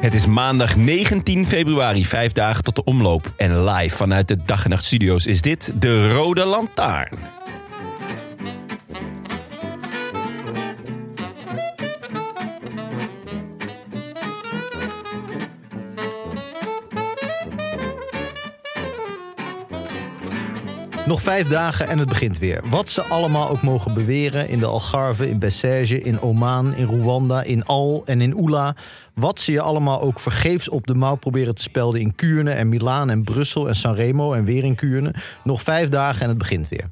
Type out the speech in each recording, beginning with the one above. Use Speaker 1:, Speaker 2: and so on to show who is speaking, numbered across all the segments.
Speaker 1: Het is maandag 19 februari, vijf dagen tot de omloop. En live vanuit de Dag en Nacht Studio's is dit de Rode Lantaarn.
Speaker 2: Nog vijf dagen en het begint weer. Wat ze allemaal ook mogen beweren in de Algarve, in Bessège, in Oman, in Rwanda, in Al en in Ula. Wat ze je allemaal ook vergeefs op de mouw proberen te spelden in Kuurne en Milaan en Brussel en Sanremo en weer in Kuurne. Nog vijf dagen en het begint weer.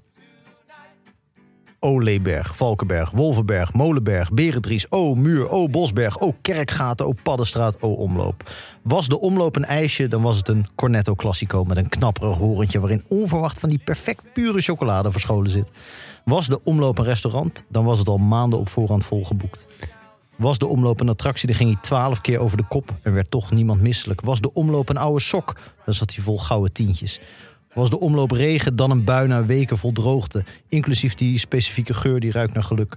Speaker 2: Oleberg, Valkenberg, Wolvenberg, Molenberg, Berendries, O Muur, O Bosberg, O Kerkgaten, O Paddenstraat, O Omloop. Was de omloop een ijsje, dan was het een Cornetto Classico met een knapperig horentje waarin onverwacht van die perfect pure chocolade verscholen zit. Was de omloop een restaurant, dan was het al maanden op voorhand volgeboekt. Was de omloop een attractie, dan ging hij twaalf keer over de kop en werd toch niemand misselijk. Was de omloop een oude sok, dan zat hij vol gouden tientjes. Was de omloop regen, dan een bui na weken vol droogte, inclusief die specifieke geur die ruikt naar geluk.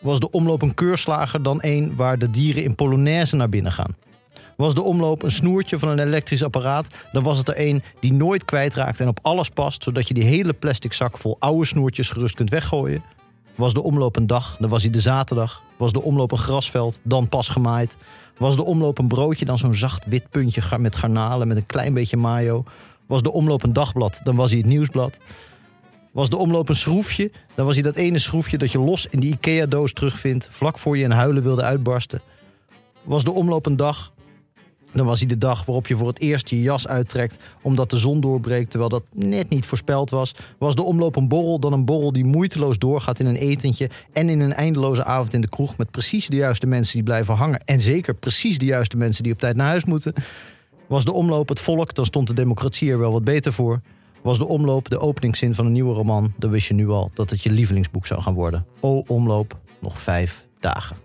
Speaker 2: Was de omloop een keurslager, dan een waar de dieren in Polonaise naar binnen gaan. Was de omloop een snoertje van een elektrisch apparaat, dan was het er een die nooit kwijtraakt en op alles past, zodat je die hele plastic zak vol oude snoertjes gerust kunt weggooien. Was de omloop een dag, dan was hij de zaterdag. Was de omloop een grasveld, dan pas gemaaid. Was de omloop een broodje, dan zo'n zacht wit puntje ga- met garnalen met een klein beetje mayo. Was de omloop een dagblad, dan was hij het nieuwsblad. Was de omloop een schroefje, dan was hij dat ene schroefje dat je los in die Ikea-doos terugvindt, vlak voor je in huilen wilde uitbarsten. Was de omloop een dag, dan was hij de dag waarop je voor het eerst je jas uittrekt omdat de zon doorbreekt, terwijl dat net niet voorspeld was. Was de omloop een borrel, dan een borrel die moeiteloos doorgaat in een etentje en in een eindeloze avond in de kroeg met precies de juiste mensen die blijven hangen en zeker precies de juiste mensen die op tijd naar huis moeten. Was de omloop het volk, dan stond de democratie er wel wat beter voor. Was de omloop de openingszin van een nieuwe roman, dan wist je nu al dat het je lievelingsboek zou gaan worden. O omloop, nog vijf dagen.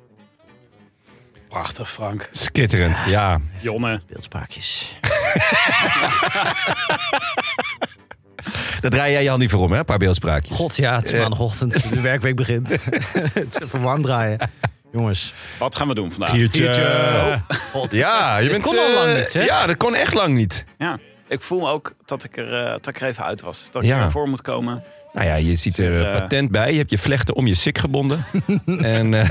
Speaker 3: Prachtig, Frank.
Speaker 1: Skitterend, ja.
Speaker 3: Jonne.
Speaker 2: Beeldspraakjes.
Speaker 1: Daar draai jij je hand niet voor om, hè? Een paar beeldspraakjes.
Speaker 2: God ja, het is maandagochtend. De werkweek begint. het is even warm draaien. Jongens. Eh,
Speaker 3: Wat gaan we doen vandaag?
Speaker 1: Ja, je bent,
Speaker 2: kon al
Speaker 1: eh,
Speaker 2: lang niet, hè?
Speaker 1: Ja, dat kon echt lang niet.
Speaker 3: Ja. Ik voel ook dat ik, er, eh, dat ik er even uit was. Dat ik
Speaker 1: Ja.
Speaker 3: er voor moet komen.
Speaker 1: Nou ja, je ziet er eh,
Speaker 3: Eh.
Speaker 1: patent bij. Je hebt je vlechten om je sik gebonden. en eh,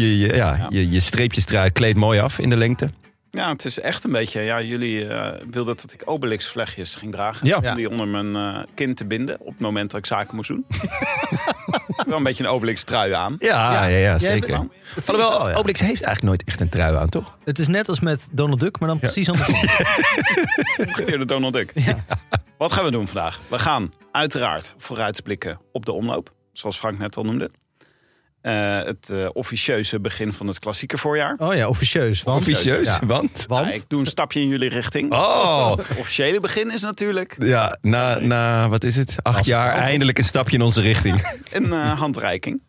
Speaker 1: je, je, ja, je, je streepjestrui kleedt mooi af in de lengte.
Speaker 3: Ja, het is echt een beetje... Ja, jullie eh, wilden dat ik Obelix-vlechtjes ging dragen.
Speaker 1: Ja.
Speaker 3: Om die onder mijn eh kin te binden. Op het moment dat ik zaken moest doen. Wel een beetje een Obelix-trui aan.
Speaker 1: Ja, ja, ja, zeker.
Speaker 3: bent-
Speaker 1: Alhoewel,
Speaker 2: wel, Oh, ja.
Speaker 1: Obelix heeft eigenlijk nooit echt een trui aan, toch?
Speaker 2: Het is net als met Donald Duck, maar dan precies andersom.
Speaker 3: Gedeerde Donald Duck. Wat gaan we doen vandaag? We gaan uiteraard vooruitblikken op de omloop. Zoals Frank net al noemde. Eh, het eh, officieuze begin van het klassieke voorjaar.
Speaker 2: Oh ja, officieus. Want,
Speaker 1: Ambitieus,
Speaker 2: Ja.
Speaker 1: want...
Speaker 3: Ja,
Speaker 2: Want?
Speaker 3: ik doe een stapje in jullie richting.
Speaker 1: Oh,
Speaker 3: Het officiële begin is natuurlijk
Speaker 1: ja, na, na, wat is het? Acht jaar, eindelijk een stapje in onze richting.
Speaker 3: een eh, handreiking.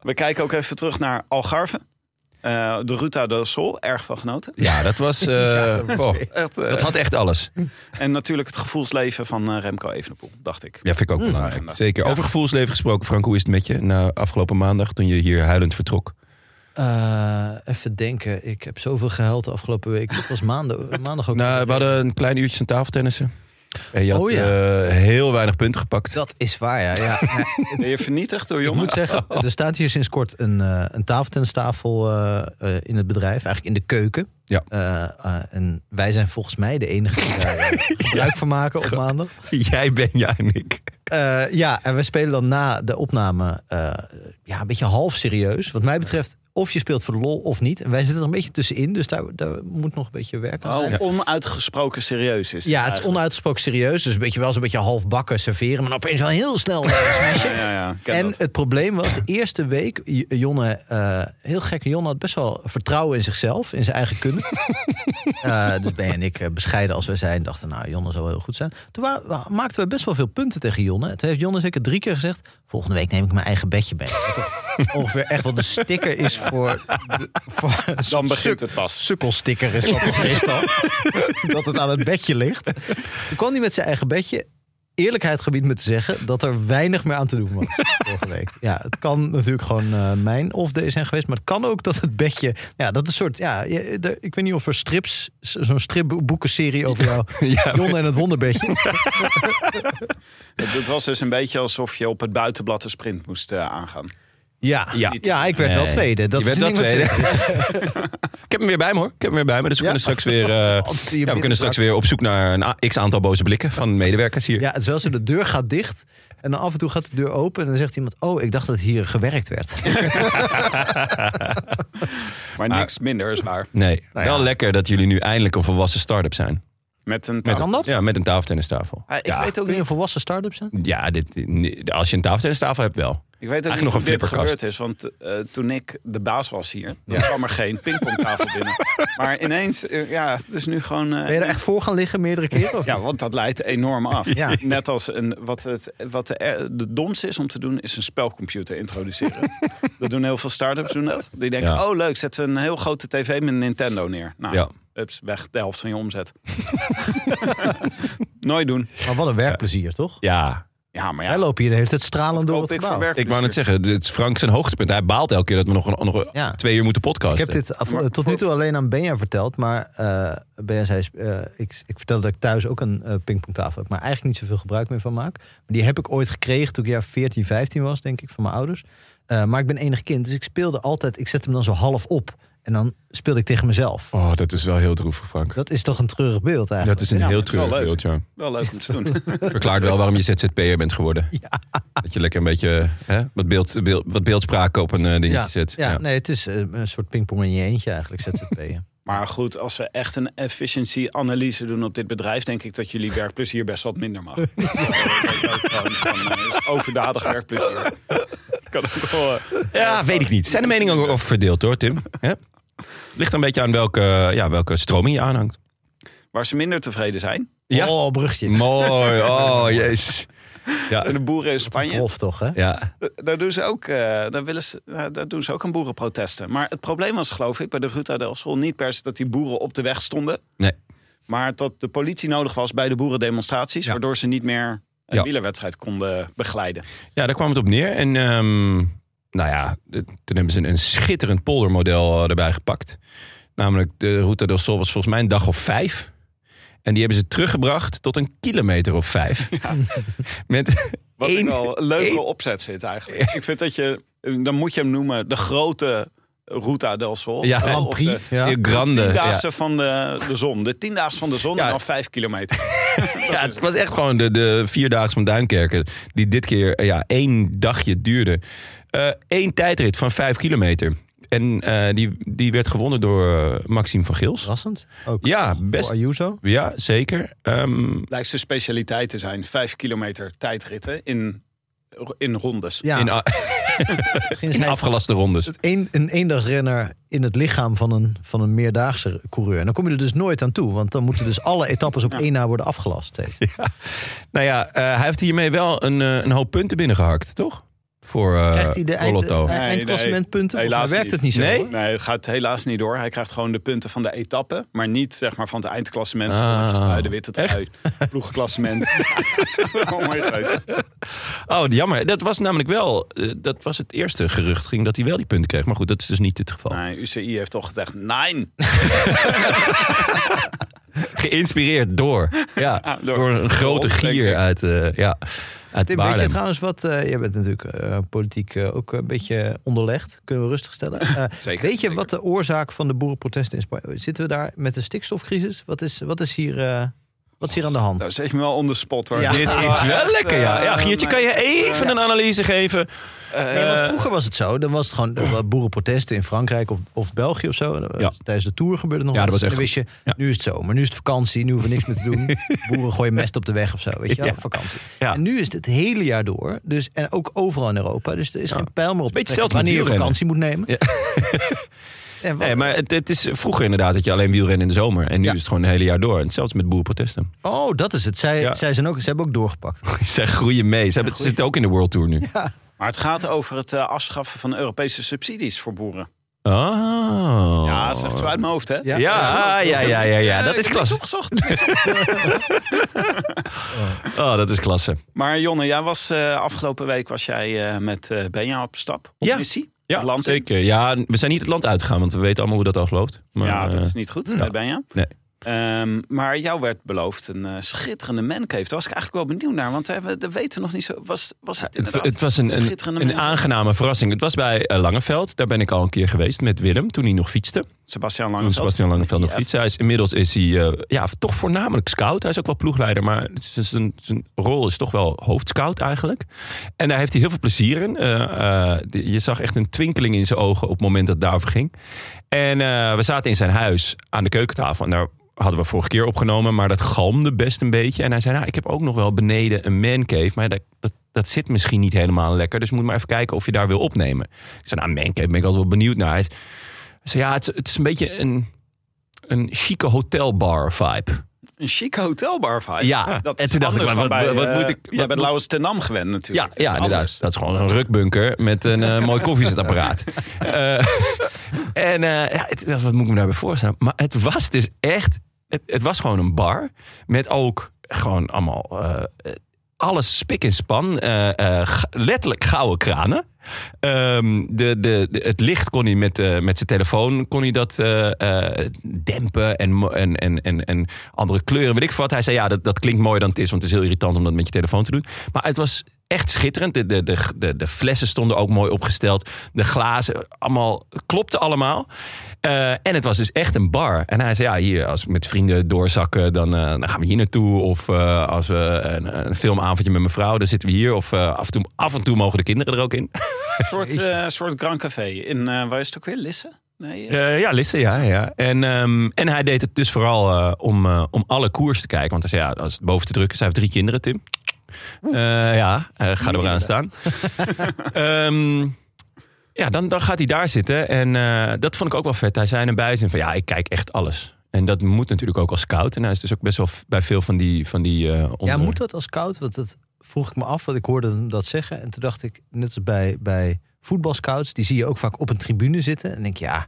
Speaker 3: We kijken ook even terug naar Algarve. Eh, de Ruta del Sol, erg van genoten.
Speaker 1: Ja, dat was... eh, oh,
Speaker 3: Echt, eh,
Speaker 1: dat had echt alles.
Speaker 3: en natuurlijk het gevoelsleven van eh, Remco Evenepoel, dacht ik.
Speaker 1: Ja, vind ik ook belangrijk. Zeker. Over gevoelsleven gesproken, Frank, hoe is het met je? Na afgelopen maandag, toen je hier huilend vertrok.
Speaker 2: Eh, even denken. Ik heb zoveel gehuild de afgelopen week. Het was maandag, maandag ook.
Speaker 1: Nou, we hadden een klein uurtje aan tafeltennissen. En je had
Speaker 2: Oh
Speaker 1: eh, heel weinig punten gepakt.
Speaker 2: Dat is waar, ja. ja.
Speaker 3: Ben je vernietigd door
Speaker 2: Ik moet
Speaker 3: jongens?
Speaker 2: zeggen, er staat hier sinds kort een, eh een tafeltennistafel eh, eh, in het bedrijf. Eigenlijk in de keuken.
Speaker 1: Ja.
Speaker 2: Eh, eh, en wij zijn volgens mij de enige die daar eh, gebruik van maken op maandag.
Speaker 1: Jij, Benja en ik.
Speaker 2: Eh, ja, en we spelen dan na de opname eh, ja, een beetje half serieus. Wat mij betreft, of je speelt voor de lol of niet. En wij zitten er een beetje tussenin, dus daar, daar moet nog een beetje werk aan zijn.
Speaker 3: Oh, onuitgesproken serieus is.
Speaker 2: Ja, het is
Speaker 3: eigenlijk.
Speaker 2: onuitgesproken serieus. Dus een beetje wel zo'n beetje halfbakken serveren. Maar dan opeens wel heel snel.
Speaker 3: Ja, ja, ik ken
Speaker 2: en
Speaker 3: dat.
Speaker 2: het probleem was, de eerste week... J- Jonne, eh, heel gek, Jonne had best wel vertrouwen in zichzelf. In zijn eigen kunnen. Eh, dus Ben en ik, eh, bescheiden als wij zijn, dachten... nou, Jonne zou wel heel goed zijn. Toen wa- wa- maakten we best wel veel punten tegen Jonne. Toen heeft Jonne zeker drie keer gezegd... volgende week neem ik mijn eigen bedje mee. Wat toch ongeveer echt wel de sticker is voor... de- voor
Speaker 3: Dan begint het pas.
Speaker 2: sukkelsticker is dat toch meestal. dat het aan het bedje ligt. Toen kwam hij met zijn eigen bedje. Eerlijkheid gebied me te zeggen dat er weinig meer aan te doen was vorige week. Ja, het kan natuurlijk gewoon eh, mijn of deze zijn geweest. Maar het kan ook dat het bedje... Ja, dat is een soort... Ja, je- de- ik weet niet of er strips... z- Zo'n stripboekenserie over jou.
Speaker 1: Ja,
Speaker 2: Jon en het wonderbedje.
Speaker 3: Het, het was dus een beetje alsof je op het buitenblad een sprint moest eh, aangaan.
Speaker 2: Ja, ja. ik werd wel
Speaker 1: Nee.
Speaker 2: tweede. Dat
Speaker 1: je
Speaker 2: is
Speaker 1: werd wel
Speaker 2: het ding wat
Speaker 1: tweede.
Speaker 2: ze-
Speaker 1: ik heb hem weer bij me hoor. Ik heb hem weer bij me. Dus we kunnen straks weer. eh, ja, we kunnen straks weer op zoek naar een a- x aantal boze blikken van medewerkers hier.
Speaker 2: Ja, het is wel zo, de deur gaat dicht. En dan af en toe gaat de deur open. En dan zegt iemand, oh, ik dacht dat hier gewerkt werd.
Speaker 3: Maar niks minder is waar.
Speaker 1: Nee,
Speaker 2: Nou ja.
Speaker 1: wel lekker dat jullie nu eindelijk een volwassen start-up zijn.
Speaker 3: Met een
Speaker 1: Met,
Speaker 3: tafel.
Speaker 2: dat?
Speaker 1: Ja, met een tafeltennistafel.
Speaker 3: Ah, ik,
Speaker 1: ja.
Speaker 3: weet ook,
Speaker 2: Kun je een volwassen start-up zijn?
Speaker 1: Ja, dit, als je een tafeltennistafel hebt wel.
Speaker 3: ik weet ook
Speaker 1: Eigenlijk nog
Speaker 3: niet hoe
Speaker 1: een
Speaker 3: dit
Speaker 1: flipperkast.
Speaker 3: gebeurd is. Want eh, toen ik de baas was hier, dan kwam er geen pingpongtafel binnen. Maar ineens, eh, ja, het is nu gewoon... eh,
Speaker 2: Ben je er echt voor gaan liggen meerdere keren? of-
Speaker 3: Ja, want dat leidt enorm af.
Speaker 2: Ja.
Speaker 3: Net als een, wat, het, wat de, eh, de domste is om te doen, is een spelcomputer introduceren. dat doen heel veel start-ups doen dat. Die denken,
Speaker 1: Ja.
Speaker 3: oh leuk, zetten we een heel grote tv met een Nintendo neer. Nou,
Speaker 1: Ja.
Speaker 3: ups, weg, de helft van je omzet. Nooit doen.
Speaker 2: Maar wat een werkplezier, toch?
Speaker 1: Ja,
Speaker 3: Ja, maar ja,
Speaker 2: Wij lopen hier de hele tijd stralend door
Speaker 3: koop
Speaker 2: het
Speaker 3: ik voor
Speaker 2: gebouw.
Speaker 3: werk.
Speaker 1: ik wou net zeggen, dit is Frank zijn hoogtepunt. Hij baalt elke keer dat we nog, nog
Speaker 2: Ja.
Speaker 1: twee uur moeten
Speaker 2: Ik
Speaker 1: podcasten.
Speaker 2: heb dit af- tot nu toe alleen aan Benja verteld. Maar eh, Benja zei, eh, ik, ik vertelde dat ik thuis ook een eh, pingpongtafel heb. Maar eigenlijk niet zoveel gebruik meer van maak. Maar die heb ik ooit gekregen toen ik jaar 14, 15 was, denk ik, van mijn ouders. Eh, maar ik ben enig kind, dus ik speelde altijd... Ik zette hem dan zo half op. En dan speelde ik tegen mezelf.
Speaker 1: Oh, dat is wel heel droevig, Frank.
Speaker 2: Dat is toch een treurig beeld eigenlijk.
Speaker 1: Dat is een
Speaker 3: Ja,
Speaker 1: heel
Speaker 3: dat is wel
Speaker 1: treurig
Speaker 3: leuk.
Speaker 1: beeld, ja.
Speaker 3: wel leuk om te doen.
Speaker 1: Verklaart wel waarom je ZZP'er bent geworden. Dat je lekker een beetje hè, wat, beeld, beeld- wat beeldspraak op een eh, dingetje
Speaker 2: ja,
Speaker 1: zet.
Speaker 2: ja,
Speaker 1: Ja.
Speaker 2: nee, het is eh, een soort pingpong in je eentje eigenlijk, ZZP'en.
Speaker 3: maar goed, als we echt een efficiency-analyse doen op dit bedrijf, denk ik dat jullie werkplezier best wat minder mag. Dat is ook gewoon- gewoon, eh, is overdadig werkplezier. Kan ook wel. eh,
Speaker 1: Ja, weet ik niet. Zijn de meningen ook over verdeeld hoor, Tim? Ja? Ligt er een beetje aan welke, ja, welke stroming je aanhangt.
Speaker 3: Waar ze minder tevreden zijn.
Speaker 1: Ja.
Speaker 2: Oh, brugje.
Speaker 1: Mooi, oh jezus.
Speaker 3: En
Speaker 1: Ja,
Speaker 3: de boeren in Spanje.
Speaker 2: Prof toch, hè?
Speaker 1: ja.
Speaker 3: Daar doen ze ook, eh, daar willen ze, nou, daar doen ze ook aan boerenprotesten. Maar het probleem was, geloof ik, bij de Ruta del Sol niet per se dat die boeren op de weg stonden.
Speaker 1: Nee.
Speaker 3: Maar dat de politie nodig was bij de boerendemonstraties. Waardoor ze niet meer een
Speaker 1: Ja.
Speaker 3: wielerwedstrijd konden begeleiden.
Speaker 1: ja, daar kwam het op neer. En ehm, nou ja, de- toen hebben ze een, een schitterend poldermodel eh, erbij gepakt. Namelijk de Ruta del Sol was volgens mij een dag of vijf. En die hebben ze teruggebracht tot een kilometer of vijf. Met
Speaker 3: Wat
Speaker 1: één-
Speaker 3: ik wel een leuke
Speaker 1: één-
Speaker 3: opzet vindt eigenlijk. Ik vind dat je, dan moet je hem noemen de grote Ruta del Sol.
Speaker 1: Ja.
Speaker 3: Eh,
Speaker 1: Grand
Speaker 3: of
Speaker 2: Prix,
Speaker 3: de-
Speaker 2: ja.
Speaker 1: de grande. Ja.
Speaker 3: Tiendaagse van de, de zon. De tiendaagse van de zon
Speaker 1: Ja.
Speaker 3: en dan vijf kilometer.
Speaker 1: Ja, het was echt gewoon de, de Vierdaagse van Duinkerken. Die dit keer eh, ja, één dagje duurde. Eén tijdrit van vijf kilometer. En eh, die, die werd gewonnen door eh, Maxime van Gils.
Speaker 2: Verrassend. Ook
Speaker 1: Ja,
Speaker 2: voor
Speaker 1: best.
Speaker 2: Ayuso.
Speaker 1: Ja, zeker. Ehm,
Speaker 3: lijkt zijn specialiteit te zijn. Vijf kilometer tijdritten in, in rondes.
Speaker 2: Ja,
Speaker 1: in, a-
Speaker 2: misschien is
Speaker 1: in
Speaker 2: hij
Speaker 1: afgelaste rondes.
Speaker 2: een, een eendagsrenner in het lichaam van een, van een meerdaagse coureur. En dan kom je er dus nooit aan toe. Want dan moeten dus alle etappes op één na worden afgelast. steeds.
Speaker 1: Nou ja, eh, hij heeft hiermee wel een, eh, een hoop punten binnengehakt, toch? Voor eh
Speaker 2: Krijgt hij de eind,
Speaker 1: Rolotto.
Speaker 2: eh,
Speaker 3: nee.
Speaker 2: eindklassementpunten? Volgens
Speaker 3: Helaas
Speaker 2: mij werkt het niet zo.
Speaker 1: Nee?
Speaker 2: hoor.
Speaker 3: Nee, het gaat helaas niet door. Hij krijgt gewoon de punten van de etappe, maar niet zeg maar van het eindklassement.
Speaker 1: Ah.
Speaker 3: Oranje trui, de witte trui,
Speaker 1: Echt?
Speaker 3: ploegklassement. Mooi geweest.
Speaker 1: Oh, jammer. Dat was namelijk wel. eh, dat was het eerste gerucht ging dat hij wel die punten kreeg. Maar goed, dat is dus niet het geval.
Speaker 3: Nee, UCI heeft toch gezegd, nein.
Speaker 1: Geïnspireerd door. Ja,
Speaker 3: Ah,
Speaker 1: door een grote
Speaker 3: Denk ik.
Speaker 1: gier uit, eh ja, uit
Speaker 2: Tim, weet
Speaker 1: Baarle.
Speaker 2: je trouwens wat... eh je bent natuurlijk eh, politiek eh, ook een beetje onderlegd. Kunnen we rustig stellen. Eh,
Speaker 3: Zeker,
Speaker 2: weet je
Speaker 3: zeker.
Speaker 2: wat de oorzaak van de boerenprotesten in Spanje... Zitten we daar met de stikstofcrisis? Wat is, wat is, hier, eh, wat is hier aan de hand?
Speaker 3: Nou, zeg je me wel on the spot hoor.
Speaker 2: Ja.
Speaker 1: Dit is wel lekker, ja. Ja, Giertje, kan je even een analyse geven?
Speaker 2: Nee,
Speaker 1: Eh,
Speaker 2: want vroeger was het zo. Dan was het gewoon er waren boerenprotesten in Frankrijk of, of België of zo. Dat was-
Speaker 1: Ja.
Speaker 2: Tijdens de Tour gebeurde nog
Speaker 1: Ja, dat
Speaker 2: wel eens.
Speaker 1: was
Speaker 2: En
Speaker 1: echt
Speaker 2: dan wist je,
Speaker 1: Ja.
Speaker 2: nu is het zomer, nu is het vakantie, nu hoeven we niks meer te doen. Boeren gooien mest op de weg of zo, weet je wel,
Speaker 1: Ja.
Speaker 2: vakantie.
Speaker 1: Ja.
Speaker 2: En nu is het het hele jaar door. Dus, en ook overal in Europa. Dus er is geen pijl meer op te
Speaker 1: Beetje
Speaker 2: trekken
Speaker 1: hetzelfde met
Speaker 2: wanneer je
Speaker 1: wielrennen.
Speaker 2: vakantie moet nemen.
Speaker 1: Ja.
Speaker 2: en wat-
Speaker 1: Nee, maar het, het is vroeger inderdaad dat je alleen wielrennen in de zomer. En nu
Speaker 2: Ja.
Speaker 1: is het gewoon het hele jaar door. En hetzelfde met boerenprotesten.
Speaker 2: Oh, dat is het. Zij,
Speaker 1: Ja.
Speaker 2: zij, zijn ook, zij hebben ook doorgepakt.
Speaker 1: Zij groeien mee. Ze hebben, zitten ook in de World Tour nu.
Speaker 3: Maar het gaat over het eh, afschaffen van Europese subsidies voor boeren.
Speaker 1: Oh.
Speaker 3: Ja, dat zeg ik zo uit mijn hoofd, hè?
Speaker 2: Ja.
Speaker 1: Ja, ja, ja, ja, ja. Dat is klasse.
Speaker 3: Opgezocht.
Speaker 1: Oh, dat is klasse.
Speaker 3: Maar Jonne, jij was, eh, afgelopen week was jij eh, met eh Benja op stap, op
Speaker 1: Ja.
Speaker 3: missie.
Speaker 1: Ja,
Speaker 3: het land in.
Speaker 1: zeker. Ja, we zijn niet het land uitgegaan, want we weten allemaal hoe dat afloopt. Maar,
Speaker 3: ja, dat is
Speaker 1: eh,
Speaker 3: niet goed bij Benja.
Speaker 1: Nee.
Speaker 3: Ehm, maar jou werd beloofd een eh, schitterende mancave. Daar was ik eigenlijk wel benieuwd naar, want eh, we dat weten we nog niet zo. Was, was het
Speaker 1: het,
Speaker 3: inderdaad
Speaker 1: het was een, een,
Speaker 3: schitterende
Speaker 1: een
Speaker 3: mancave?
Speaker 1: aangename verrassing. Het was bij eh, Langeveld. Daar ben ik al een keer geweest met Willem, toen hij nog fietste.
Speaker 3: Sebastian
Speaker 1: Toen
Speaker 3: Langeveld.
Speaker 1: Sebastian Langeveld nog
Speaker 3: Ja,
Speaker 1: fietste. Hij is, inmiddels is hij eh, ja, toch voornamelijk scout. Hij is ook wel ploegleider, maar zijn, zijn, zijn rol is toch wel hoofdscout eigenlijk. En daar heeft hij heel veel plezier in. Eh, eh, die- je zag echt een twinkeling in zijn ogen op het moment dat het daarover ging. En eh, we zaten in zijn huis aan de keukentafel. En daar hadden we vorige keer opgenomen, maar dat galmde best een beetje. En hij zei, nou, ik heb ook nog wel beneden een mancave, maar dat, dat, dat zit misschien niet helemaal lekker. Dus moet maar even kijken of je daar wil opnemen. Ik zei, nou, mancave ben ik altijd wel benieuwd naar. Hij zei, Dus ja, het, is- het is een beetje een, een chique hotelbar vibe.
Speaker 3: Een chic hotelbar vibe.
Speaker 1: Ja,
Speaker 3: dat
Speaker 1: en
Speaker 3: is
Speaker 1: toen dacht ik,
Speaker 3: anders
Speaker 1: maar
Speaker 3: dan
Speaker 1: wat-
Speaker 3: bij,
Speaker 1: wat
Speaker 3: eh,
Speaker 1: moet ik- wat
Speaker 3: Jij bent
Speaker 1: moet-
Speaker 3: Lauwens ten Nam gewend
Speaker 1: Ja,
Speaker 3: natuurlijk. Het is
Speaker 1: ja
Speaker 3: anders.
Speaker 1: inderdaad. Dat is gewoon zo'n rukbunker met een eh, mooi koffiezetapparaat. Eh, en eh, ja, het- wat moet ik me daarbij voorstellen? Maar het was dus echt... Het, het was gewoon een bar met ook gewoon allemaal... eh, eh, alles spik en span. eh, eh, g- letterlijk gouden kranen. Ehm, de, de, de- het licht kon hij met, eh, met zijn telefoon kon hij dat eh, eh, dempen en, mo- en, en, en, en andere kleuren, weet ik wat. Hij zei, ja, dat, dat klinkt mooier dan het is, want het is heel irritant om dat met je telefoon te doen. Maar het was echt schitterend. De, de, de, de, de flessen stonden ook mooi opgesteld. De glazen, allemaal, klopte allemaal. Eh, en het was dus echt een bar. En hij zei, ja, hier, als we met vrienden doorzakken, dan, eh, dan gaan we hier naartoe. Of eh, als we een, een filmavondje met mijn vrouw, dan zitten we hier. Of eh, af, en toe, af en toe mogen de kinderen er ook in.
Speaker 3: Een soort, eh, soort Grand Café. In, eh, waar is het ook weer? Lisse? Nee, eh,
Speaker 1: Eh, ja, Lisse, ja. ja. En, ehm, en hij deed het dus vooral eh, om, eh, om alle koers te kijken. Want hij zei, ja, als het boven te drukken, zij heeft drie kinderen, Tim. Eh, ja, eh, ga er maar aan staan. Ehm, ja, dan, dan gaat hij daar zitten. En eh, dat vond ik ook wel vet. Hij zei in een bijzin van, ja, ik kijk echt alles. En dat moet natuurlijk ook als scout. En hij is dus ook best wel f- bij veel van die... Van die eh, onder-
Speaker 2: Ja, moet dat als koud? Want dat vroeg ik me af, want ik hoorde hem dat zeggen. En toen dacht ik, net als bij, bij voetbalscouts, die zie je ook vaak op een tribune zitten. En denk je, ja,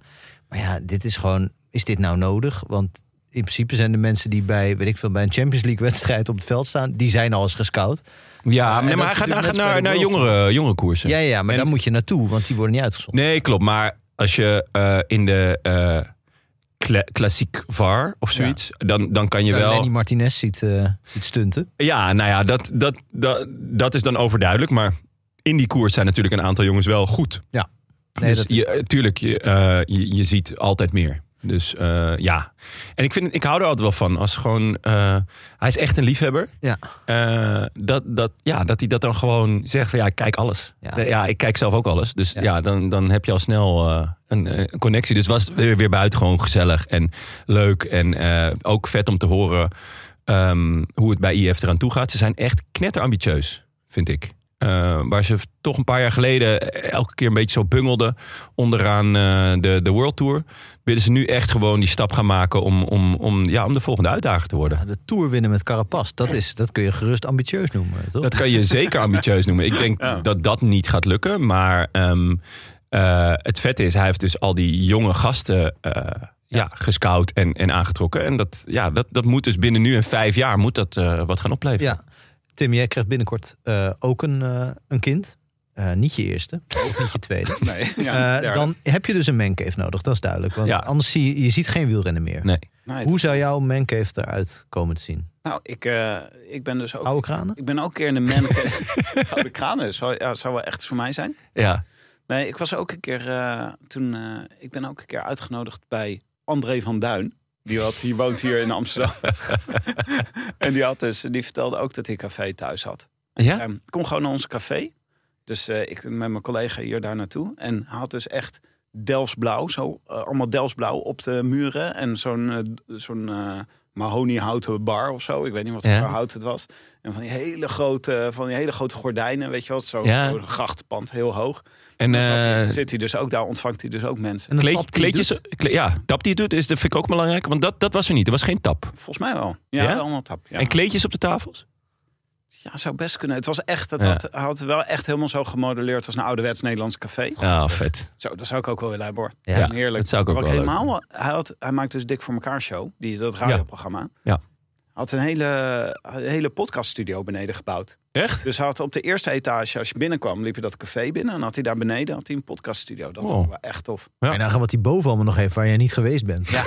Speaker 2: maar ja, dit is gewoon, is dit nou nodig? Want in principe zijn de mensen die bij, weet ik veel, bij een Champions League wedstrijd op het veld staan, die zijn al eens gescout.
Speaker 1: Ja,
Speaker 2: en
Speaker 1: maar,
Speaker 2: dat
Speaker 1: hij
Speaker 2: is
Speaker 1: gaat, hij gaat
Speaker 2: natuurlijk net bij
Speaker 1: naar,
Speaker 2: de
Speaker 1: naar
Speaker 2: World
Speaker 1: jongere, jongere koersen.
Speaker 2: Ja, ja, maar
Speaker 1: En-
Speaker 2: daar moet je naartoe, want die worden niet uitgezonden.
Speaker 1: Nee, klopt. Maar als je eh, in de eh, kla- klassiek VAR of zoiets, dan, dan kan je
Speaker 2: Terwijl
Speaker 1: wel.
Speaker 2: Lenny Martinez ziet, eh, ziet stunten.
Speaker 1: Ja, nou ja, dat, dat, dat, dat is dan overduidelijk. Maar in die koers zijn natuurlijk een aantal jongens wel goed.
Speaker 2: Nee,
Speaker 1: dus
Speaker 2: dat is-
Speaker 1: je, eh, tuurlijk, je, eh, je, je ziet altijd meer. Dus eh, ja. En ik, vind, ik hou er altijd wel van. Als gewoon, eh, hij is echt een liefhebber.
Speaker 2: Ja.
Speaker 1: Eh, dat, dat, ja, dat hij dat dan gewoon zegt van ja, ik kijk alles. Eh,
Speaker 2: Ja.
Speaker 1: Ja, ik kijk zelf ook alles. Dus
Speaker 2: Ja.
Speaker 1: ja, dan, dan heb je al snel eh, een, eh, een connectie. Dus het was weer, weer buitengewoon gezellig en leuk. En eh, ook vet om te horen ehm, hoe het bij IF eraan toe gaat. Ze zijn echt knetterambitieus, vind ik. Eh, waar ze toch een paar jaar geleden elke keer een beetje zo bungelden onderaan eh, de, de World Tour. Willen ze nu echt gewoon die stap gaan maken om, om, om, ja, om de volgende uitdager te worden.
Speaker 2: Ja, de Tour winnen met Carapaz, dat, is, dat kun je gerust ambitieus noemen, toch?
Speaker 1: Dat kan je zeker ambitieus noemen. Ik denk dat dat niet gaat lukken. Maar ehm, eh, het vet is, hij heeft dus al die jonge gasten eh, ja, gescout en, en aangetrokken. En dat, ja, dat, dat moet dus binnen nu en vijf jaar moet dat, eh, wat gaan opleveren.
Speaker 2: Ja. Tim, jij krijgt binnenkort eh, ook een, eh, een kind. Eh, niet je eerste, ook niet je tweede.
Speaker 3: Nee, ja,
Speaker 2: Eh,
Speaker 3: derde.
Speaker 2: dan heb je dus een mancave nodig, dat is duidelijk. Want
Speaker 1: Ja.
Speaker 2: anders zie je, je ziet geen wielrennen meer.
Speaker 1: Nee.
Speaker 3: Nee,
Speaker 2: Hoe zou jouw mancave eruit komen te zien?
Speaker 3: Nou, ik, eh, ik ben dus ook...
Speaker 2: Oude kranen?
Speaker 3: Ik ben ook een keer in de man Gouden kranen. dus. Zou, ja, zou wel echt iets voor mij zijn.
Speaker 1: Ja.
Speaker 3: Nee, ik was ook een keer eh, toen. eh, ik ben ook een keer uitgenodigd bij André van Duin. Die had, hier woont hier in Amsterdam. en die, had dus, die vertelde ook dat hij een café thuis had.
Speaker 1: Ja?
Speaker 3: Ehm, kom gewoon naar ons café. Dus eh, ik met mijn collega hier daar naartoe. En hij had dus echt Delsblauw, zo, eh, allemaal Delsblauw op de muren. En zo'n eh, d- zo'n eh mahoniehouten bar of zo. Ik weet niet wat voor
Speaker 1: Ja.
Speaker 3: hout het was. En van die hele grote, van die hele grote gordijnen, weet je wat? Zo'n
Speaker 1: Ja.
Speaker 3: zo'n grachtpand, heel hoog.
Speaker 1: En
Speaker 3: Dan zat hij-
Speaker 1: eh,
Speaker 3: zit hij dus ook daar, ontvangt hij dus ook mensen.
Speaker 2: En de
Speaker 1: kleed-
Speaker 2: tap die
Speaker 1: kleedjes,
Speaker 2: doet-
Speaker 1: kle- ja, tap die het doet, is, dat vind ik ook belangrijk. Want dat, dat was er niet. Er was geen tap.
Speaker 3: Volgens mij wel. Ja,
Speaker 1: Ja?
Speaker 3: allemaal tap. Ja.
Speaker 1: En kleedjes op de tafels?
Speaker 3: ja, zou best kunnen. Het was echt, het
Speaker 1: Ja.
Speaker 3: had, hij had wel echt helemaal zo gemodelleerd als een ouderwets Nederlands café.
Speaker 1: Ja, Ah, vet.
Speaker 3: Zo, dat zou ik ook wel willen hebben hoor.
Speaker 2: Ja,
Speaker 3: Ja, heerlijk.
Speaker 1: Dat zou ik ook
Speaker 3: Wat
Speaker 1: wel
Speaker 3: ik
Speaker 1: leuk
Speaker 3: helemaal, hij, had, hij maakt dus Dik voor elkaar show, die, dat radioprogramma.
Speaker 1: Ja.
Speaker 3: Had een hele, een hele podcaststudio beneden gebouwd.
Speaker 1: Echt?
Speaker 3: Dus hij had op de eerste etage, als je binnenkwam, liep je dat café binnen. En had hij daar beneden had hij een podcaststudio. Dat
Speaker 1: Wow.
Speaker 3: vond ik wel echt tof.
Speaker 2: En dan gaan wat die boven allemaal nog heeft waar jij niet geweest bent.
Speaker 3: Ja,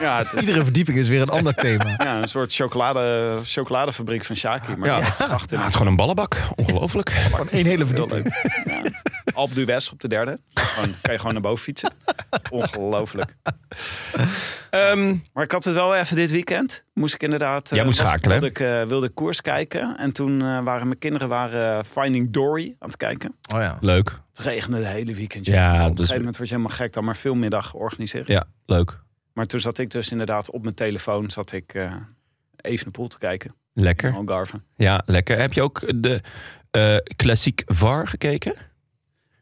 Speaker 3: ja, het,
Speaker 2: Iedere verdieping is weer een ander thema.
Speaker 3: ja een soort chocolade, chocoladefabriek van Shaki. Maar
Speaker 1: Ja.
Speaker 3: ja. achter.
Speaker 1: Ja, het is gewoon een ballenbak. Ongelooflijk.
Speaker 2: Gewoon één hele verdieping.
Speaker 3: Alp d'Huez op de derde. Gewoon, kan je gewoon naar boven fietsen. Ongelooflijk.
Speaker 1: Ehm,
Speaker 3: Maar ik had het wel even dit weekend. Moest ik inderdaad... eh,
Speaker 1: Jij moest
Speaker 3: was-
Speaker 1: schakelen, hè?
Speaker 3: Wilde ik, eh, wilde ik koers kijken. En toen eh, waren mijn kinderen waren, eh, Finding Dory aan het kijken.
Speaker 2: Oh ja.
Speaker 1: leuk.
Speaker 3: Het regende het hele weekend.
Speaker 1: Ja,
Speaker 3: op een
Speaker 1: dat is-
Speaker 3: gegeven moment word je helemaal gek. Dan maar filmmiddag organiseren.
Speaker 1: Ja, leuk.
Speaker 3: Maar toen zat ik dus inderdaad op mijn telefoon. Zat ik eh, even naar pool te kijken.
Speaker 1: Lekker.
Speaker 3: Algarve.
Speaker 1: Ja, lekker. Heb je ook de eh klassiek VAR gekeken?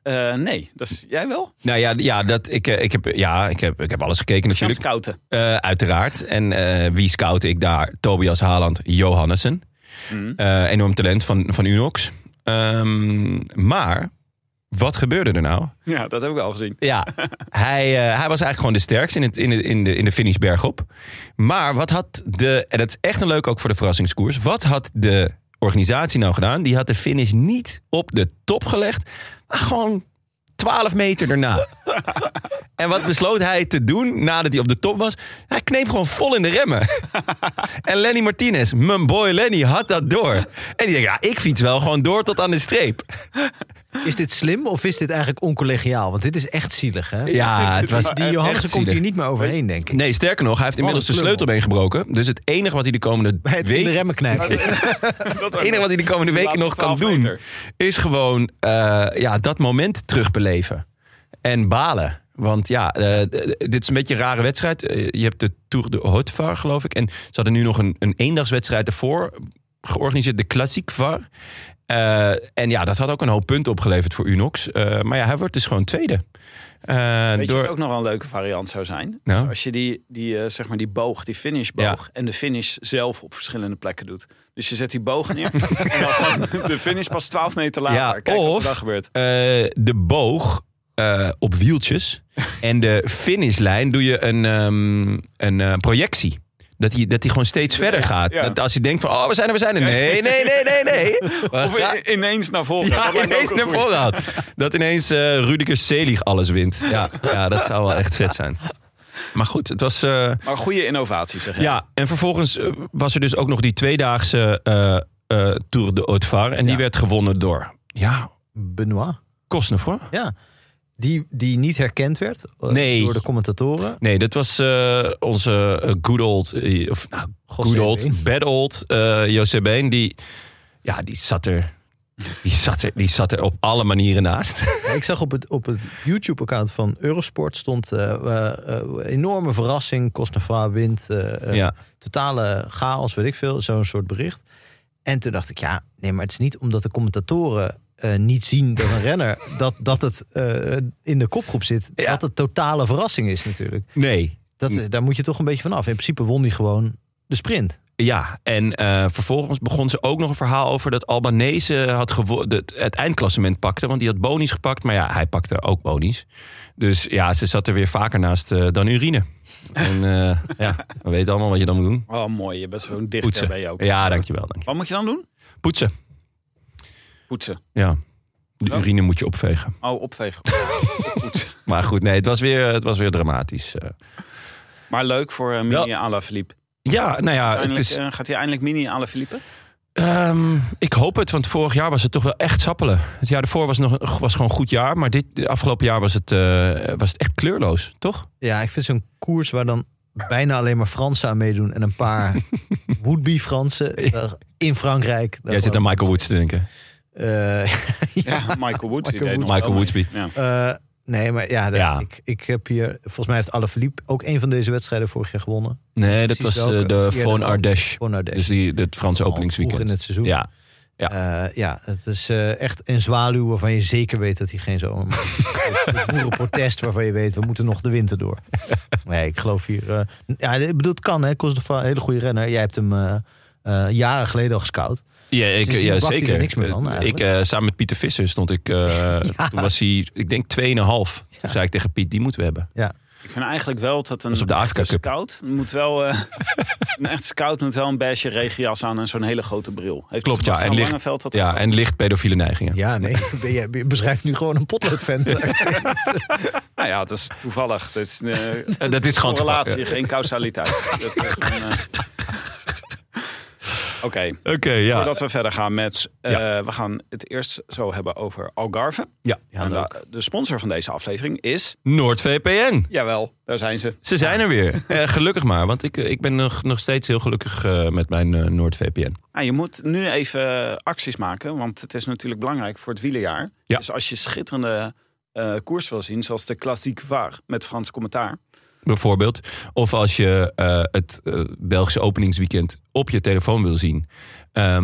Speaker 3: Eh, nee, dat is, jij wel?
Speaker 1: Nou ja, ja, dat, ik, eh, ik, heb, ja ik, heb, ik heb alles gekeken
Speaker 3: Jan
Speaker 1: natuurlijk.
Speaker 3: Scouten.
Speaker 1: Eh, uiteraard. En eh, wie scoutte ik daar? Tobias Haaland Johannessen.
Speaker 3: Mm.
Speaker 1: Eh, enorm talent van, van Unox. Ehm, maar, wat gebeurde er nou?
Speaker 3: Ja, dat heb ik al gezien.
Speaker 1: Ja, hij, eh, hij was eigenlijk gewoon de sterkste in, het, in, de, in, de, in de finish bergop. Maar wat had de, en dat is echt een leuk ook voor de verrassingskoers. Wat had de organisatie nou gedaan? Die had de finish niet op de top gelegd, maar gewoon 12 meter daarna. en wat besloot hij te doen nadat hij op de top was? Hij kneep gewoon vol in de remmen. en Lenny Martinez, mijn boy Lenny, had dat door. En die denkt, ja, ik fiets wel gewoon door tot aan de streep.
Speaker 2: Is dit slim of is dit eigenlijk oncollegiaal? Want dit is echt zielig, hè?
Speaker 1: Ja, het was
Speaker 2: Die- die Johansen
Speaker 1: echt
Speaker 2: komt hier
Speaker 1: zielig.
Speaker 2: niet meer overheen, denk ik.
Speaker 1: Nee, sterker nog, hij heeft inmiddels de
Speaker 2: een klungel.
Speaker 1: sleutelbeen gebroken. Dus het enige wat hij de komende
Speaker 2: Bij het in de
Speaker 1: week...
Speaker 2: remmen knijpen.
Speaker 3: Dat
Speaker 1: Het enige wat hij de komende
Speaker 3: De
Speaker 1: weken
Speaker 3: laatste
Speaker 1: nog kan
Speaker 3: 12
Speaker 1: doen,
Speaker 3: meter.
Speaker 1: is gewoon eh, ja, dat moment terugbeleven. En balen. Want ja, eh, d- d- dit is een beetje een rare wedstrijd. Eh, je hebt de Tour de Haute Var, geloof ik. En ze hadden nu nog een, een eendagswedstrijd ervoor georganiseerd, de Klassiek Var. Eh, en ja, dat had ook een hoop punten opgeleverd voor Unox. Eh, maar ja, hij wordt dus gewoon tweede. Eh,
Speaker 3: Weet je
Speaker 1: door...
Speaker 3: wat ook nog wel een leuke variant zou zijn?
Speaker 1: Nou?
Speaker 3: Dus als je die, die, eh, zeg maar die boog, die finishboog... en de finish zelf op verschillende plekken doet. Dus je zet die boog neer en dan gewoon de finish pas 12 meter later.
Speaker 1: Ja,
Speaker 3: Kijk wat
Speaker 1: of-
Speaker 3: er dan gebeurt.
Speaker 1: Eh, de boog eh, op wieltjes. en de finishlijn doe je een, ehm, een eh, projectie. Dat hij, dat hij gewoon steeds verder gaat.
Speaker 3: ja.
Speaker 1: Dat als hij denkt van, oh, we zijn er, we zijn er. Nee, nee, nee, nee, nee. We
Speaker 3: Of
Speaker 1: gaan-
Speaker 3: i- ineens naar voren.
Speaker 1: ja,
Speaker 3: Dat lijkt me
Speaker 1: ineens
Speaker 3: ook een
Speaker 1: naar
Speaker 3: goeie.
Speaker 1: voren haalt. Dat ineens eh Rudiger Selig alles wint. Ja, ja, dat zou wel echt vet zijn. Maar goed, het was... eh,
Speaker 3: Maar goede innovatie zeg je.
Speaker 1: ja, en vervolgens eh, was er dus ook nog die tweedaagse eh, eh, Tour de Haute Var. En die
Speaker 2: Ja.
Speaker 1: werd gewonnen door, ja,
Speaker 2: Benoit.
Speaker 1: Cosnefroid.
Speaker 2: Ja. Die, die niet herkend werd eh,
Speaker 1: Nee.
Speaker 2: door de commentatoren.
Speaker 1: Nee, dat was eh, onze eh, good old, eh, of nou, good
Speaker 2: José
Speaker 1: old,
Speaker 2: Been.
Speaker 1: bad old eh José Been. Die, ja, die zat er, die zat er, die zat er op alle manieren naast.
Speaker 2: Ja, Ik zag op het, op het YouTube-account van Eurosport stond eh, eh, eh, enorme verrassing. Cosnefra wint. eh, eh,
Speaker 1: ja,
Speaker 2: Totale chaos, weet ik veel. Zo'n soort bericht. En toen dacht ik, ja, nee, maar het is niet omdat de commentatoren eh, niet zien dat een renner... dat, dat het eh, in de kopgroep zit,
Speaker 1: Ja.
Speaker 2: dat het totale verrassing is natuurlijk.
Speaker 1: nee.
Speaker 2: Dat, eh, Daar moet je toch een beetje van af. In principe won die gewoon de sprint.
Speaker 1: Ja, en eh, vervolgens begon ze ook nog een verhaal over dat Albanese had gewo- de- het eindklassement pakte. Want die had bonies gepakt, maar ja, hij pakte ook bonies. Dus ja, ze zat er weer vaker naast eh, dan urine. En eh, ja, we weten allemaal wat je dan moet doen.
Speaker 3: Oh, mooi. Je bent zo'n dichter
Speaker 1: Poetsen.
Speaker 3: ben je ook.
Speaker 1: Ja, dankjewel. dankjewel.
Speaker 3: Wat moet je dan doen?
Speaker 1: Poetsen,
Speaker 3: Poetsen.
Speaker 1: ja. De urine moet je opvegen.
Speaker 3: Oh, opvegen. Goed.
Speaker 1: Maar goed, nee, het was weer, het was weer dramatisch. eh.
Speaker 3: Maar leuk voor eh, mini à la Philippe.
Speaker 1: ja, nou ja, het
Speaker 3: Eindelijk,
Speaker 1: is,
Speaker 3: eh, gaat hij eindelijk mini à la Philippe?
Speaker 1: ehm, ik hoop het, want vorig jaar was het toch wel echt sappelen. Het jaar daarvoor was, nog, een- was gewoon een goed jaar, maar dit de afgelopen jaar was het, eh, was het echt kleurloos, toch?
Speaker 2: Ja, ik vind zo'n koers waar dan bijna alleen maar Fransen aan meedoen en een paar would-be Fransen eh, in Frankrijk.
Speaker 1: Jij zit aan Michael Woods te denken.
Speaker 2: Eh,
Speaker 3: Ja, Michael Woods. die
Speaker 2: Michael
Speaker 3: deed nog
Speaker 1: Michael
Speaker 3: wel
Speaker 1: Woodsby.
Speaker 3: mee. Ja.
Speaker 2: eh, nee, maar ja, de-
Speaker 1: Ja.
Speaker 2: Ik, ik heb hier, volgens mij heeft Alaphilippe ook een van deze wedstrijden vorig jaar gewonnen.
Speaker 1: Nee, dat
Speaker 2: Precies
Speaker 1: was eh,
Speaker 2: welke?
Speaker 1: de
Speaker 2: Eerder
Speaker 1: Phone
Speaker 2: dan.
Speaker 1: Ardèche.
Speaker 2: Gewoon naar deze.
Speaker 1: Dus die, het Franse
Speaker 2: Al
Speaker 1: openingsweekend.
Speaker 2: Vroeg in het seizoen.
Speaker 1: Ja,
Speaker 2: Eh, ja, het is eh, echt een zwaluw waarvan je zeker weet dat hij geen zomer maakt. Het boerenprotest waarvan je weet, we moeten nog de winter door. Nee, ik geloof hier... eh, ja, ik bedoel, het kan, hè. Kost een hele goede renner. Jij hebt hem eh, eh, jaren geleden al gescout.
Speaker 1: Ja, ik,
Speaker 2: Sindsdien
Speaker 1: ja
Speaker 2: bakt hij er
Speaker 1: zeker.
Speaker 2: niks meer van,
Speaker 1: Eh, ik,
Speaker 2: eigenlijk.
Speaker 1: eh, samen met Pieter Visser stond ik. eh, Toen was hij, ik denk, 2,5. Toen zei ik tegen Piet, die moeten we hebben.
Speaker 3: Ik vind eigenlijk wel dat een
Speaker 1: is op de Afrika
Speaker 3: echte
Speaker 1: Cup.
Speaker 3: scout moet wel... eh, een echt scout moet wel een beige regenjas aan en zo'n hele grote bril. Heeft
Speaker 1: Klopt, ja,
Speaker 3: Sebastian
Speaker 1: en licht-
Speaker 3: Langeveld dat
Speaker 1: Ja,
Speaker 3: ook?
Speaker 1: en licht pedofiele neigingen.
Speaker 2: Ja, nee, ben jij je beschrijft nu gewoon een potloodvent.
Speaker 3: Nou ja, dat is toevallig. Dat is een
Speaker 1: Eh, dat is gewoon
Speaker 3: correlatie,
Speaker 1: toevallig.
Speaker 3: geen causaliteit. dat is een, eh, Oké,
Speaker 1: Oké, ja.
Speaker 3: voordat we verder gaan met... eh,
Speaker 1: Ja.
Speaker 3: We gaan het eerst zo hebben over Algarve.
Speaker 1: ja.
Speaker 3: En
Speaker 1: leuk.
Speaker 3: de, de sponsor van deze aflevering is...
Speaker 1: NoordVPN.
Speaker 3: Jawel, daar zijn ze.
Speaker 1: Ze zijn er weer. Eh, gelukkig maar, want ik, ik ben nog, nog steeds heel gelukkig eh, met mijn eh, NoordVPN.
Speaker 3: Nou, je moet nu even eh, acties maken, want het is natuurlijk belangrijk voor het wielerjaar.
Speaker 1: Ja.
Speaker 3: Dus als je schitterende eh, koers wil zien, zoals de Classique Var met Frans commentaar.
Speaker 1: Bijvoorbeeld. Of als je eh, het eh, Belgische openingsweekend op je telefoon wil zien. Ehm,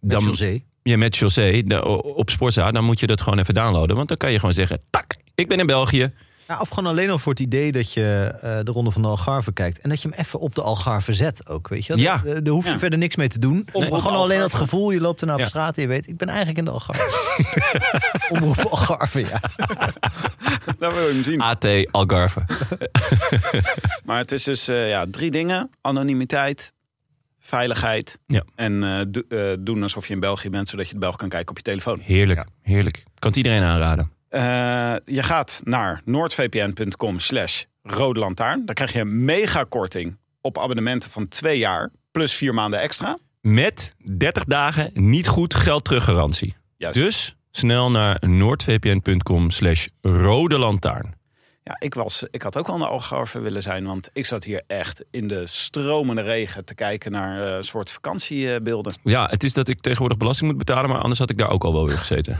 Speaker 2: Dan,
Speaker 1: dan, je met José de- op Sportza, dan moet je dat gewoon even downloaden. Want dan kan je gewoon zeggen, tak, ik ben in België.
Speaker 2: Ja, of gewoon alleen al voor het idee dat je eh, de Ronde van de Algarve kijkt. En dat je hem even op de Algarve zet ook, weet je.
Speaker 1: Ja.
Speaker 2: Eh, Daar hoef je
Speaker 3: Ja.
Speaker 2: verder niks mee te doen.
Speaker 3: Omroep
Speaker 2: Maar gewoon alleen dat
Speaker 3: Algarve.
Speaker 2: gevoel, je loopt er nou op
Speaker 1: Ja.
Speaker 2: straat en je weet... ik ben eigenlijk in de Algarve. Omroep Algarve, ja.
Speaker 3: Daar wil je hem zien.
Speaker 1: AT Algarve.
Speaker 3: Maar het is dus eh, ja, drie dingen. Anonimiteit, veiligheid
Speaker 1: Ja.
Speaker 3: en eh, do- eh, doen alsof je in België bent, zodat je het Belg kan kijken op je telefoon.
Speaker 1: Heerlijk, heerlijk. Kan het iedereen aanraden.
Speaker 3: Eh, je gaat naar noordvpn.com slash rode lantaarn. Dan krijg je een megakorting op abonnementen van twee jaar plus vier maanden extra.
Speaker 1: Met 30 dagen niet goed geld teruggarantie.
Speaker 3: Juist.
Speaker 1: Dus snel naar noordvpn.com slash rode lantaarn.
Speaker 3: Ja, ik, was, ik had ook wel naar Algarve willen zijn, want ik zat hier echt in de stromende regen te kijken naar eh, een soort vakantiebeelden.
Speaker 1: Ja, het is dat ik tegenwoordig belasting moet betalen, maar anders had ik daar ook al wel weer gezeten.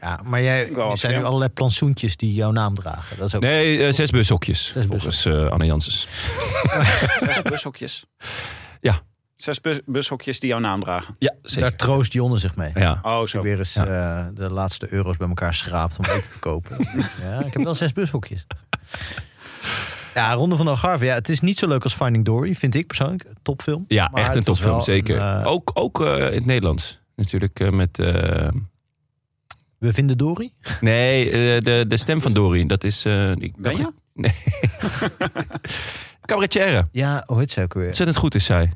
Speaker 2: Ja, maar jij,
Speaker 3: wel
Speaker 2: er zijn nu
Speaker 3: slim.
Speaker 2: allerlei plantsoentjes die jouw naam dragen. Dat is ook...
Speaker 1: Nee, eh, zes bushokjes.
Speaker 2: Zes
Speaker 1: volgens eh Anne Janssens.
Speaker 3: Zes bushokjes.
Speaker 1: Ja.
Speaker 3: Zes bus- bushokjes die jouw naam dragen.
Speaker 1: Ja,
Speaker 2: Daar
Speaker 1: zeker.
Speaker 2: troost Jonne zich mee.
Speaker 1: Ja.
Speaker 3: Oh,
Speaker 2: Als je
Speaker 3: zo.
Speaker 2: weer eens eh, de laatste euro's bij elkaar schraapt om eten te kopen. ja, ik heb wel zes bushokjes. Ja, Ronde van de Algarve. Ja, het is niet zo leuk als Finding Dory, vind ik persoonlijk. Topfilm.
Speaker 1: Ja,
Speaker 2: Maar
Speaker 1: echt een
Speaker 2: het was
Speaker 1: topfilm,
Speaker 2: wel
Speaker 1: zeker.
Speaker 2: een, eh,
Speaker 1: Ook, ook eh, in het Nederlands. Natuurlijk eh, met... eh,
Speaker 2: We vinden Dory.
Speaker 1: nee, eh, de, de stem van Dory. Dat is... eh die-
Speaker 3: Ben je?
Speaker 1: Cabaretière.
Speaker 2: Ja, hoe heet zij ook weer?
Speaker 1: Ontzettend goed is zij.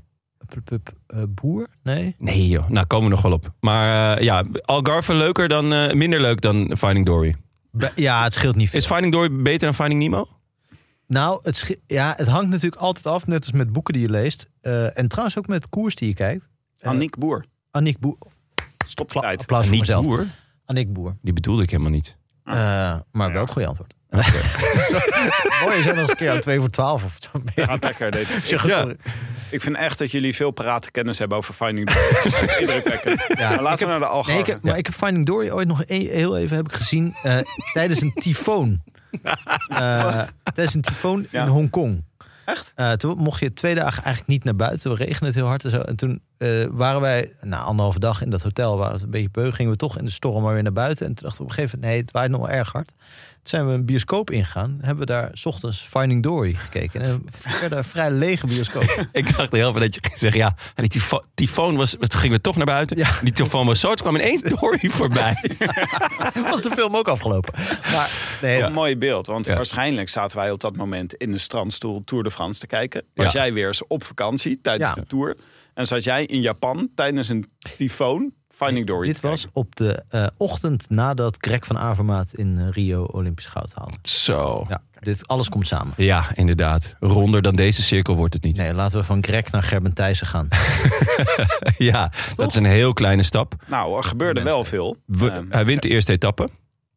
Speaker 2: Pup, pup, eh, boer? Nee.
Speaker 1: Nee joh, nou komen we nog wel op. Maar eh, ja, Algarve leuker dan, eh, minder leuk dan Finding Dory.
Speaker 2: Be- ja, het scheelt niet veel.
Speaker 1: Is Finding Dory beter dan Finding Nemo?
Speaker 2: Nou, het, sche- ja, het hangt natuurlijk altijd af, net als met boeken die je leest. Eh, en trouwens ook met koers die je kijkt.
Speaker 3: Annick Ah, Boer.
Speaker 2: Annick Boer.
Speaker 3: Stop de
Speaker 2: Pla-
Speaker 3: tijd.
Speaker 2: applaus voor
Speaker 1: Niet
Speaker 2: mezelf.
Speaker 1: boer.
Speaker 2: Annick Boer.
Speaker 1: Die bedoelde ik helemaal niet.
Speaker 2: Eh, maar wel het goede antwoord. Mooi, je zijn nog eens een keer aan 2 voor 12 of zo.
Speaker 3: Gaat lekker, dit. Ik,
Speaker 2: Ja.
Speaker 3: ik vind echt dat jullie veel parate kennis hebben over Finding Dory. Dat is echt indrukwekkend.
Speaker 2: Ja,
Speaker 3: Maar laten we naar de
Speaker 2: Nee, ik
Speaker 3: Algarve.
Speaker 2: heb, maar ik heb Finding Dory ooit nog e- heel even heb ik gezien eh, tijdens een tyfoon. Eh, tijdens een tyfoon
Speaker 3: Ja.
Speaker 2: in Hongkong. Echt? toen mocht je twee dagen eigenlijk niet naar buiten. Toen regende het heel hard en zo. En toen eh, waren wij, na anderhalve dag in dat hotel, waren we een beetje beu. Gingen we toch in de storm maar weer naar buiten. En toen dachten we op een gegeven moment, nee, het waait nog wel erg hard. Toen zijn we een bioscoop ingegaan. Hebben we daar 's ochtends Finding Dory gekeken. En een verder vrij lege bioscoop.
Speaker 1: Ik dacht heel veel dat je ging zeggen, ja, en die tyfo- tyfoon was, het ging weer toch naar buiten.
Speaker 2: Ja.
Speaker 1: Die tyfoon was zo, het kwam ineens Dory voorbij.
Speaker 2: was de film ook afgelopen. Maar nee,
Speaker 3: Wat Een mooi beeld, want
Speaker 1: Ja.
Speaker 3: waarschijnlijk zaten wij op dat moment in een strandstoel Tour de France te kijken. Was
Speaker 1: Ja.
Speaker 3: jij weer eens op vakantie
Speaker 2: Ja.
Speaker 3: tijdens de Tour. En zat jij in Japan tijdens een tyfoon Finding Dory.
Speaker 2: Dit
Speaker 3: te kijken.
Speaker 2: was op de eh, ochtend nadat Greg van Avermaat in eh, Rio Olympisch goud haalde.
Speaker 1: Oh, Zo.
Speaker 2: Ja, dit alles komt samen.
Speaker 1: Ja, inderdaad. Ronder dan deze cirkel wordt het niet.
Speaker 2: Nee, laten we van Greg naar Gerben Thijssen gaan.
Speaker 1: Ja, dat is een heel kleine stap.
Speaker 3: Nou, er gebeurde wel veel.
Speaker 1: We-
Speaker 3: Ehm,
Speaker 1: hij wint de eerste etappe.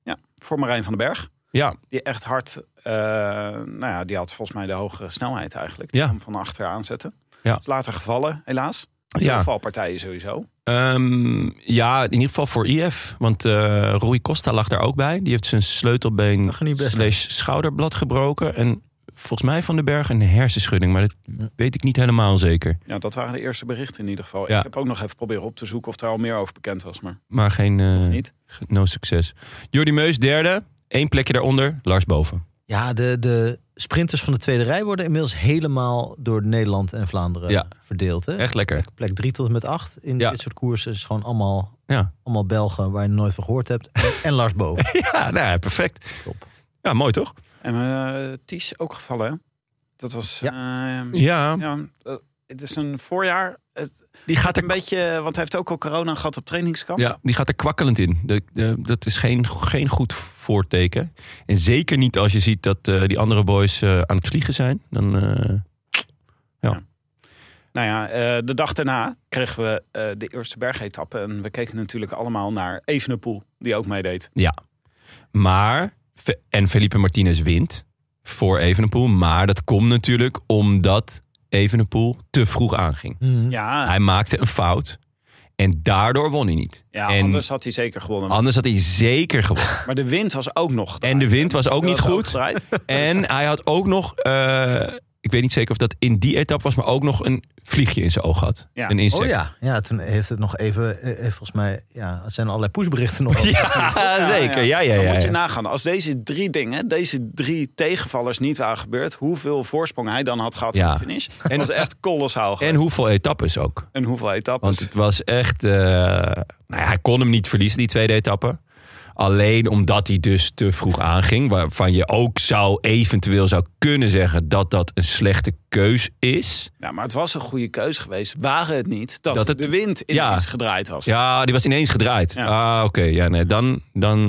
Speaker 3: Ja, voor Marijn van den Berg.
Speaker 1: Ja,
Speaker 3: Die echt hard, eh, nou ja, die had volgens mij de hogere snelheid eigenlijk.
Speaker 1: Ja.
Speaker 3: Die kwam van achter aanzetten.
Speaker 1: Ja.
Speaker 3: Is later gevallen, helaas.
Speaker 1: ja.
Speaker 3: Valpartijen sowieso.
Speaker 1: Ehm, ja, in ieder geval voor IF. Want eh Rui Costa lag daar ook bij. Die heeft zijn sleutelbeen
Speaker 2: Zag er niet best
Speaker 1: slash schouderblad gebroken. En volgens mij Van den Berg een hersenschudding. Maar dat weet ik niet helemaal zeker.
Speaker 3: Ja, dat waren de eerste berichten in ieder geval.
Speaker 1: Ja.
Speaker 3: Ik heb ook nog even proberen op te zoeken of daar al meer over bekend was. Maar
Speaker 1: Maar geen, eh,
Speaker 3: niet.
Speaker 1: no succes. Jordi Meus derde. Eén plekje daaronder. Lars boven.
Speaker 2: Ja, de, de sprinters van de tweede rij worden inmiddels helemaal door Nederland en Vlaanderen
Speaker 1: Ja.
Speaker 2: verdeeld. Hè?
Speaker 1: Echt lekker.
Speaker 2: Plek 3 tot en met 8 in
Speaker 1: Ja.
Speaker 2: dit soort koersen is gewoon allemaal,
Speaker 1: Ja,
Speaker 2: allemaal Belgen waar je nooit van gehoord hebt. En, en Lars Boven.
Speaker 1: ja nou, ja, perfect.
Speaker 2: Top.
Speaker 1: Ja, mooi toch?
Speaker 3: En eh Ties ook gevallen, hè? Dat was...
Speaker 2: Ja.
Speaker 3: eh,
Speaker 1: Ja,
Speaker 3: ja, eh, het is een voorjaar. Het,
Speaker 1: die gaat
Speaker 3: een
Speaker 1: er,
Speaker 3: beetje, want hij heeft ook al corona gehad op trainingskamp.
Speaker 1: ja, die gaat er kwakkelend in. Dat, eh, dat is geen, geen goed voorteken. En zeker niet als je ziet dat eh, die andere boys eh, aan het vliegen zijn. Dan, eh,
Speaker 3: Nou ja, eh, de dag daarna kregen we eh, de eerste bergetappe. En we keken natuurlijk allemaal naar Evenepoel, die ook meedeed.
Speaker 1: ja. Maar, Fe- en Felipe Martinez wint voor Evenepoel. Maar dat komt natuurlijk omdat Evenepoel te vroeg aanging.
Speaker 2: Mhm.
Speaker 3: Ja,
Speaker 1: Hij maakte een fout. En daardoor won hij niet.
Speaker 3: ja
Speaker 1: en
Speaker 3: anders had hij zeker gewonnen.
Speaker 1: anders had hij zeker gewonnen.
Speaker 3: Maar de wind was ook nog gedraaid.
Speaker 1: En de wind was ook
Speaker 3: Dat
Speaker 1: niet
Speaker 3: was
Speaker 1: goed.
Speaker 3: gedraaid.
Speaker 1: En hij had ook nog, eh, ik weet niet zeker of dat in die etappe was, maar ook nog een vliegje in zijn oog had.
Speaker 3: Ja.
Speaker 1: Een insect.
Speaker 2: Oh ja. ja, toen heeft het nog even, eh, eh, volgens mij, ja, er zijn allerlei pushberichten nog. over.
Speaker 1: Ja, zeker. Ja, ja, ja.
Speaker 3: Dan moet je
Speaker 1: ja.
Speaker 3: nagaan. Als deze drie dingen, deze drie tegenvallers niet waren gebeurd... hoeveel voorsprong hij dan had gehad
Speaker 1: Ja.
Speaker 3: in de finish. En dat is echt kolossaal.
Speaker 1: En
Speaker 3: geweest.
Speaker 1: hoeveel etappes ook.
Speaker 3: en hoeveel etappes.
Speaker 1: Want het was echt, eh, nou ja, hij kon hem niet verliezen, die tweede etappe. Alleen omdat hij dus te vroeg aanging. Waarvan je ook zou eventueel zou kunnen zeggen dat dat een slechte keus is.
Speaker 3: Ja, maar het was een goede keus geweest. Waren het niet dat,
Speaker 1: Dat het-
Speaker 3: de wind ineens
Speaker 1: Ja.
Speaker 3: gedraaid was.
Speaker 1: Ja, die was ineens gedraaid.
Speaker 3: Ja.
Speaker 1: Ah, oké. Ja, nee, dan, dan,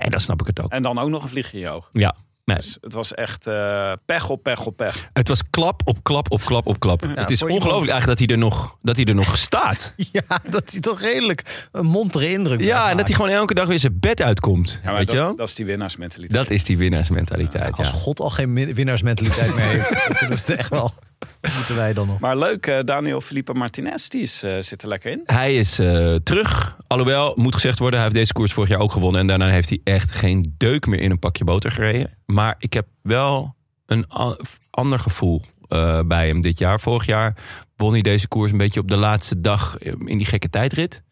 Speaker 1: nee, dan snap ik het ook.
Speaker 3: En dan ook nog een vliegje in je oog.
Speaker 1: Ja, nee.
Speaker 3: Dus het was echt eh, pech op pech op pech.
Speaker 1: Het was klap op klap op klap op klap. het is
Speaker 2: voor iemand-
Speaker 1: ongelooflijk eigenlijk dat hij, er nog, dat hij er nog staat.
Speaker 2: ja, dat hij toch redelijk een montere indruk
Speaker 1: ja, en dat hij gewoon elke dag weer zijn bed uitkomt.
Speaker 3: Ja, maar
Speaker 1: weet
Speaker 3: dat,
Speaker 1: je wel?
Speaker 3: dat is die winnaarsmentaliteit.
Speaker 1: Dat is die winnaarsmentaliteit. Ja,
Speaker 2: Als God al geen min- winnaarsmentaliteit meer heeft, dan kunnen we het echt wel. Moeten wij dan nog.
Speaker 3: Maar leuk, eh, Daniel Felipe Martinez, die is, eh, zit er lekker in.
Speaker 1: Hij is eh, terug. Alhoewel, moet gezegd worden, hij heeft deze koers vorig jaar ook gewonnen. En daarna heeft hij echt geen deuk meer in een pakje boter gereden. Maar ik heb wel een a- ander gevoel eh, bij hem dit jaar. Vorig jaar won hij deze koers een beetje op de laatste dag eh, in die gekke tijdrit.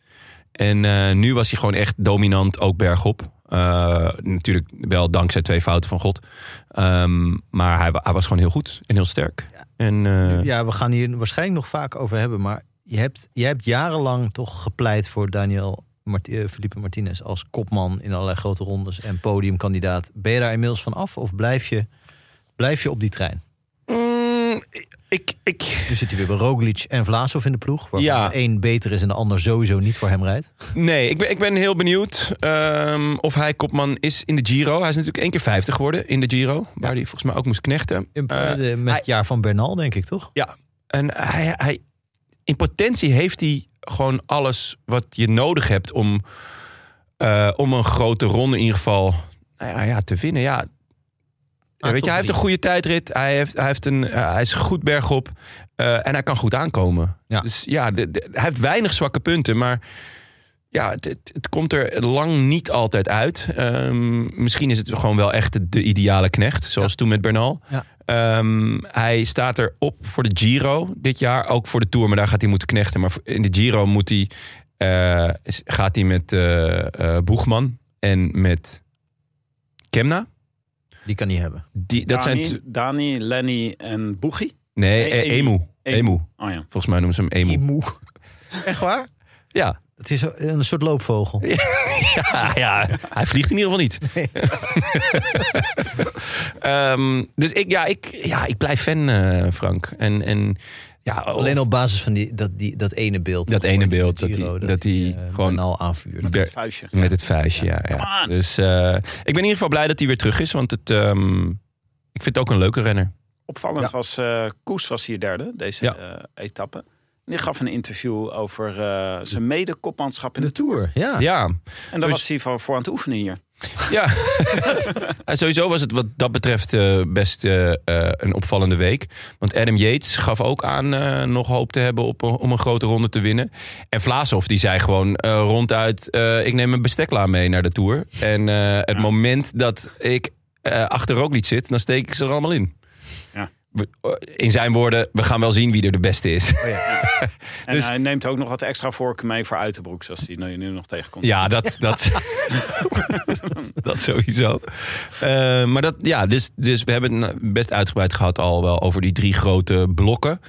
Speaker 1: En eh, nu was hij gewoon echt dominant, ook bergop. Eh, natuurlijk wel dankzij twee fouten van God. Ehm, maar hij, wa- hij was gewoon heel goed en heel sterk. En, eh,
Speaker 2: Ja, we gaan hier waarschijnlijk nog vaak over hebben. Maar je hebt, je hebt jarenlang toch gepleit voor Daniel Mart eh, Felipe Martinez als kopman in allerlei grote rondes en podiumkandidaat. Ben je daar inmiddels van af of blijf je, blijf je op die trein?
Speaker 1: mm, ik, ik,
Speaker 2: Nu zit hij weer bij Roglic en Vlaasov in de ploeg. Waar
Speaker 1: Ja.
Speaker 2: de een beter is en de ander sowieso niet voor hem rijdt.
Speaker 1: Nee, ik ben, ik ben heel benieuwd ehm, of hij kopman is in de Giro. Hij is natuurlijk één keer 50 geworden in de Giro, waar hij volgens mij ook moest knechten.
Speaker 2: In,
Speaker 1: Eh,
Speaker 2: eh, met
Speaker 1: hij-
Speaker 2: het jaar van Bernal, denk ik toch?
Speaker 1: En hij, hij, in potentie heeft hij gewoon alles wat je nodig hebt om, eh, om een grote ronde in ieder geval nou ja, ja, te winnen. Ja,
Speaker 2: Ah,
Speaker 1: Weet
Speaker 2: top
Speaker 1: je, hij heeft een
Speaker 2: drie.
Speaker 1: goede tijdrit. Hij, heeft, hij, heeft een, eh, hij is goed bergop. eh, en hij kan goed aankomen.
Speaker 2: Ja.
Speaker 1: Dus ja, de- de- hij heeft weinig zwakke punten. Maar ja, het, het, het komt er lang niet altijd uit. Ehm, misschien is het gewoon wel echt de, de ideale knecht. Zoals toen met Bernal.
Speaker 2: Ja.
Speaker 1: Ehm, hij staat erop voor de Giro dit jaar. Ook voor de Tour, maar daar gaat hij moeten knechten. Maar voor- in de Giro moet hij, eh, is- gaat hij met eh, eh, Boegman en met Kemna.
Speaker 2: Die kan hij hebben.
Speaker 1: Die, dat zijn
Speaker 3: Dani,
Speaker 1: t-
Speaker 3: Dani, Lenny en Boegie.
Speaker 1: Nee,
Speaker 3: Nee,
Speaker 1: eh,
Speaker 3: Emu.
Speaker 1: Emu.
Speaker 3: Emu.
Speaker 1: Emu.
Speaker 3: Oh ja.
Speaker 1: Volgens mij noemen ze hem Emu.
Speaker 2: Emu. Echt waar?
Speaker 1: Ja.
Speaker 2: Het is een soort loopvogel.
Speaker 1: Ja, ja, hij vliegt in ieder geval niet. Ehm, dus ik, ja, ik, ja, ik blijf fan, eh, Frank. En, en Ja, of
Speaker 2: Alleen op basis van die, dat, die, dat ene beeld.
Speaker 1: Dat ene
Speaker 2: Ooit in de
Speaker 1: beeld, dat
Speaker 2: Giro,
Speaker 1: die- dat die
Speaker 2: eh,
Speaker 1: gewoon-
Speaker 2: Bernal aanvuurde.
Speaker 1: Ber-
Speaker 3: Het vuistje.
Speaker 1: met het vuistje, ja. ja.
Speaker 3: Come on.
Speaker 1: Dus eh, ik ben in ieder geval blij dat hij weer terug is, want het, ehm, ik vind het ook een leuke renner.
Speaker 3: Opvallend was, eh, Koes was hier derde, deze
Speaker 1: Ja.
Speaker 3: eh, etappe. En die gaf een interview over eh, zijn mede-kopmanschap in de Tour.
Speaker 2: Ja.
Speaker 1: Ja,
Speaker 3: En daar was hij van voor aan het oefenen hier.
Speaker 1: Ja, en sowieso was het wat dat betreft eh, best eh, eh, een opvallende week. Want Adam Yates gaf ook aan eh, nog hoop te hebben op, een- om een grote ronde te winnen. En Vlaashoff die zei gewoon eh, ronduit, eh, ik neem een besteklaar mee naar de Tour. En eh, het moment dat ik eh, achter rooklied zit, dan steek ik ze er allemaal in.
Speaker 3: Ja.
Speaker 1: We- eh, In zijn woorden, we gaan wel zien wie er de beste is.
Speaker 3: En
Speaker 1: Dus-
Speaker 3: hij neemt ook nog wat extra vorken mee voor Uitenbroek, zoals hij nu, nu nog tegenkomt.
Speaker 1: Ja, dat, dat, dat sowieso. Eh, maar dat, ja, dus, dus we hebben het best uitgebreid gehad al wel over die drie grote blokken.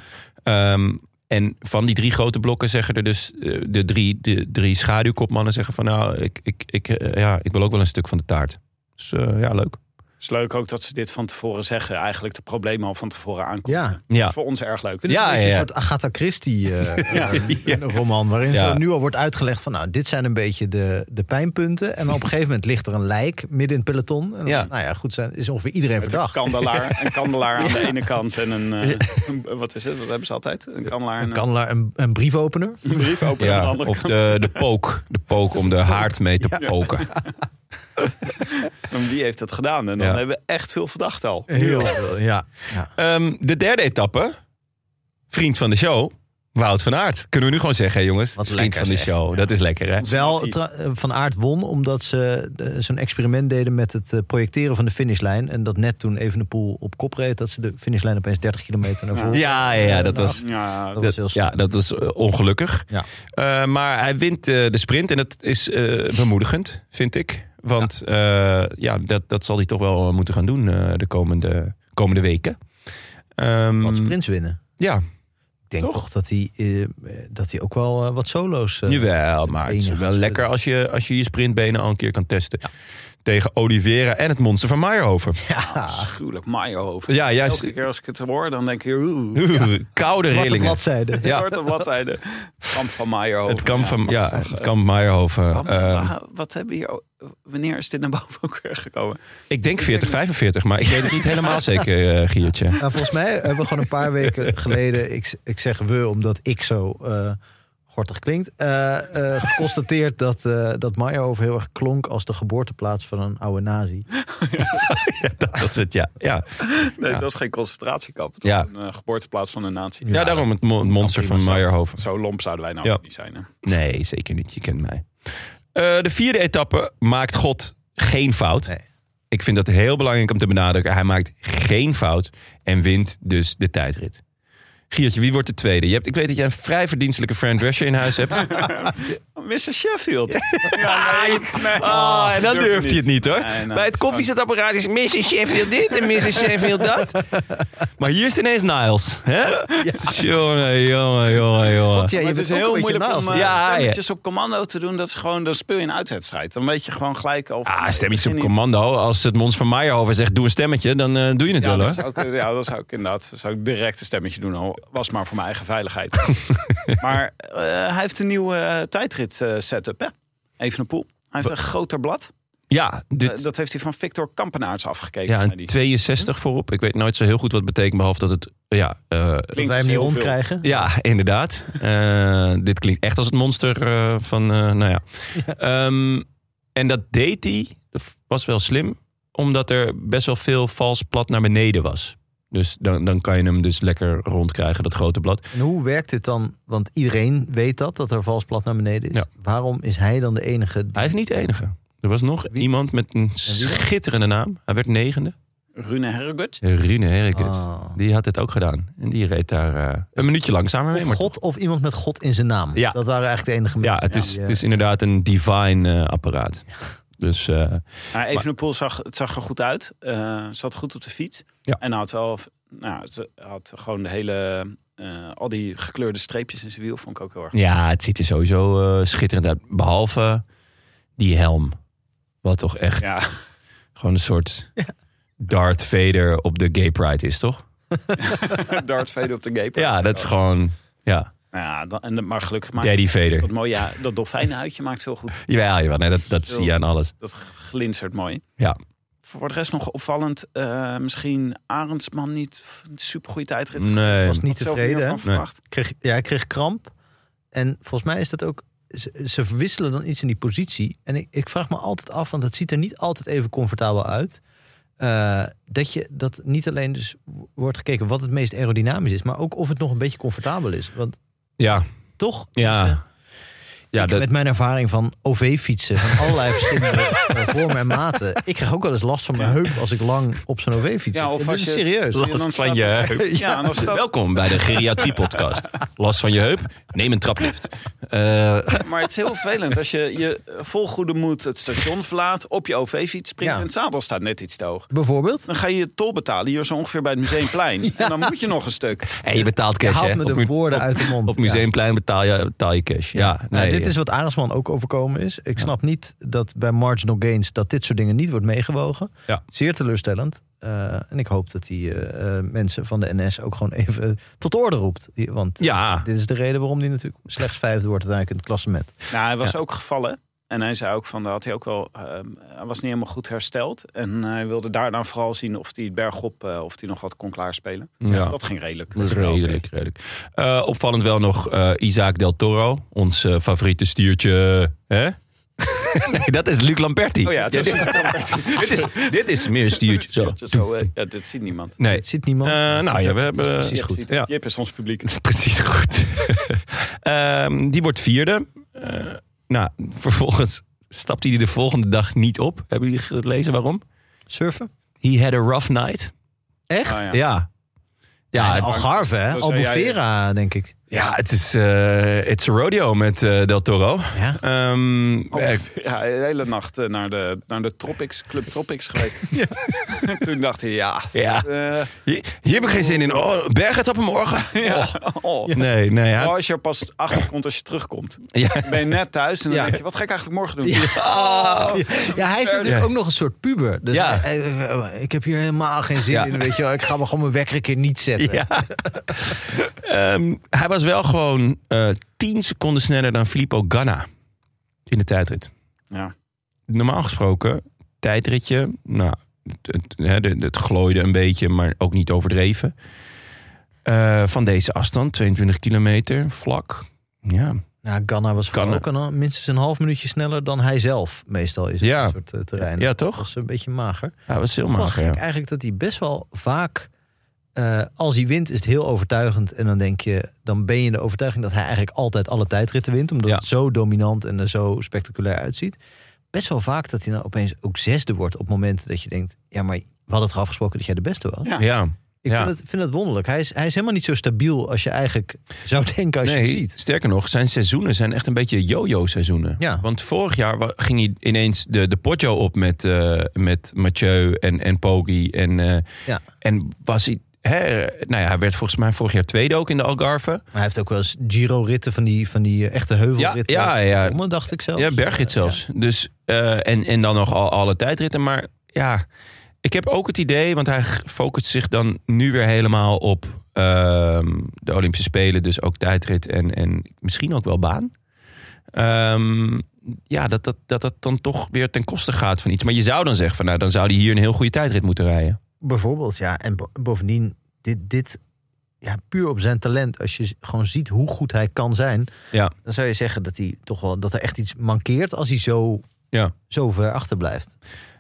Speaker 1: Ehm, en van die drie grote blokken zeggen er dus eh, de drie, de drie schaduwkopmannen zeggen van nou, ik, ik, ik, eh, ja, ik wil ook wel een stuk van de taart. Dus eh, ja, leuk.
Speaker 3: Het is leuk ook dat ze dit van tevoren zeggen. Eigenlijk de problemen al van tevoren aankomen.
Speaker 2: Ja.
Speaker 3: Dat
Speaker 1: Ja, Ah,
Speaker 3: is voor ons erg leuk.
Speaker 2: Ik vind het
Speaker 1: Ja,
Speaker 2: een beetje
Speaker 1: ja, ja.
Speaker 2: een soort Agatha Christie eh, eh,
Speaker 1: Ja.
Speaker 2: roman. Waarin
Speaker 1: Ja.
Speaker 2: zo nu al wordt uitgelegd van nou, dit zijn een beetje de, de pijnpunten. En dan op een gegeven moment ligt er een lijk midden in het peloton. En dan,
Speaker 1: Ja.
Speaker 2: nou ja, goed, zijn, is ongeveer iedereen
Speaker 3: Met een
Speaker 2: verdacht.
Speaker 3: kandelaar, een kandelaar aan de ene kant en een, eh, een- Wat is het? Wat hebben ze altijd? Een kandelaar en
Speaker 2: Een kandelaar, een, een briefopener.
Speaker 3: een brief open aan de
Speaker 1: ja
Speaker 3: andere
Speaker 1: of
Speaker 3: kant.
Speaker 1: de, de pook. De pook om de haard mee te poken.
Speaker 3: En wie heeft dat gedaan? En dan
Speaker 1: Ja.
Speaker 3: hebben we echt veel verdacht al.
Speaker 2: Heel veel, ja.
Speaker 1: Ehm, de derde etappe, vriend van de show, Wout van Aert. Kunnen we nu gewoon zeggen, hè, jongens?
Speaker 2: Wat
Speaker 1: vriend
Speaker 2: lekker,
Speaker 1: van de
Speaker 2: zeg.
Speaker 1: show, dat is lekker, hè?
Speaker 2: Wel,
Speaker 3: Martin.
Speaker 2: tra- eh, Van Aert won omdat ze eh, zo'n experiment deden met het eh, projecteren van de finishlijn. En dat net toen even de poel op kop reed, dat ze de finishlijn opeens 30 kilometer naar voren.
Speaker 1: Ja, ja, ja, dat
Speaker 2: Nou,
Speaker 1: was...
Speaker 3: Ja,
Speaker 2: dat
Speaker 1: dat-
Speaker 2: was heel stom.
Speaker 1: ja, dat was eh, ongelukkig.
Speaker 2: Ja.
Speaker 1: Eh, maar hij wint eh, de sprint en dat is eh, bemoedigend, vind ik. Want ja, ja dat, dat zal hij toch wel eh, moeten gaan doen eh, de komende, komende weken. Ehm,
Speaker 2: Wat sprints winnen.
Speaker 1: Ja,
Speaker 2: Ik denk toch, dat, hij, eh, dat hij ook wel eh, wat solo's... eh,
Speaker 1: nu wel. Maar het is
Speaker 2: benen
Speaker 1: wel
Speaker 2: gaan
Speaker 1: lekker als je, als je je sprintbenen al een keer kan testen. Tegen Oliveira en het monster van Meijerhoven.
Speaker 2: ja,
Speaker 3: afschuwelijk. Maaierhoven.
Speaker 1: Ah. Ja, juist.
Speaker 3: Elke keer als ik het hoor, dan denk ik... Oeh,
Speaker 1: Koude
Speaker 2: zwarte
Speaker 1: rillingen.
Speaker 2: bladzijde.
Speaker 1: Ja.
Speaker 3: zwarte bladzijde. Kamp van Maaierhoven.
Speaker 1: Het kamp van, ja,
Speaker 3: zeg,
Speaker 1: het
Speaker 3: eh,
Speaker 1: kamp Meijerhoven.
Speaker 3: Kam-
Speaker 1: Ehm,
Speaker 3: wa- wat hebben we hier... o- Wanneer is dit naar boven ook weer gekomen?
Speaker 1: ik denk 40, 45, maar ik weet het niet helemaal zeker, eh, Giertje.
Speaker 2: Nou, volgens mij hebben we gewoon een paar weken geleden... Ik, ik zeg we, omdat ik zo eh, gortig klinkt... eh, eh, geconstateerd dat, eh dat Meyerhoven heel erg klonk... als de geboorteplaats van een oude nazi.
Speaker 1: Dat is het, ja. Ja,
Speaker 3: Nee,
Speaker 1: Ja.
Speaker 3: het was geen concentratiekamp. Het
Speaker 1: Ja.
Speaker 3: was een eh, geboorteplaats van een natie. Nou,
Speaker 1: ja daarom het mo- het monster van Meijerhoven.
Speaker 3: Zo lomp zouden wij nou
Speaker 1: Ja.
Speaker 3: ook niet zijn. Hè?
Speaker 1: Nee, zeker niet. Je kent mij. Eh, de vierde etappe maakt God geen fout.
Speaker 2: Nee.
Speaker 1: Ik vind dat heel belangrijk om te benadrukken. Hij maakt geen fout en wint dus de tijdrit. Giertje, wie wordt de tweede? Je hebt, ik weet dat jij een vrij verdienstelijke Fran Drescher in huis hebt.
Speaker 3: Oh, Mr. Sheffield. Ja, nee, nee. Oh,
Speaker 1: Ah, en dan
Speaker 3: Durf je
Speaker 1: durft hij het niet hoor.
Speaker 3: Nee, nee,
Speaker 1: Bij
Speaker 3: het
Speaker 1: het
Speaker 3: is
Speaker 1: koffiezetapparaat is Mrs. Sheffield dit en Mrs. Sheffield dat. Maar hier is ineens Niles. Hè? Jongen, jongen, jongen, jongen.
Speaker 2: Ja, je
Speaker 3: Maar
Speaker 2: bent
Speaker 3: het is
Speaker 2: ook
Speaker 3: heel
Speaker 2: een beetje
Speaker 3: moeilijk om
Speaker 2: naast.
Speaker 3: eh,
Speaker 1: Ja, ja.
Speaker 3: stemmetjes op commando te doen. Dat is gewoon, dan speel je een uitwedstrijd. Dan weet je gewoon gelijk al. van, nou,
Speaker 1: Ah,
Speaker 3: nee,
Speaker 1: stemmetjes
Speaker 3: ik
Speaker 1: op
Speaker 3: begin
Speaker 1: commando. Als het Mons van Meijerhoven zegt doe een stemmetje, dan eh, doe je het
Speaker 3: niet. Ja,
Speaker 1: wel hoor.
Speaker 3: dat zou ik, ja, dat zou ik inderdaad. Dat zou ik direct een stemmetje doen. Al was maar voor mijn eigen veiligheid. maar eh, hij heeft een nieuwe eh, tijdrit eh, setup, hè? Even een poel. Hij heeft een groter blad.
Speaker 1: Ja, dit,
Speaker 3: Eh, dat heeft hij van Victor Kampenaars afgekeken.
Speaker 1: ja,
Speaker 3: zei
Speaker 1: een
Speaker 3: die.
Speaker 1: 62 voorop. Ik weet nooit zo heel goed wat het betekent, behalve dat het... Ja, eh,
Speaker 2: Dat
Speaker 3: Klinkt
Speaker 2: wij hem
Speaker 3: als
Speaker 2: niet
Speaker 3: heel veel.
Speaker 2: rondkrijgen.
Speaker 1: Ja, inderdaad. Eh, dit klinkt echt als het monster eh, van, eh, nou ja. Ehm, en dat deed hij, dat was wel slim, omdat er best wel veel vals plat naar beneden was. Dus dan, dan kan je hem dus lekker rondkrijgen, dat grote blad.
Speaker 2: En hoe werkt dit dan? Want iedereen weet dat, dat er vals plat naar beneden is.
Speaker 1: Ja.
Speaker 2: Waarom is hij dan de enige... die-
Speaker 1: Hij is niet de enige. Er was nog iemand met een schitterende naam. Hij werd negende.
Speaker 3: Rune Herregut.
Speaker 1: Rune Herkens.
Speaker 2: Ah.
Speaker 1: Die had dit ook gedaan. En die reed daar eh, een minuutje langzamer mee.
Speaker 2: Of
Speaker 1: maar
Speaker 2: God of iemand met God in zijn naam.
Speaker 1: Ja.
Speaker 2: Dat waren eigenlijk de enige
Speaker 1: Ja,
Speaker 2: mensen.
Speaker 1: het is,
Speaker 2: die,
Speaker 1: het
Speaker 2: eh,
Speaker 1: is inderdaad een divine eh, apparaat. Dus eh,
Speaker 3: Maar Evenepoel zag, het zag er goed uit. Eh, zat goed op de fiets.
Speaker 1: Ja.
Speaker 3: En had wel, nou, ze had gewoon de hele, eh, al die gekleurde streepjes in zijn wiel. Vond ik ook heel erg.
Speaker 1: ja, het ziet er sowieso eh, schitterend uit. Behalve die helm. Wat toch echt
Speaker 3: Ja,
Speaker 1: gewoon een soort Darth Vader op de Gay Pride is, toch?
Speaker 3: Darth Vader op de gay pride.
Speaker 1: Ja, dat is gewoon... Ja,
Speaker 3: Nou ja, dan, en, maar gelukkig maakt
Speaker 1: Daddy Vader.
Speaker 3: dat mooie, ja, dat dolfijnenhuidje maakt veel goed.
Speaker 1: Jawel, jawel. Nee, dat, dat zie je aan alles.
Speaker 3: Dat glinstert mooi.
Speaker 1: Ja.
Speaker 3: Voor de rest nog opvallend, eh, misschien Arendsman niet f- een supergoeie tijdrit.
Speaker 1: Nee.
Speaker 2: Was niet
Speaker 3: Had zoveel
Speaker 2: tevreden,
Speaker 3: meer
Speaker 2: hè?
Speaker 3: van verwacht.
Speaker 2: kreeg, ja, hij kreeg kramp. En volgens mij is dat ook... Ze, ze verwisselen dan iets in die positie. En ik, ik vraag me altijd af, want het ziet er niet altijd even comfortabel uit. eh, dat, je, dat niet alleen dus wordt gekeken wat het meest aerodynamisch is... maar ook of het nog een beetje comfortabel is. Want
Speaker 1: Ja,
Speaker 2: toch...
Speaker 1: ja.
Speaker 2: is, eh,
Speaker 1: ja
Speaker 2: ik,
Speaker 1: dat,
Speaker 2: Met mijn ervaring van OV-fietsen, van allerlei verschillende eh, vormen en maten. Ik krijg ook wel eens last van mijn heup als ik lang op zo'n OV-fiets zit.
Speaker 3: Ja, of
Speaker 2: Dit
Speaker 3: als
Speaker 2: is
Speaker 3: je het-
Speaker 2: serieus.
Speaker 3: Ja, dan
Speaker 1: Last van
Speaker 3: staat
Speaker 1: je
Speaker 3: er-
Speaker 1: heup.
Speaker 3: Ja, en dan staat-
Speaker 1: Ah, Welkom bij de Geriatrie Podcast. Last van je heup? Neem een traplift. Eh,
Speaker 3: Maar het is heel vervelend als je je vol goede moed het station verlaat, op je OV-fiets springt
Speaker 2: Ja.
Speaker 3: en het zadel staat net iets te hoog.
Speaker 2: Bijvoorbeeld?
Speaker 3: Dan ga je je tol betalen hier zo ongeveer bij het Museumplein. En dan moet je nog een stuk.
Speaker 1: en je betaalt
Speaker 2: Je
Speaker 1: cash, hè?
Speaker 2: haalt me
Speaker 1: Op mu-
Speaker 2: de woorden uit de mond.
Speaker 1: Op
Speaker 2: Ja.
Speaker 1: Museumplein betaal je, betaal je cash. Ja, nee,
Speaker 2: Nou, dit is wat Arendsman ook overkomen is. Ik snap niet dat bij marginal gains dat dit soort dingen niet wordt meegewogen.
Speaker 1: Ja.
Speaker 2: Zeer teleurstellend. Eh, en ik hoop dat die eh, eh, mensen van de NS ook gewoon even tot orde roept. Want
Speaker 1: Ja,
Speaker 2: dit is de reden waarom die natuurlijk slechts vijfde wordt uiteindelijk in het klassement.
Speaker 3: Nou, hij was ook gevallen. En hij zei ook van, dat had hij ook wel, ehm, hij was niet helemaal goed hersteld. En hij wilde daarna vooral zien of hij het bergop, eh, of hij nog wat kon klaarspelen.
Speaker 1: Ja.
Speaker 3: Dat ging redelijk. Dus-
Speaker 1: dat is
Speaker 3: wel oké.
Speaker 1: redelijk. redelijk. Eh, opvallend wel nog eh Isaac Del Toro, ons eh, favoriete stiertje. Hè? nee, dat is Luc Lamberti.
Speaker 3: Oh ja, het is,
Speaker 1: dit, is, dit is meer een stiertje. Zo.
Speaker 3: Zo, eh, ja, dit ziet niemand.
Speaker 1: Nee.
Speaker 2: Het zit niemand.
Speaker 1: Eh,
Speaker 2: Het
Speaker 1: nou
Speaker 2: zit
Speaker 1: ja,
Speaker 2: er-
Speaker 1: we
Speaker 2: het is
Speaker 1: hebben-
Speaker 2: precies
Speaker 1: Ja,
Speaker 2: goed.
Speaker 3: Ziet- Jip is ons publiek.
Speaker 1: Dat is precies goed. Ehm, die wordt vierde. Eh, nou, vervolgens stapt hij die de volgende dag niet op. Hebben jullie gelezen waarom?
Speaker 2: Surfen?
Speaker 1: He had a rough night.
Speaker 2: Echt?
Speaker 3: Ah, ja.
Speaker 1: Ja. Ja,
Speaker 2: Ja,
Speaker 1: het-
Speaker 2: Algarve, hè?
Speaker 3: Dat zei jij-
Speaker 2: Albufeira, denk ik.
Speaker 1: ja het is eh it's a rodeo met eh, Del Toro.
Speaker 2: Ja.
Speaker 1: Ehm, eh,
Speaker 3: Oh, Ja, de hele nacht eh, naar de, naar de Tropics, Club Tropics geweest. Toen dacht hij, ja.
Speaker 1: Ja.
Speaker 3: eh,
Speaker 1: hier, hier heb ik geen zin in. Oh, bergetappen morgen. Och,
Speaker 3: oh.
Speaker 1: Nee, nee.
Speaker 3: Oh,
Speaker 1: Ja.
Speaker 3: als je er pas achter komt als je terugkomt.
Speaker 1: Ja.
Speaker 3: Ben je net thuis en dan
Speaker 2: Ja.
Speaker 3: denk je, wat ga ik eigenlijk morgen doen?
Speaker 2: Ja, hij is natuurlijk
Speaker 1: Ja.
Speaker 2: ook nog een soort puber. Dus
Speaker 1: Ja.
Speaker 2: hij- eh, ik heb hier helemaal geen zin
Speaker 1: Ja.
Speaker 2: in, weet je wel. Ik ga me gewoon mijn wekker een keer niet zetten.
Speaker 1: Ja. Ehm, hij was wel gewoon eh 10 seconden sneller dan Filippo Ganna in de tijdrit.
Speaker 3: Ja.
Speaker 1: normaal gesproken, tijdritje, nou, het, het, hè, de- het glooide een beetje, maar ook niet overdreven. Eh, van deze afstand, 22 kilometer, vlak. Ja,
Speaker 2: Nou, Ganna was vooral
Speaker 1: Ganna.
Speaker 2: ook al minstens een half minuutje sneller dan hij zelf meestal is.
Speaker 1: Ja.
Speaker 2: Op dat soort eh, terreinen.
Speaker 1: ja
Speaker 2: Dat
Speaker 1: toch?
Speaker 2: was een beetje mager.
Speaker 1: Hij was heel
Speaker 2: Toch wel
Speaker 1: mager.
Speaker 2: gek
Speaker 1: Ja.
Speaker 2: eigenlijk dat hij best wel vaak... eh, als hij wint is het heel overtuigend. En dan denk je, dan ben je in de overtuiging dat hij eigenlijk altijd alle tijdritten wint. Omdat
Speaker 1: Ja.
Speaker 2: het zo dominant en er zo spectaculair uitziet. Best wel vaak dat hij dan opeens ook zesde wordt op momenten dat je denkt... Ja, maar we hadden toch afgesproken dat jij de beste was?
Speaker 3: Ja.
Speaker 1: Ja,
Speaker 2: Ik
Speaker 1: Ja.
Speaker 2: Vind, het, vind het wonderlijk. Hij is, hij is helemaal niet zo stabiel als je eigenlijk zou denken als je hem
Speaker 1: nee,
Speaker 2: ziet.
Speaker 1: sterker nog, zijn seizoenen zijn echt een beetje yo-yo seizoenen.
Speaker 2: Ja.
Speaker 1: Want vorig jaar wa- ging hij ineens de, de potjo op met, eh, met Mathieu en, en Poggi. En, eh,
Speaker 2: Ja.
Speaker 1: en was hij, hè, nou ja, hij werd volgens mij vorig jaar tweede ook in de Algarve.
Speaker 2: Maar hij heeft ook wel eens Giro-ritten van die, van die eh, echte heuvelritten.
Speaker 1: Ja, ja, ja.
Speaker 2: Om, dacht ik zelf.
Speaker 1: Ja, bergrit zelfs. Dus, eh, en, en dan nog al, alle tijdritten. Maar ja, ik heb ook het idee, want hij g- focust zich dan nu weer helemaal op ehm, de Olympische Spelen. Dus ook tijdrit en, en misschien ook wel baan. Ehm, ja, dat dat, dat dat dan toch weer ten koste gaat van iets. Maar je zou dan zeggen, van, nou, dan zou hij hier een heel goede tijdrit moeten rijden.
Speaker 2: Bijvoorbeeld, ja. En bo- bovendien, dit, dit ja, puur op zijn talent. Als je z- gewoon ziet hoe goed hij kan zijn.
Speaker 1: Ja.
Speaker 2: Dan zou je zeggen dat, hij toch wel, dat er echt iets mankeert als hij zo,
Speaker 1: Ja.
Speaker 2: zo ver achterblijft.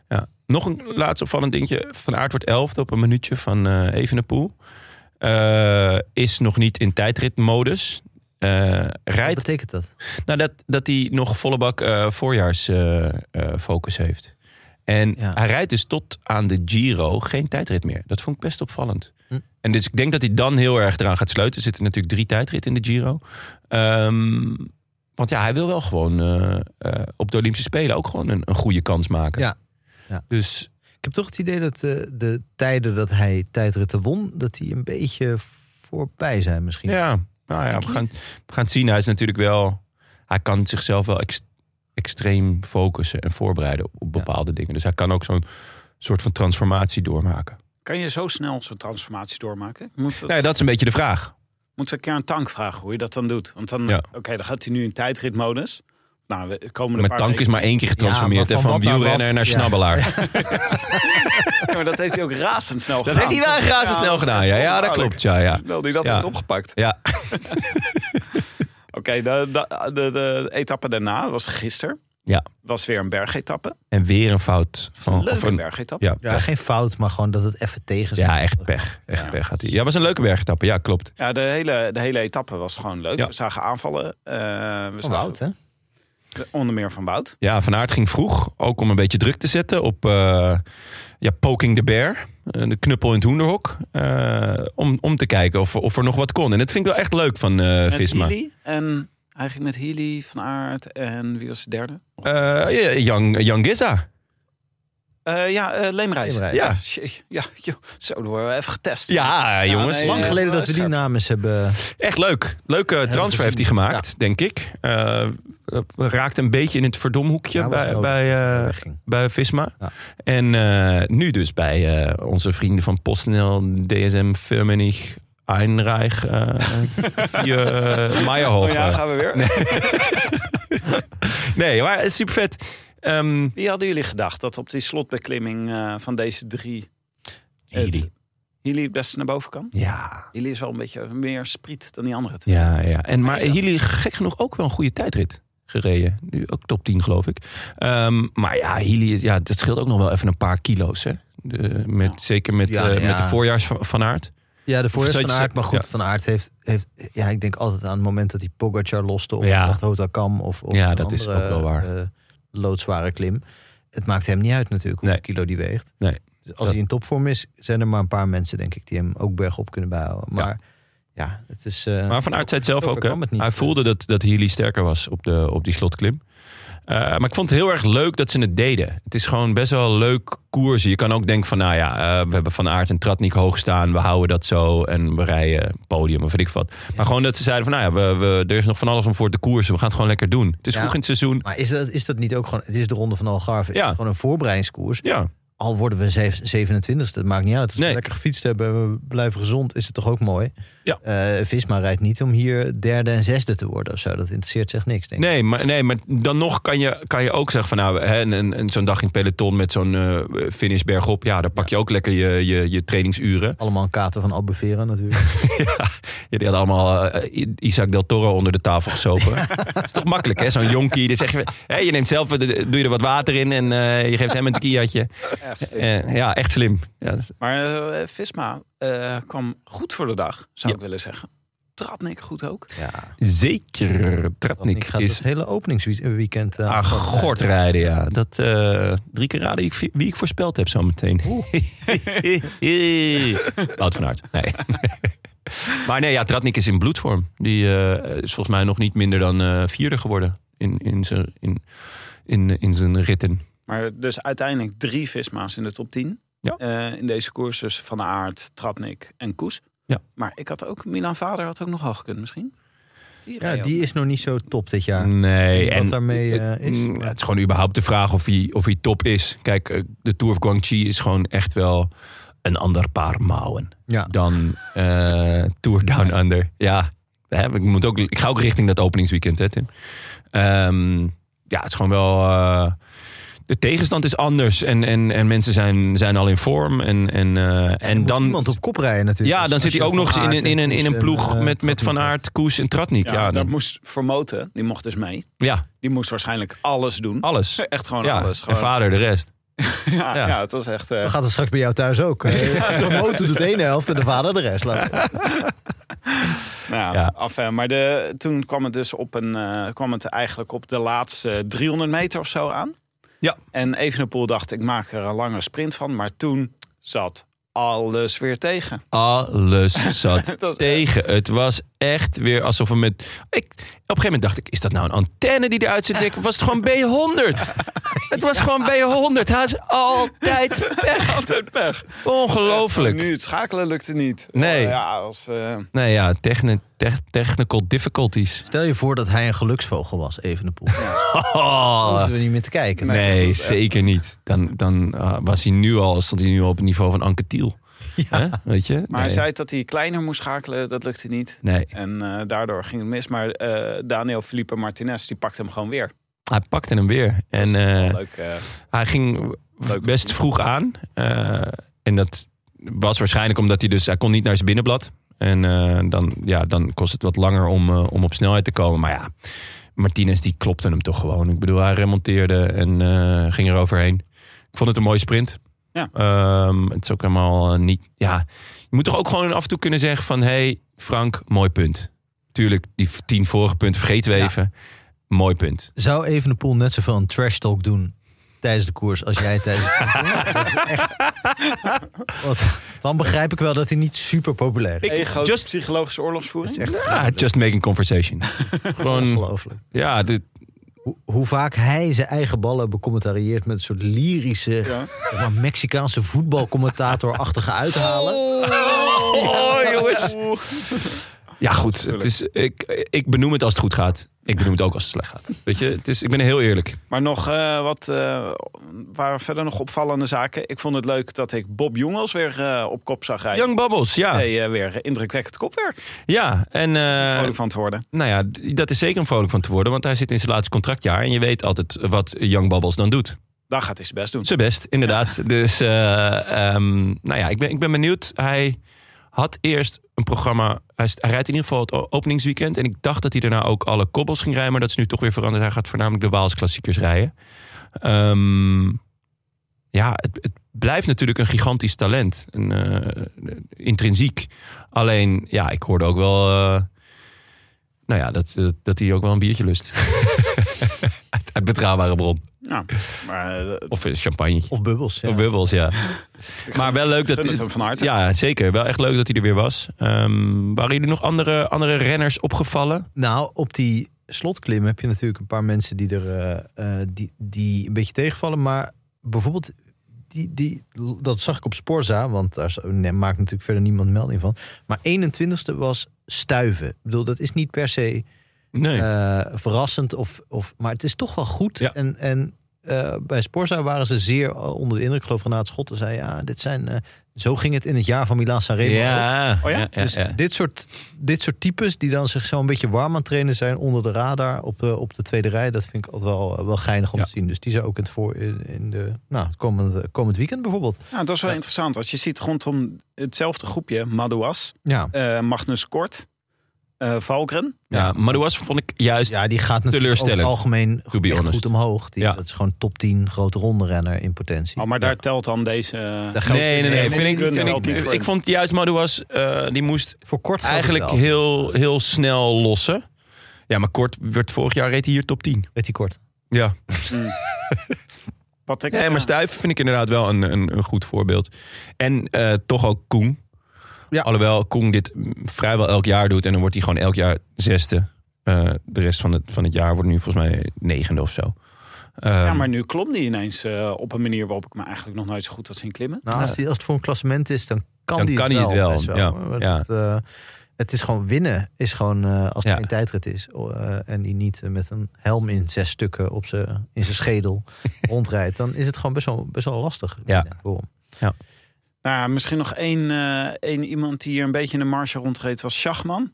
Speaker 1: Ja. Nog een laatste opvallend dingetje. Van Aert wordt elfde op een minuutje van eh Evenepoel. Eh, is nog niet in tijdritmodus. Eh
Speaker 2: Wat
Speaker 1: rijdt
Speaker 2: betekent dat?
Speaker 1: Nou, dat, dat hij nog volle bak eh, voorjaarsfocus eh, heeft. En
Speaker 2: Ja.
Speaker 1: hij rijdt dus tot aan de Giro geen tijdrit meer. Dat vond ik best opvallend.
Speaker 2: Hm.
Speaker 1: En dus ik denk dat hij dan heel erg eraan gaat sluiten. Er zitten natuurlijk drie tijdritten in de Giro. Ehm, want ja, hij wil wel gewoon eh, eh, op de Olympische Spelen ook gewoon een, een goede kans maken.
Speaker 2: Ja. Ja.
Speaker 1: Dus
Speaker 2: Ik heb toch het idee dat eh, de tijden dat hij tijdritten won... dat die een beetje voorbij zijn misschien.
Speaker 1: ja, nou ja
Speaker 2: Denk
Speaker 1: we,
Speaker 2: je
Speaker 1: gaan, we gaan het zien. Hij is natuurlijk wel... Hij kan zichzelf wel ex- extreem focussen en voorbereiden op bepaalde dingen. Dus hij kan ook zo'n soort van transformatie doormaken.
Speaker 3: Kan je zo snel zo'n transformatie doormaken? Moet, dat,
Speaker 1: Nee, dat is een beetje de vraag.
Speaker 3: moet ze een keer een tank vragen hoe je dat dan doet. Want dan,
Speaker 1: Ja.
Speaker 3: oké, dan gaat hij nu in tijdritmodus. Nou, we komen
Speaker 1: Mijn tank is maar één keer getransformeerd.
Speaker 2: Ja, maar
Speaker 1: hè, van
Speaker 2: van wat naar
Speaker 1: wielrenner
Speaker 2: wat?
Speaker 1: naar
Speaker 2: Ja.
Speaker 1: snabbelaar.
Speaker 3: maar dat heeft hij ook razendsnel
Speaker 1: Dat
Speaker 3: gedaan.
Speaker 1: heeft hij wel razendsnel gedaan. Ja, ja dat klopt. Ja, ja.
Speaker 3: Wel, die dat
Speaker 1: Ja.
Speaker 3: heeft opgepakt.
Speaker 1: ja.
Speaker 3: Oké, de, de, de, de etappe daarna was gisteren.
Speaker 1: Ja.
Speaker 3: Was weer een bergetappe.
Speaker 1: En weer een fout. Van,
Speaker 3: Leuke
Speaker 1: of een-
Speaker 3: bergetappe.
Speaker 1: ja,
Speaker 2: Ja,
Speaker 1: pech.
Speaker 2: geen fout, maar gewoon dat het even tegen zit.
Speaker 1: ja, echt pech. Echt
Speaker 3: Ja.
Speaker 1: pech had hij. Ja, was een leuke bergetappe. Ja, klopt.
Speaker 3: Ja, de hele, de hele etappe was gewoon leuk.
Speaker 1: Ja.
Speaker 3: We zagen aanvallen. eh, we
Speaker 2: Van
Speaker 3: zagen
Speaker 2: Wout, hè?
Speaker 3: onder meer van Wout.
Speaker 1: Ja, Van Aert ging vroeg. Ook om een beetje druk te zetten op eh, ja, Poking the Bear. eh, De knuppel in het hoenderhok. eh, om, om te kijken of, of er nog wat kon. En dat vind ik wel echt leuk van eh
Speaker 3: Met
Speaker 1: Visma.
Speaker 3: Healy. En hij ging met Healy, Van Aert en wie was de derde?
Speaker 1: Eh, Jan, Jan Giza.
Speaker 3: Eh, ja, eh Leemreis.
Speaker 2: Leemreis.
Speaker 3: Ja, shit. ja joh. zo, dan worden we even getest.
Speaker 1: Ja, jongens.
Speaker 3: nee,
Speaker 2: Lang
Speaker 3: eh,
Speaker 2: geleden dat we die
Speaker 3: scherp.
Speaker 2: namens hebben.
Speaker 1: Echt leuk. Leuke transfer
Speaker 2: gezien.
Speaker 1: heeft hij gemaakt, denk ik. Eh, raakt een beetje in het verdomhoekje
Speaker 2: Ja, was
Speaker 1: bij,
Speaker 2: nodig
Speaker 1: bij,
Speaker 2: dat hij
Speaker 1: eh,
Speaker 2: wegging.
Speaker 1: bij Visma.
Speaker 2: Ja.
Speaker 1: En eh, nu dus bij eh, onze vrienden van PostNL, DSM, Firmenich, Einreich, eh via eh, Meyerhof.
Speaker 3: Oh ja, gaan we weer.
Speaker 1: Nee, maar super vet. Ehm,
Speaker 3: Wie hadden jullie gedacht dat op die slotbeklimming eh, van deze drie...
Speaker 1: Healy.
Speaker 3: het- Healy het beste naar boven kan?
Speaker 1: ja,
Speaker 3: Healy is wel een beetje meer spriet dan die andere twee.
Speaker 1: ja, ja. En, maar jullie gek genoeg ook wel een goede tijdrit gereden. Nu ook top 10 geloof ik. Ehm, maar ja, Healy, is- ja, dat scheelt ook nog wel even een paar kilo's. Hè? De, met,
Speaker 3: Ja.
Speaker 1: Zeker met,
Speaker 2: Ja,
Speaker 1: eh,
Speaker 2: ja.
Speaker 1: met de voorjaars van, van aard.
Speaker 2: Ja, de voorjaars
Speaker 1: Zou
Speaker 2: van
Speaker 1: je zeggen-
Speaker 2: Aert. Maar goed,
Speaker 1: ja.
Speaker 2: Van Aard heeft, heeft... Ja, ik denk altijd aan het moment dat hij Pogacar loste... of
Speaker 1: Ja.
Speaker 2: ja. Kam of, of
Speaker 1: Ja,
Speaker 2: een
Speaker 1: dat is
Speaker 2: andere,
Speaker 1: ook wel waar.
Speaker 2: eh, loodzware klim. Het maakt hem niet uit natuurlijk hoeveel
Speaker 1: Nee.
Speaker 2: kilo die weegt.
Speaker 1: Nee.
Speaker 2: Dus als
Speaker 1: Dat-
Speaker 2: hij in topvorm is, zijn er maar een paar mensen... denk ik, die hem ook bergop kunnen bijhouden. Maar ja, het is... eh,
Speaker 1: Maar Van Aert zei het zelf
Speaker 2: zover
Speaker 1: ook. hè.
Speaker 2: kwam het niet.
Speaker 1: Hij voelde dat, dat Healy sterker was op, de, op die slotklim. Eh, maar ik vond het heel erg leuk dat ze het deden. Het is gewoon best wel leuk koersen. Je kan ook denken van, nou ja, eh, we hebben Van Aert en Tratnik hoog staan. We houden dat zo en we rijden podium of weet ik wat. Maar gewoon dat ze zeiden van, nou ja, we, we- er is nog van alles om voor te koersen. We gaan het gewoon lekker doen. Het is
Speaker 2: Ja.
Speaker 1: vroeg in het seizoen.
Speaker 2: Maar is dat, is dat niet ook gewoon... Het is de Ronde van Algarve.
Speaker 1: Ja.
Speaker 2: Het is gewoon een voorbereidingskoers.
Speaker 1: Ja,
Speaker 2: Al worden we zeven- 27 het maakt niet uit. Als
Speaker 1: Nee.
Speaker 2: we lekker gefietst hebben en we blijven gezond, is het toch ook mooi.
Speaker 1: Ja.
Speaker 2: Eh, Visma rijdt niet om hier derde en zesde te worden of zo. Dat interesseert zich niks, denk ik.
Speaker 1: Nee, maar, nee, maar dan nog kan je, kan je ook zeggen van nou, hè, een- een, een, zo'n dag in peloton met zo'n eh finish bergop. Ja, dan pak je ook lekker je, je, je trainingsuren.
Speaker 2: Allemaal een kater van Albufeira natuurlijk.
Speaker 1: Ja, die hadden allemaal eh, I- Isaac del Toro onder de tafel gesopen. Dat is toch makkelijk, hè? Zo'n jonkie. Dan zeg je, hè, je neemt zelf, eh, doe je er wat water in en eh, je geeft hem een kiatje. ja, echt slim. Ja, dat is-
Speaker 3: Maar eh, Visma eh, kwam goed voor de dag, zou
Speaker 1: Ja.
Speaker 3: ik willen zeggen. Tratnik goed ook.
Speaker 2: ja.
Speaker 1: zeker.
Speaker 2: Ik
Speaker 1: Tratnik
Speaker 2: ga
Speaker 1: is
Speaker 2: het hele openingsweekend... eh,
Speaker 1: aan Ah, gort rijden, ja. Dat eh, drie keer raden wie ik, wie ik voorspeld heb zo meteen. Wout van Aert. Nee. maar nee, ja, Tratnik is in bloedvorm. Die eh, is volgens mij nog niet minder dan eh, vierde geworden in, in, zijn, in, in, in zijn ritten.
Speaker 3: Maar dus uiteindelijk drie Visma's in de top 10.
Speaker 1: Ja.
Speaker 3: Eh, in deze koers dus Van Aert, Tratnik en Koes.
Speaker 1: Ja.
Speaker 3: Maar ik had ook, Milan Vader had ook nog al gekund misschien. Die
Speaker 2: ja,
Speaker 3: rij ook.
Speaker 2: die is nog niet zo top dit jaar.
Speaker 1: Nee,
Speaker 2: Wat daarmee, eh, is?
Speaker 1: Mm, Het is gewoon überhaupt de vraag of hij, of hij top is. Kijk, eh, de Tour of Guangxi is gewoon echt wel een ander paar mouwen.
Speaker 2: Ja.
Speaker 1: dan eh, Tour Down Under. Ja, hè, ik, moet ook, ik ga ook richting dat openingsweekend, hè, Tim. Ehm, ja, het is gewoon wel. eh, de tegenstand is anders en, en, en mensen zijn, zijn al in vorm. En, en, eh, en,
Speaker 2: Er moet
Speaker 1: dan.
Speaker 2: iemand op kop rijden natuurlijk.
Speaker 1: ja,
Speaker 2: Als-
Speaker 1: dan
Speaker 2: als
Speaker 1: zit hij
Speaker 2: je
Speaker 1: ook nog
Speaker 2: Van
Speaker 1: eens in,
Speaker 2: Aert
Speaker 1: een- in, een, in een
Speaker 2: en,
Speaker 1: ploeg
Speaker 2: eh,
Speaker 1: met, met
Speaker 2: Tratnik
Speaker 1: Van
Speaker 2: hebt.
Speaker 1: Aert, Koes en Tratnik.
Speaker 3: Ja,
Speaker 1: Ja, dan-
Speaker 3: dat moest Vermoten, die mocht dus mee.
Speaker 1: ja
Speaker 3: Die moest waarschijnlijk alles doen.
Speaker 1: alles.
Speaker 3: Echt gewoon
Speaker 1: Ja,
Speaker 3: alles.
Speaker 1: en
Speaker 3: Gewoon,
Speaker 1: vader de rest.
Speaker 3: ja,
Speaker 1: ja.
Speaker 3: ja. het was echt...
Speaker 2: Dan
Speaker 3: eh,
Speaker 2: gaat het straks bij jou thuis ook. Ja, de motor doet de ene helft en de vader de rest. Laat-
Speaker 3: nou,
Speaker 1: Ja.
Speaker 3: af, eh, maar de, toen kwam het dus op een, eh, kwam het eigenlijk op de laatste 300 meter of zo aan.
Speaker 1: Ja.
Speaker 3: En Evenepoel dacht, ik maak er een lange sprint van. Maar toen zat alles weer tegen.
Speaker 1: Alles zat
Speaker 3: Het was
Speaker 1: tegen. Het was echt weer alsof we met. Ik, op een gegeven moment dacht ik: is dat nou een antenne die eruit zit? Ik, was het gewoon B100? Het was gewoon B100. Hij is altijd pech.
Speaker 3: Altijd pech.
Speaker 1: Ongelooflijk.
Speaker 3: Nu, het schakelen lukte niet.
Speaker 1: Nee.
Speaker 3: Oh, ja, als, eh,
Speaker 1: Nee, ja, techni- tech- technical difficulties.
Speaker 2: Stel je voor dat hij een geluksvogel was, even de poel. Dan
Speaker 1: Oh,
Speaker 2: hoeven we niet meer te kijken.
Speaker 1: nee, zeker niet. Dan, dan ah, was hij nu al, stond hij nu al op het niveau van Anke Thiel. Hè? Weet je?
Speaker 3: Maar
Speaker 1: nee.
Speaker 3: hij zei dat hij kleiner moest schakelen, dat lukte niet.
Speaker 1: nee.
Speaker 3: En eh, daardoor ging het mis. Maar eh, Daniel Felipe Martinez, die pakte hem gewoon weer.
Speaker 1: Hij pakte hem weer. En
Speaker 3: dat is
Speaker 1: eh,
Speaker 3: wel leuk. eh,
Speaker 1: hij ging
Speaker 3: Leuk.
Speaker 1: best vroeg aan. Eh, en dat was waarschijnlijk omdat hij dus... Hij kon niet naar zijn binnenblad. En eh, dan, ja, dan kost het wat langer om, eh, om op snelheid te komen. Maar ja, Martinez die klopte hem toch gewoon. Ik bedoel, hij remonteerde en eh ging er overheen. Ik vond het een mooie sprint.
Speaker 3: Ja.
Speaker 1: Ehm, het is ook helemaal eh, niet... Ja, je moet toch ook gewoon af en toe kunnen zeggen van... hey, Frank, mooi punt. Tuurlijk, die v- tien vorige punten vergeten we
Speaker 2: Ja.
Speaker 1: even. Mooi punt.
Speaker 2: Zou Evenepoel net zoveel een trash talk doen tijdens de koers als jij tijdens de koers? Dat is echt... Wat? Dan begrijp ik wel dat hij niet super populair is.
Speaker 3: ego,
Speaker 1: just-
Speaker 3: psychologische oorlogsvoering.
Speaker 2: echt
Speaker 1: Ah, just making conversation. gewoon,
Speaker 2: ongelooflijk.
Speaker 1: ja, dit,
Speaker 2: Hoe, hoe vaak hij zijn eigen ballen becommentarieert met een soort lyrische,
Speaker 3: Ja.
Speaker 2: zeg maar, Mexicaanse voetbalcommentator-achtige uithalen.
Speaker 1: Oh, jongens. Ja, goed. Het is, ik, ik benoem het als het goed gaat. Ik benoem het ook als het slecht gaat. Weet je, het is, ik ben heel eerlijk.
Speaker 3: Maar nog eh, wat eh, waren verder nog opvallende zaken. Ik vond het leuk dat ik Bob Jongels weer eh, op kop zag rijden.
Speaker 1: Young Bubbles, ja.
Speaker 3: Hey, eh, weer indrukwekkend kopwerk.
Speaker 1: Ja, en eh,
Speaker 3: Vrolijk van te worden.
Speaker 1: nou ja, d- dat is zeker een vrolijk van te worden. Want hij zit in zijn laatste contractjaar. En je weet altijd wat Young Bubbles dan doet.
Speaker 3: Daar gaat hij zijn best doen.
Speaker 1: Zijn best, inderdaad. Dus, eh, ehm, nou ja, ik ben, ik ben benieuwd. Hij had eerst een programma. Hij, st- hij rijdt in ieder geval het o- openingsweekend. En ik dacht dat hij daarna ook alle kobbels ging rijden. Maar dat is nu toch weer veranderd. Hij gaat voornamelijk de Waals klassiekers rijden. Ehm, ja, het, het blijft natuurlijk een gigantisch talent. Een, eh, intrinsiek. Alleen, ja, ik hoorde ook wel... eh, nou ja, dat, dat, dat hij ook wel een biertje lust. Uit betrouwbare bron.
Speaker 3: Nou, maar eh, ik
Speaker 1: Of een champagne.
Speaker 2: Of bubbels. Ja.
Speaker 1: Of bubbels, ja. maar wel leuk dat...
Speaker 3: gun het hem van harte.
Speaker 1: Ja, zeker. Wel echt leuk dat hij er weer was. Ehm, waren jullie nog andere, andere renners opgevallen?
Speaker 2: Nou, op die slotklim heb je natuurlijk een paar mensen die er eh, eh, die, die een beetje tegenvallen. Maar bijvoorbeeld, die, die, dat zag ik op Sporza, want daar is- nee, maakt natuurlijk verder niemand melding van. Maar 21ste was stuiven. Ik bedoel, dat is niet per se
Speaker 1: Nee.
Speaker 2: eh, verrassend, of, of, maar het is toch wel goed.
Speaker 1: Ja.
Speaker 2: En, en eh, bij Sporza waren ze zeer eh, onder de indruk. Ik geloof Renaat Schotten zei, ja, dit zijn... eh, zo ging het in het jaar van Milaan Sanremo ook.
Speaker 1: ja.
Speaker 3: Oh ja?
Speaker 2: dus
Speaker 1: ja.
Speaker 2: Dit, soort, dit soort types die dan zich zo een beetje warm aan het trainen zijn onder de radar op de, op de tweede rij, dat vind ik altijd wel, eh, wel geinig om
Speaker 1: Ja.
Speaker 2: te zien. Dus die zijn ook in het, voor, in, in de, nou, het komend, eh, komend weekend bijvoorbeeld.
Speaker 3: Nou, dat is wel interessant. Als je ziet rondom hetzelfde groepje, Madouas,
Speaker 2: Ja,
Speaker 3: eh, Magnus Kort, eh, Valgren.
Speaker 1: Ja, maar dat was, vond ik juist...
Speaker 2: Dus ja die gaat natuurlijk over
Speaker 1: teleurstellend,
Speaker 2: het algemeen
Speaker 1: be
Speaker 2: echt
Speaker 1: honest.
Speaker 2: goed omhoog. Die,
Speaker 1: Ja.
Speaker 2: Dat is gewoon top 10 grote ronde renner in potentie.
Speaker 3: Oh, maar daar telt dan deze... eh,
Speaker 2: Daar geldt-
Speaker 1: Nee, nee, nee.
Speaker 3: Nee,
Speaker 1: vind ik,
Speaker 3: Gun
Speaker 1: vind
Speaker 3: telt
Speaker 1: ik,
Speaker 3: niet voor
Speaker 1: ik
Speaker 3: hem.
Speaker 1: vond juist Madouas, eh, die moest
Speaker 2: Voor kort geldt het
Speaker 1: eigenlijk
Speaker 2: wel.
Speaker 1: heel, heel snel lossen. Ja, maar Kort werd vorig jaar reed hij hier top 10.
Speaker 2: Weet die kort.
Speaker 1: Ja.
Speaker 3: wat ik,
Speaker 1: Nee, maar Stuif vind ik inderdaad wel een, een, een goed voorbeeld. En eh, toch ook Koen.
Speaker 2: Ja.
Speaker 1: Alhoewel Koen dit mm, vrijwel elk jaar doet. En dan wordt hij gewoon elk jaar zesde. Eh, de rest van het, van het jaar wordt nu volgens mij negende of zo.
Speaker 3: ja,
Speaker 1: Ehm,
Speaker 3: maar nu klom die ineens eh, op een manier waarop ik me eigenlijk nog nooit zo goed had zien klimmen.
Speaker 2: Nou, als, die, als het voor een klassement is, dan kan
Speaker 1: Dan
Speaker 2: die
Speaker 1: kan
Speaker 2: het
Speaker 1: hij
Speaker 2: wel.
Speaker 1: het wel,
Speaker 2: best
Speaker 1: ja,
Speaker 2: hoor. Want
Speaker 1: ja.
Speaker 2: Het, eh, het is gewoon winnen, is gewoon eh, als het
Speaker 1: Ja.
Speaker 2: geen tijdrit is. o- eh, en die niet eh, met een helm in zes stukken op zijn- in zijn schedel rondrijdt. Dan is het gewoon best wel, best wel lastig.
Speaker 1: Ja.
Speaker 2: winnen voor hem.
Speaker 3: Nou, ja, misschien nog één, eh, één iemand die hier een beetje in de marge rondreed was Schachman.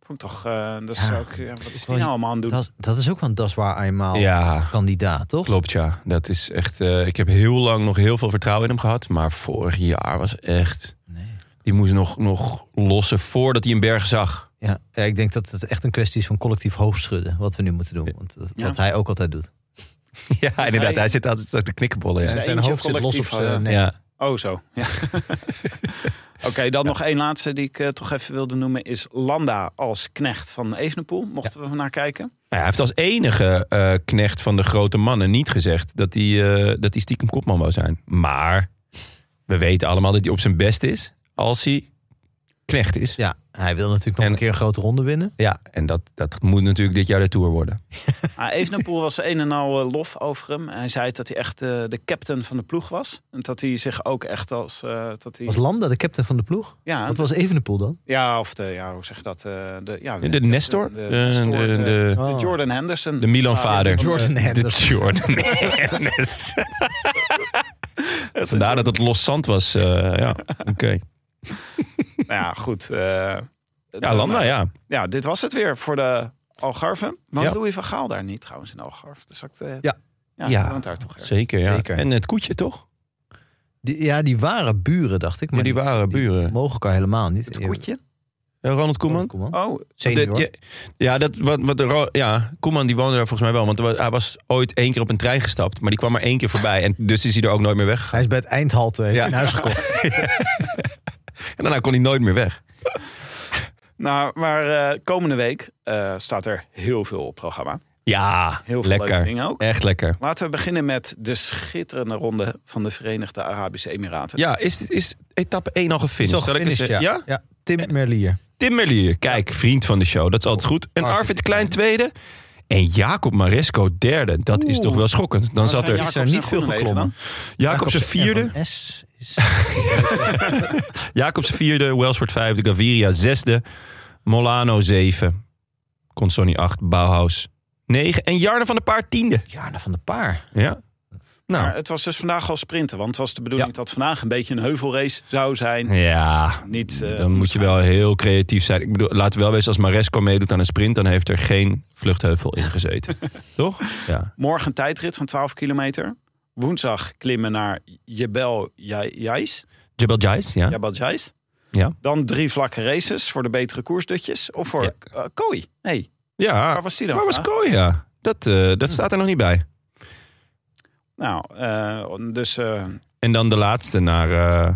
Speaker 3: Vond ik toch, eh, dat is
Speaker 2: Ja.
Speaker 3: ook, ja, wat is die
Speaker 2: Wel,
Speaker 3: nou allemaal aan het doen?
Speaker 2: Dat, dat is ook wel een daswaar eenmaal
Speaker 1: ja,
Speaker 2: kandidaat, toch?
Speaker 1: klopt ja. Dat is echt, eh, ik heb heel lang nog heel veel vertrouwen in hem gehad. Maar vorig jaar was echt...
Speaker 2: Nee.
Speaker 1: Die moest nog, nog lossen voordat hij een berg zag.
Speaker 2: Ja. Ja, ik denk dat het echt een kwestie is van collectief hoofdschudden. Wat we nu moeten doen. Want dat-
Speaker 3: Ja.
Speaker 2: Wat hij ook altijd doet.
Speaker 1: Ja, inderdaad. Hij zit altijd op de knikkenbollen.
Speaker 3: Zijn
Speaker 1: Ja.
Speaker 2: Zijn
Speaker 3: eentje
Speaker 2: hoofd zit los op
Speaker 3: collectief,
Speaker 2: zijn
Speaker 3: eh,
Speaker 2: nek.
Speaker 1: Ja.
Speaker 3: Oh, zo. Ja. Oké, dan nog één laatste die ik eh, toch even wilde noemen. Is Landa als knecht van Evenepoel. Mochten we naar kijken.
Speaker 1: Nou, hij heeft als enige eh, knecht van de grote mannen niet gezegd dat hij, eh, dat hij stiekem kopman wou zijn. Maar we weten allemaal dat hij op zijn best is als hij knecht is. Ja,
Speaker 2: Ja, hij wil natuurlijk nog
Speaker 1: En-
Speaker 2: een keer een grote ronde winnen.
Speaker 1: en dat, dat moet natuurlijk dit jaar de Tour worden.
Speaker 3: Ah, Evenepoel was een en al eh, lof over hem. Hij zei dat hij echt eh, de captain van de ploeg was. En dat hij zich ook echt als... eh, dat hij,
Speaker 2: Was Landa de captain van de ploeg?
Speaker 3: ja,
Speaker 2: Wat was Evenepoel dan?
Speaker 3: ja, of de... Ja, hoe zeg je dat? eh, de, ja,
Speaker 1: De Nestor? Eh,
Speaker 3: De,
Speaker 1: De,
Speaker 3: Nestor,
Speaker 1: de,
Speaker 3: de-
Speaker 1: de,
Speaker 3: de
Speaker 2: Oh.
Speaker 3: Jordan Henderson. Nou,
Speaker 1: de Milan-vader.
Speaker 3: Vader.
Speaker 2: Jordan
Speaker 1: De
Speaker 2: Henderson.
Speaker 1: Jordan Henderson. Vandaar dat het loszand was. eh, ja, oké.
Speaker 3: nou ja, goed. eh,
Speaker 1: Ja,
Speaker 3: dan,
Speaker 1: Landa,
Speaker 3: eh,
Speaker 1: ja.
Speaker 3: ja, dit was het weer voor de Algarve. Want
Speaker 1: Ja.
Speaker 3: Louis van Gaal daar niet trouwens in Algarve. Dus dat, eh,
Speaker 2: Ja.
Speaker 1: Ja.
Speaker 3: Ja, ja. daar toch erg.
Speaker 1: Zeker, ja.
Speaker 2: Zeker.
Speaker 1: En het koetje, toch?
Speaker 2: Die, ja, die waren buren, dacht ik.
Speaker 1: Ja,
Speaker 2: Maar
Speaker 1: die waren buren.
Speaker 2: mogen elkaar helemaal niet.
Speaker 3: Het koetje?
Speaker 1: Eh, Ronald Koeman?
Speaker 3: Oh,
Speaker 2: Senior.
Speaker 1: De- ja, ja, dat, wat, wat de, ro- ja, Koeman die woonde daar volgens mij wel. Want er wa- hij was ooit één keer op een trein gestapt. Maar die kwam maar één keer voorbij. En dus is hij er ook nooit meer weg.
Speaker 2: Hij is bij het eindhalte heeft
Speaker 1: Ja.
Speaker 2: hij een huis gekocht.
Speaker 1: En daarna kon hij nooit meer weg.
Speaker 3: nou, maar eh, komende week eh, staat er heel veel op programma.
Speaker 1: Ja,
Speaker 3: Heel veel leuke
Speaker 1: lekker.
Speaker 3: dingen ook.
Speaker 1: Echt lekker.
Speaker 3: Laten we beginnen met de schitterende ronde van de Verenigde Arabische Emiraten.
Speaker 1: Ja, is, is etappe 1 al gefinished?
Speaker 2: Zo
Speaker 1: Zal ik eens
Speaker 2: gefinished,
Speaker 1: zeggen?
Speaker 2: ja. ja. Tim Merlier.
Speaker 1: Tim Merlier, kijk, vriend van de show. Dat is altijd goed. En
Speaker 2: Arvid
Speaker 1: Arvid de Klein tweede. En Jacob Maresco derde. Dat is toch wel schokkend. Dan
Speaker 3: Maar
Speaker 1: zat
Speaker 3: zijn
Speaker 1: er
Speaker 2: Is er niet
Speaker 3: Jacobsen
Speaker 2: veel
Speaker 3: goed mee
Speaker 2: geklommen.
Speaker 1: Jacobsen vierde.
Speaker 2: Van S is
Speaker 1: Jacobsen vierde. Welsford vijfde. Gaviria zesde. Molano zeven. Consoni acht. Bauhaus negen. En Jarne van der Paard tiende.
Speaker 2: Jarne van de Paar.
Speaker 1: Ja.
Speaker 3: Maar
Speaker 1: Nou,
Speaker 3: het was dus vandaag al sprinten. Want het was de bedoeling dat vandaag een beetje een heuvelrace zou zijn.
Speaker 1: ja.
Speaker 3: Niet, eh,
Speaker 1: Dan moet je wel heel creatief zijn. Ik bedoel, laten we wel wezen, als Maresco meedoet aan een sprint... dan heeft er geen vluchtheuvel in gezeten. toch? Ja.
Speaker 3: Morgen een tijdrit van 12 kilometer. Woensdag klimmen naar Jebel Jai- Jais.
Speaker 1: Jebel Jais, ja.
Speaker 3: Jabal Jais.
Speaker 1: Ja.
Speaker 3: Dan drie vlakke races voor de betere koersdutjes. Of voor
Speaker 1: Ja.
Speaker 3: eh, Kooi. Nee,
Speaker 1: Ja,
Speaker 3: waar was die dan?
Speaker 1: Waar was
Speaker 3: vandaag?
Speaker 1: Koya? Dat, eh, dat staat er nog niet bij.
Speaker 3: Nou, eh, dus eh,
Speaker 1: En dan de laatste naar eh,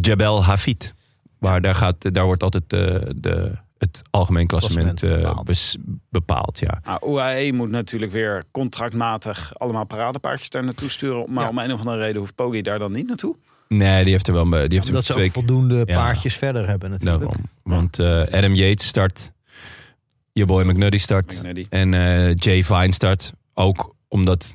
Speaker 1: Jebel Hafid. Waar daar, gaat, daar wordt altijd eh, de, het algemeen klassement
Speaker 2: Klassement
Speaker 1: eh,
Speaker 2: bepaald.
Speaker 1: bes- bepaald. Ja.
Speaker 3: nou, UAE moet natuurlijk weer contractmatig allemaal paradepaardjes daar naartoe sturen. Maar om een of andere reden hoeft Poggi daar dan niet naartoe.
Speaker 1: Nee, die heeft er wel die heeft er
Speaker 2: Dat ze
Speaker 1: twee
Speaker 2: ook voldoende
Speaker 1: Ja.
Speaker 2: paardjes verder hebben natuurlijk.
Speaker 1: daarom. Want eh, Adam Yates start. Je boy McNuddy start.
Speaker 3: McNuddy.
Speaker 1: En eh, Jay Vine start. Ook omdat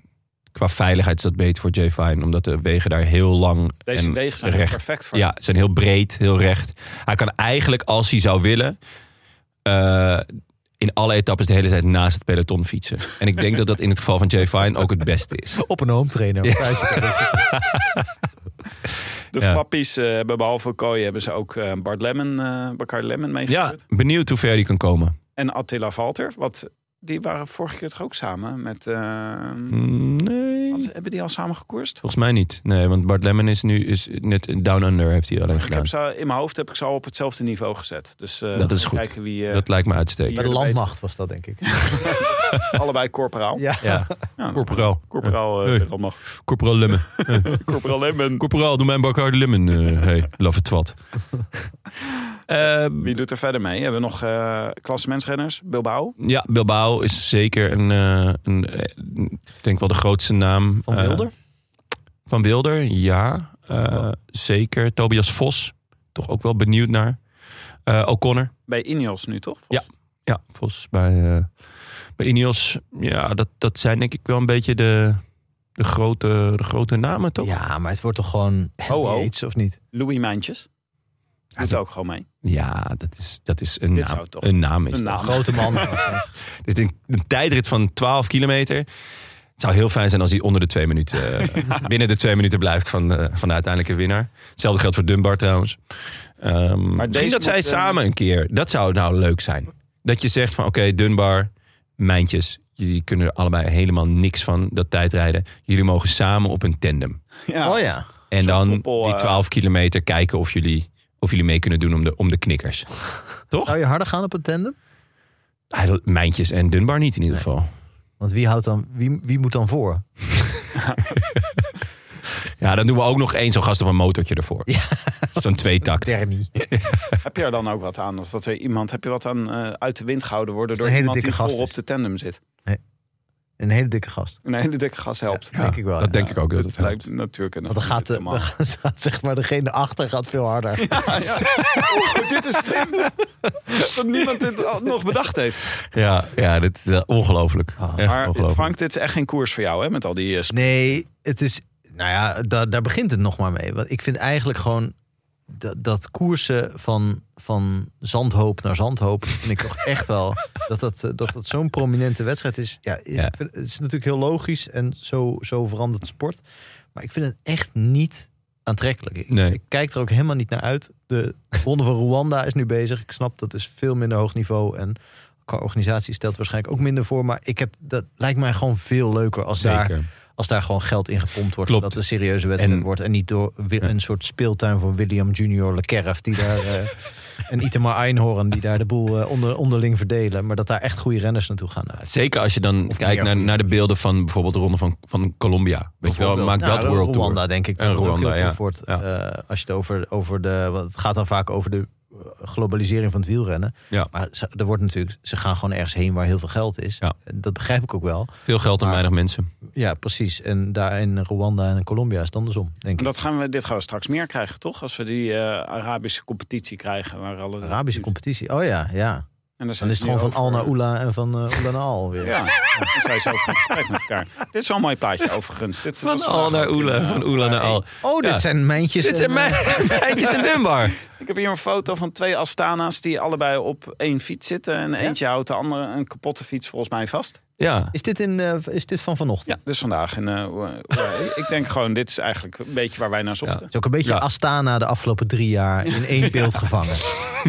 Speaker 1: qua veiligheid is dat beter voor Jay Vine. Omdat de wegen daar heel lang
Speaker 3: Deze
Speaker 1: en
Speaker 3: wegen zijn er
Speaker 1: recht
Speaker 3: perfect voor.
Speaker 1: Ja, ze zijn heel breed, heel recht. Hij kan eigenlijk, als hij zou willen, eh, in alle etappes de hele tijd naast het peloton fietsen. En ik denk dat dat in het geval van Jay Fine ook het beste is.
Speaker 2: Op een home trainer. Thuis zitten.
Speaker 3: De
Speaker 1: Ja.
Speaker 3: flappies eh, hebben behalve Kooi hebben ze ook eh, Bart Lemmen, eh Bakar Lemmen
Speaker 1: Ja,
Speaker 3: meegestuurd.
Speaker 1: benieuwd hoe ver die kan komen.
Speaker 3: En Attila Valter. Wat, die waren vorige keer toch ook samen met... eh,
Speaker 1: Mm, Nee.
Speaker 3: had- hebben die al samen gekoerst?
Speaker 1: Volgens mij niet. Nee, want Bart Lemmen is nu is net Down Under, heeft hij alleen
Speaker 3: Ik
Speaker 1: gedaan.
Speaker 3: heb ze, in mijn hoofd heb ik ze al op hetzelfde niveau gezet. Dus eh,
Speaker 1: Dat is
Speaker 3: we
Speaker 1: goed.
Speaker 3: kijken wie eh,
Speaker 1: Dat lijkt me uitstekend.
Speaker 2: Bij de landmacht was dat denk ik.
Speaker 3: allebei corporaal.
Speaker 2: Ja.
Speaker 1: Ja,
Speaker 3: Ja,
Speaker 1: corporaal.
Speaker 3: corporaal, eh,
Speaker 1: Hey.
Speaker 3: dat mag.
Speaker 1: Corporaal Lemmen.
Speaker 3: corporaal Lemmen.
Speaker 1: Corporaal, doe mijn bak harde Lemmen. eh hey, love it twat. Eh,
Speaker 3: Wie doet er verder mee? Hebben we nog eh klassementsrenners? Bilbao?
Speaker 1: Ja, Bilbao is zeker een, eh, een eh, ik denk wel de grootste naam.
Speaker 2: Van
Speaker 1: Eh,
Speaker 2: Wilder.
Speaker 1: van Wilder, ja. Eh, zeker. Tobias Vos, toch ook wel benieuwd naar. Eh, O'Connor,
Speaker 3: Bij Ineos nu toch?
Speaker 1: Ja. ja, Vos bij, eh, bij Ineos. Ja, dat, dat zijn denk ik wel een beetje de, de, grote, de grote namen, toch?
Speaker 2: Ja, maar het wordt toch gewoon
Speaker 3: Ho, ho.
Speaker 2: iets of niet?
Speaker 3: Louis Mijntjes? Doet ook gewoon mee.
Speaker 1: Ja, dat is, dat is een
Speaker 3: Dit
Speaker 1: naam.
Speaker 3: zou toch-
Speaker 1: Een naam is
Speaker 3: Een
Speaker 1: dat.
Speaker 3: naam.
Speaker 2: Grote man.
Speaker 1: Dit is een, een tijdrit van 12 kilometer. Het zou heel fijn zijn als hij onder de twee minuten, eh, binnen de twee minuten blijft van, eh, van de uiteindelijke winnaar. Hetzelfde geldt voor Dunbar trouwens. Ehm, misschien
Speaker 3: deze
Speaker 1: dat zij
Speaker 3: moet, eh,
Speaker 1: samen een keer, dat zou nou leuk zijn. Dat je zegt van oké Dunbar, Mijntjes, jullie kunnen er allebei helemaal niks van dat tijdrijden. Jullie mogen samen op een tandem.
Speaker 3: Ja.
Speaker 2: Oh ja.
Speaker 1: En
Speaker 3: Zo'n
Speaker 1: dan
Speaker 3: koppel,
Speaker 1: die
Speaker 3: eh,
Speaker 1: 12 kilometer kijken of jullie, of jullie mee kunnen doen om de, om de knikkers. Toch?
Speaker 2: Zou je harder gaan op een tandem?
Speaker 1: Ah, Mijntjes en Dunbar niet in ieder geval.
Speaker 2: Want wie, houdt dan, wie, wie moet dan voor?
Speaker 1: Ja, dan doen we ook nog één zo'n gast op een motortje ervoor. Ja. Zo'n tweetakt.
Speaker 2: Terni.
Speaker 3: Heb je er dan ook wat aan? Als dat er iemand, heb je wat aan eh, uit de wind gehouden worden
Speaker 2: Een
Speaker 3: door
Speaker 2: hele
Speaker 3: iemand die
Speaker 2: dikke gast
Speaker 3: vol op
Speaker 2: is.
Speaker 3: de tandem zit?
Speaker 2: Een hele dikke gast.
Speaker 3: Een hele dikke gas helpt.
Speaker 2: Denk ik wel.
Speaker 1: Dat
Speaker 2: ja.
Speaker 1: denk ik ook. Dat het
Speaker 3: Het lijkt
Speaker 1: helpt.
Speaker 3: natuurlijk een
Speaker 2: Want dan gaat, de, dan gaat zeg maar degene achter gaat veel harder.
Speaker 3: dit is slim. Dat niemand dit al- nog bedacht heeft.
Speaker 1: Ja, ja dit is eh, ongelooflijk.
Speaker 2: Ah.
Speaker 1: Echt
Speaker 3: Maar eh,
Speaker 1: ongelooflijk.
Speaker 3: Frank, dit is echt geen koers voor jou, hè? Met al die eh, sp-
Speaker 2: Nee, het is. Nou ja, daar, daar begint het nog maar mee. Want ik vind eigenlijk gewoon dat, dat koersen van, van zandhoop naar zandhoop. vind ik toch echt wel dat dat, eh, dat, dat zo'n prominente wedstrijd is. Ja, ik
Speaker 1: Ja.
Speaker 2: vind- het is natuurlijk heel logisch en zo, zo verandert de sport. Maar ik vind het echt niet aantrekkelijk. Ik,
Speaker 1: Nee.
Speaker 2: ik kijk er ook helemaal niet naar uit. De Ronde van Rwanda is nu bezig. Ik snap dat is veel minder hoog niveau. En qua organisatie stelt waarschijnlijk ook minder voor. Maar ik heb, dat lijkt mij gewoon veel leuker als daar
Speaker 1: Zeker.
Speaker 2: als daar gewoon geld in gepompt wordt.
Speaker 1: Klopt.
Speaker 2: Dat het een serieuze wedstrijd
Speaker 1: En-
Speaker 2: wordt. En niet door wi-
Speaker 1: Ja.
Speaker 2: een soort speeltuin van William Junior Lekerf. Die daar, eh, en Itamar Einhorn die daar de boel eh, onder, onderling verdelen. Maar dat daar echt goede renners naartoe gaan. Nou,
Speaker 1: Zeker als je dan
Speaker 2: Of
Speaker 1: kijkt
Speaker 2: meer
Speaker 1: naar,
Speaker 2: goede
Speaker 1: naar de beelden van bijvoorbeeld de ronde van, van Colombia. Weet je wel, maak dat
Speaker 2: nou,
Speaker 1: World
Speaker 2: Rwanda,
Speaker 1: Tour.
Speaker 2: denk ik.
Speaker 1: En
Speaker 2: dat het ook
Speaker 1: Rwanda,
Speaker 2: heel
Speaker 1: ja.
Speaker 2: tof wordt. Eh, als je het over, over de... want Het gaat dan vaak over de eh, globalisering van het wielrennen.
Speaker 1: Ja.
Speaker 2: Maar ze- er wordt natuurlijk, ze gaan gewoon ergens heen waar heel veel geld is.
Speaker 1: Ja.
Speaker 2: Dat begrijp ik ook wel.
Speaker 1: Veel geld en
Speaker 2: Maar-
Speaker 1: weinig mensen.
Speaker 2: Ja, precies. En daar in Rwanda en Colombia is het andersom, denk
Speaker 3: En
Speaker 2: ik.
Speaker 3: dat gaan we, dit gaan we straks meer krijgen, toch? Als we die eh, Arabische competitie krijgen. Waar alle
Speaker 2: Arabische competitie. Oh ja, ja.
Speaker 3: En
Speaker 2: Dan
Speaker 3: dan, zijn
Speaker 2: is het
Speaker 3: ze nu
Speaker 2: gewoon van Al
Speaker 3: over-
Speaker 2: naar Oela en van eh, Oela naar Al weer.
Speaker 3: Ja, ja, dan zijn ze over in gesprek met elkaar. Dit is wel een mooi plaatje, overigens. Dit
Speaker 1: Van
Speaker 3: was vandaag
Speaker 1: Al naar
Speaker 3: ook in,
Speaker 1: Oela,
Speaker 3: eh,
Speaker 1: van Oela naar Al.
Speaker 2: Oh, dit
Speaker 1: Ja.
Speaker 2: zijn mijntjes.
Speaker 1: Dit zijn
Speaker 2: en,
Speaker 1: mijn
Speaker 2: eh,
Speaker 1: meidjes in Dunbar.
Speaker 3: Ik heb hier een foto van twee Astana's die allebei op één fiets zitten. En eentje houdt de andere een kapotte fiets volgens mij vast.
Speaker 1: Ja,
Speaker 2: Is dit, in, eh, is dit van vanochtend?
Speaker 3: Ja, dus vandaag. En, eh, hoe- hoe- ik denk gewoon, dit is eigenlijk een beetje waar wij naar zochten.
Speaker 2: Het is ook een beetje
Speaker 1: Ja.
Speaker 2: Astana de afgelopen drie jaar in één beeld gevangen.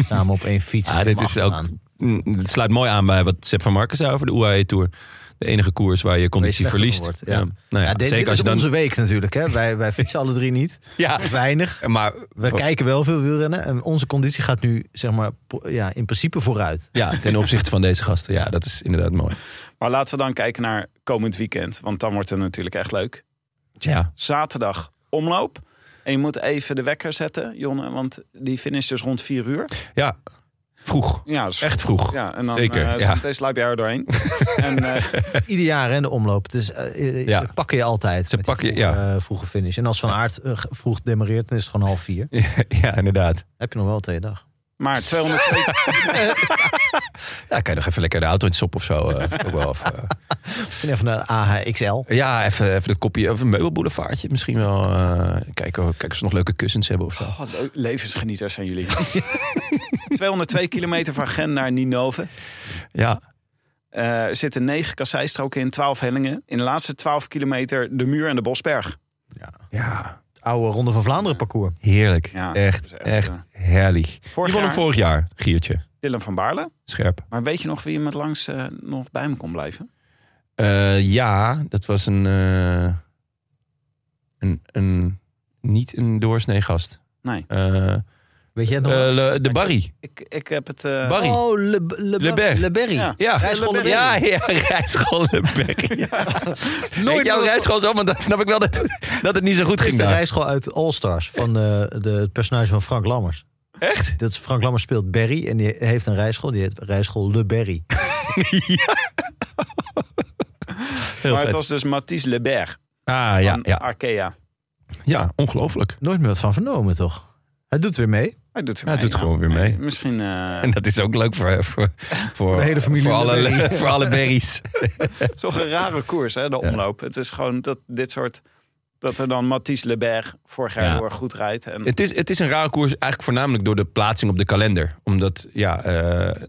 Speaker 2: Samen op één fiets.
Speaker 1: Ah, dit is ook,
Speaker 2: achteraan.
Speaker 1: Mm, het sluit mooi aan bij wat Sepp van Marken zei over de UAE Tour. De enige koers waar je conditie
Speaker 2: slechter
Speaker 1: verliest.
Speaker 2: van wordt, ja.
Speaker 1: ja. Nou ja,
Speaker 2: Ja, dit, dit
Speaker 1: zeker als
Speaker 2: is
Speaker 1: je dan...
Speaker 2: onze week natuurlijk. Hè. Wij, wij fietsen alle drie niet.
Speaker 1: Ja,
Speaker 2: Weinig.
Speaker 1: maar...
Speaker 2: We kijken wel veel wielrennen. En onze conditie gaat nu zeg maar, po- ja, in principe vooruit.
Speaker 1: Ja, ten opzichte van deze gasten. Ja, dat is inderdaad mooi.
Speaker 3: Maar laten we dan kijken naar komend weekend. Want dan wordt het natuurlijk echt leuk.
Speaker 1: Ja,
Speaker 3: Zaterdag omloop. En je moet even de wekker zetten, Jonne. Want die finish dus rond vier uur.
Speaker 1: ja. vroeg.
Speaker 3: Ja, dat is
Speaker 1: Echt vroeg.
Speaker 3: Ja, en dan
Speaker 1: Zeker,
Speaker 3: eh,
Speaker 1: ja.
Speaker 3: zometeen sluip je er doorheen. en, eh,
Speaker 2: Ieder jaar in de omloop. Het is, eh, eh,
Speaker 1: Ja.
Speaker 2: Ze pakken je altijd. met die
Speaker 1: pakken je,
Speaker 2: vroege,
Speaker 1: ja.
Speaker 2: eh, vroege finish. En als Van Aert eh, vroeg demareert, dan is het gewoon half vier.
Speaker 1: ja, inderdaad.
Speaker 2: Heb je nog wel twee dag.
Speaker 3: maar 202,
Speaker 1: Ja, kan je nog even lekker de auto in het sop of zo. eh, ook wel, of, eh,
Speaker 2: Misschien even naar de AHXL.
Speaker 1: ja, even, even dat kopje, of een meubelboulevardje misschien wel. eh, kijken, of- kijken of ze nog leuke kussens hebben of zo.
Speaker 3: Oh, le- levensgenieters zijn jullie. 202 kilometer van Gen naar Ninove.
Speaker 1: Ja,
Speaker 3: Eh, er zitten negen kasseistroken in, 12 hellingen. In de laatste 12 kilometer de muur en de Bosberg.
Speaker 1: ja.
Speaker 2: Het oude Ronde van Vlaanderen parcours.
Speaker 1: heerlijk.
Speaker 3: Ja,
Speaker 1: echt,
Speaker 3: dat is
Speaker 1: echt,
Speaker 3: echt, eh,
Speaker 1: herrlich.
Speaker 3: Vorig
Speaker 1: Die won
Speaker 3: jaar
Speaker 1: hem vorig jaar, Giertje.
Speaker 3: Dylan van Baarle.
Speaker 1: Scherp.
Speaker 3: Maar weet je nog wie hem het langst eh, nog bij hem kon blijven?
Speaker 1: Eh, ja, dat was een, eh, een, een niet een doorsnee gast.
Speaker 3: Nee.
Speaker 1: Eh, eh,
Speaker 2: Weet jij het nog?
Speaker 1: Le- de Barry.
Speaker 3: Ik, ik heb het... eh,
Speaker 1: Barry.
Speaker 2: Oh, Le, Le,
Speaker 1: Le Berg.
Speaker 2: Le Berry.
Speaker 3: Ja.
Speaker 1: Ja,
Speaker 2: Rijschool Le Berry.
Speaker 1: Ja, ja, Rijschool Le Berry. Nooit jouw rijschool zo, maar dan snap ik wel dat, dat het niet zo goed
Speaker 2: Dat is
Speaker 1: ging
Speaker 2: de
Speaker 1: daar.
Speaker 2: rijschool uit All Stars van eh, de, het personage van Frank Lammers.
Speaker 1: Echt?
Speaker 2: Dat is Frank Lammers speelt Berry en die heeft een rijschool. Die heet rijschool Le Berry.
Speaker 1: Heel
Speaker 3: maar het
Speaker 1: vet.
Speaker 3: was dus Mathies Leberg
Speaker 1: Ah, ja,
Speaker 3: van
Speaker 1: ja.
Speaker 3: Arkea.
Speaker 1: ja ongelooflijk.
Speaker 2: Nooit meer wat van vernomen, toch? Hij doet weer mee.
Speaker 3: Hij doet, er
Speaker 1: Hij
Speaker 3: mee,
Speaker 1: doet gewoon weer mee.
Speaker 3: Misschien... eh,
Speaker 1: En dat is ook leuk voor, voor, voor,
Speaker 2: de hele familie
Speaker 1: voor,
Speaker 2: Le
Speaker 1: alle,
Speaker 2: Berry.
Speaker 1: voor alle berries.
Speaker 3: Toch een rare koers, hè, de
Speaker 1: Ja.
Speaker 3: omloop. Het is gewoon dat dit soort... Dat er dan Mathies Leberg vorig jaar
Speaker 1: Ja.
Speaker 3: heel erg goed rijdt. En
Speaker 1: Het is, het is een rare koers, eigenlijk voornamelijk door de plaatsing op de kalender. Omdat ja, eh,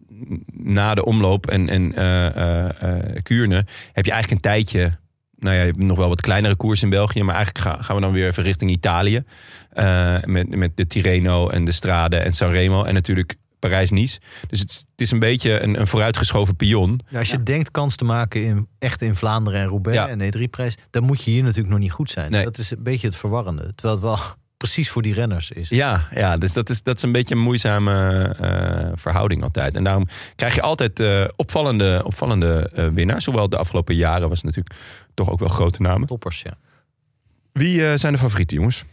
Speaker 1: na de omloop en, en eh, eh, eh, Kuurne heb je eigenlijk een tijdje. Nou ja, je hebt nog wel wat kleinere koers in België. Maar eigenlijk ga- gaan we dan weer even richting Italië. Eh, met, met de Tirreno en de Strade en Sanremo. En natuurlijk Parijs-Nice. Dus het, is- het is een beetje een, een vooruitgeschoven pion.
Speaker 2: Nou, als je denkt kans te maken in, echt in Vlaanderen en Roubaix
Speaker 1: Ja.
Speaker 2: en de E3-prijs... dan moet je hier natuurlijk nog niet goed zijn.
Speaker 1: Nee.
Speaker 2: Dat is een beetje het verwarrende. Terwijl het wel precies voor die renners is.
Speaker 1: Ja, ja dus dat is, dat is een beetje een moeizame eh, verhouding altijd. En daarom krijg je altijd eh, opvallende, opvallende eh, winnaars. Hoewel de afgelopen jaren was het natuurlijk toch ook wel grote namen.
Speaker 2: Toppers, ja.
Speaker 1: Wie eh, zijn de favorieten, jongens?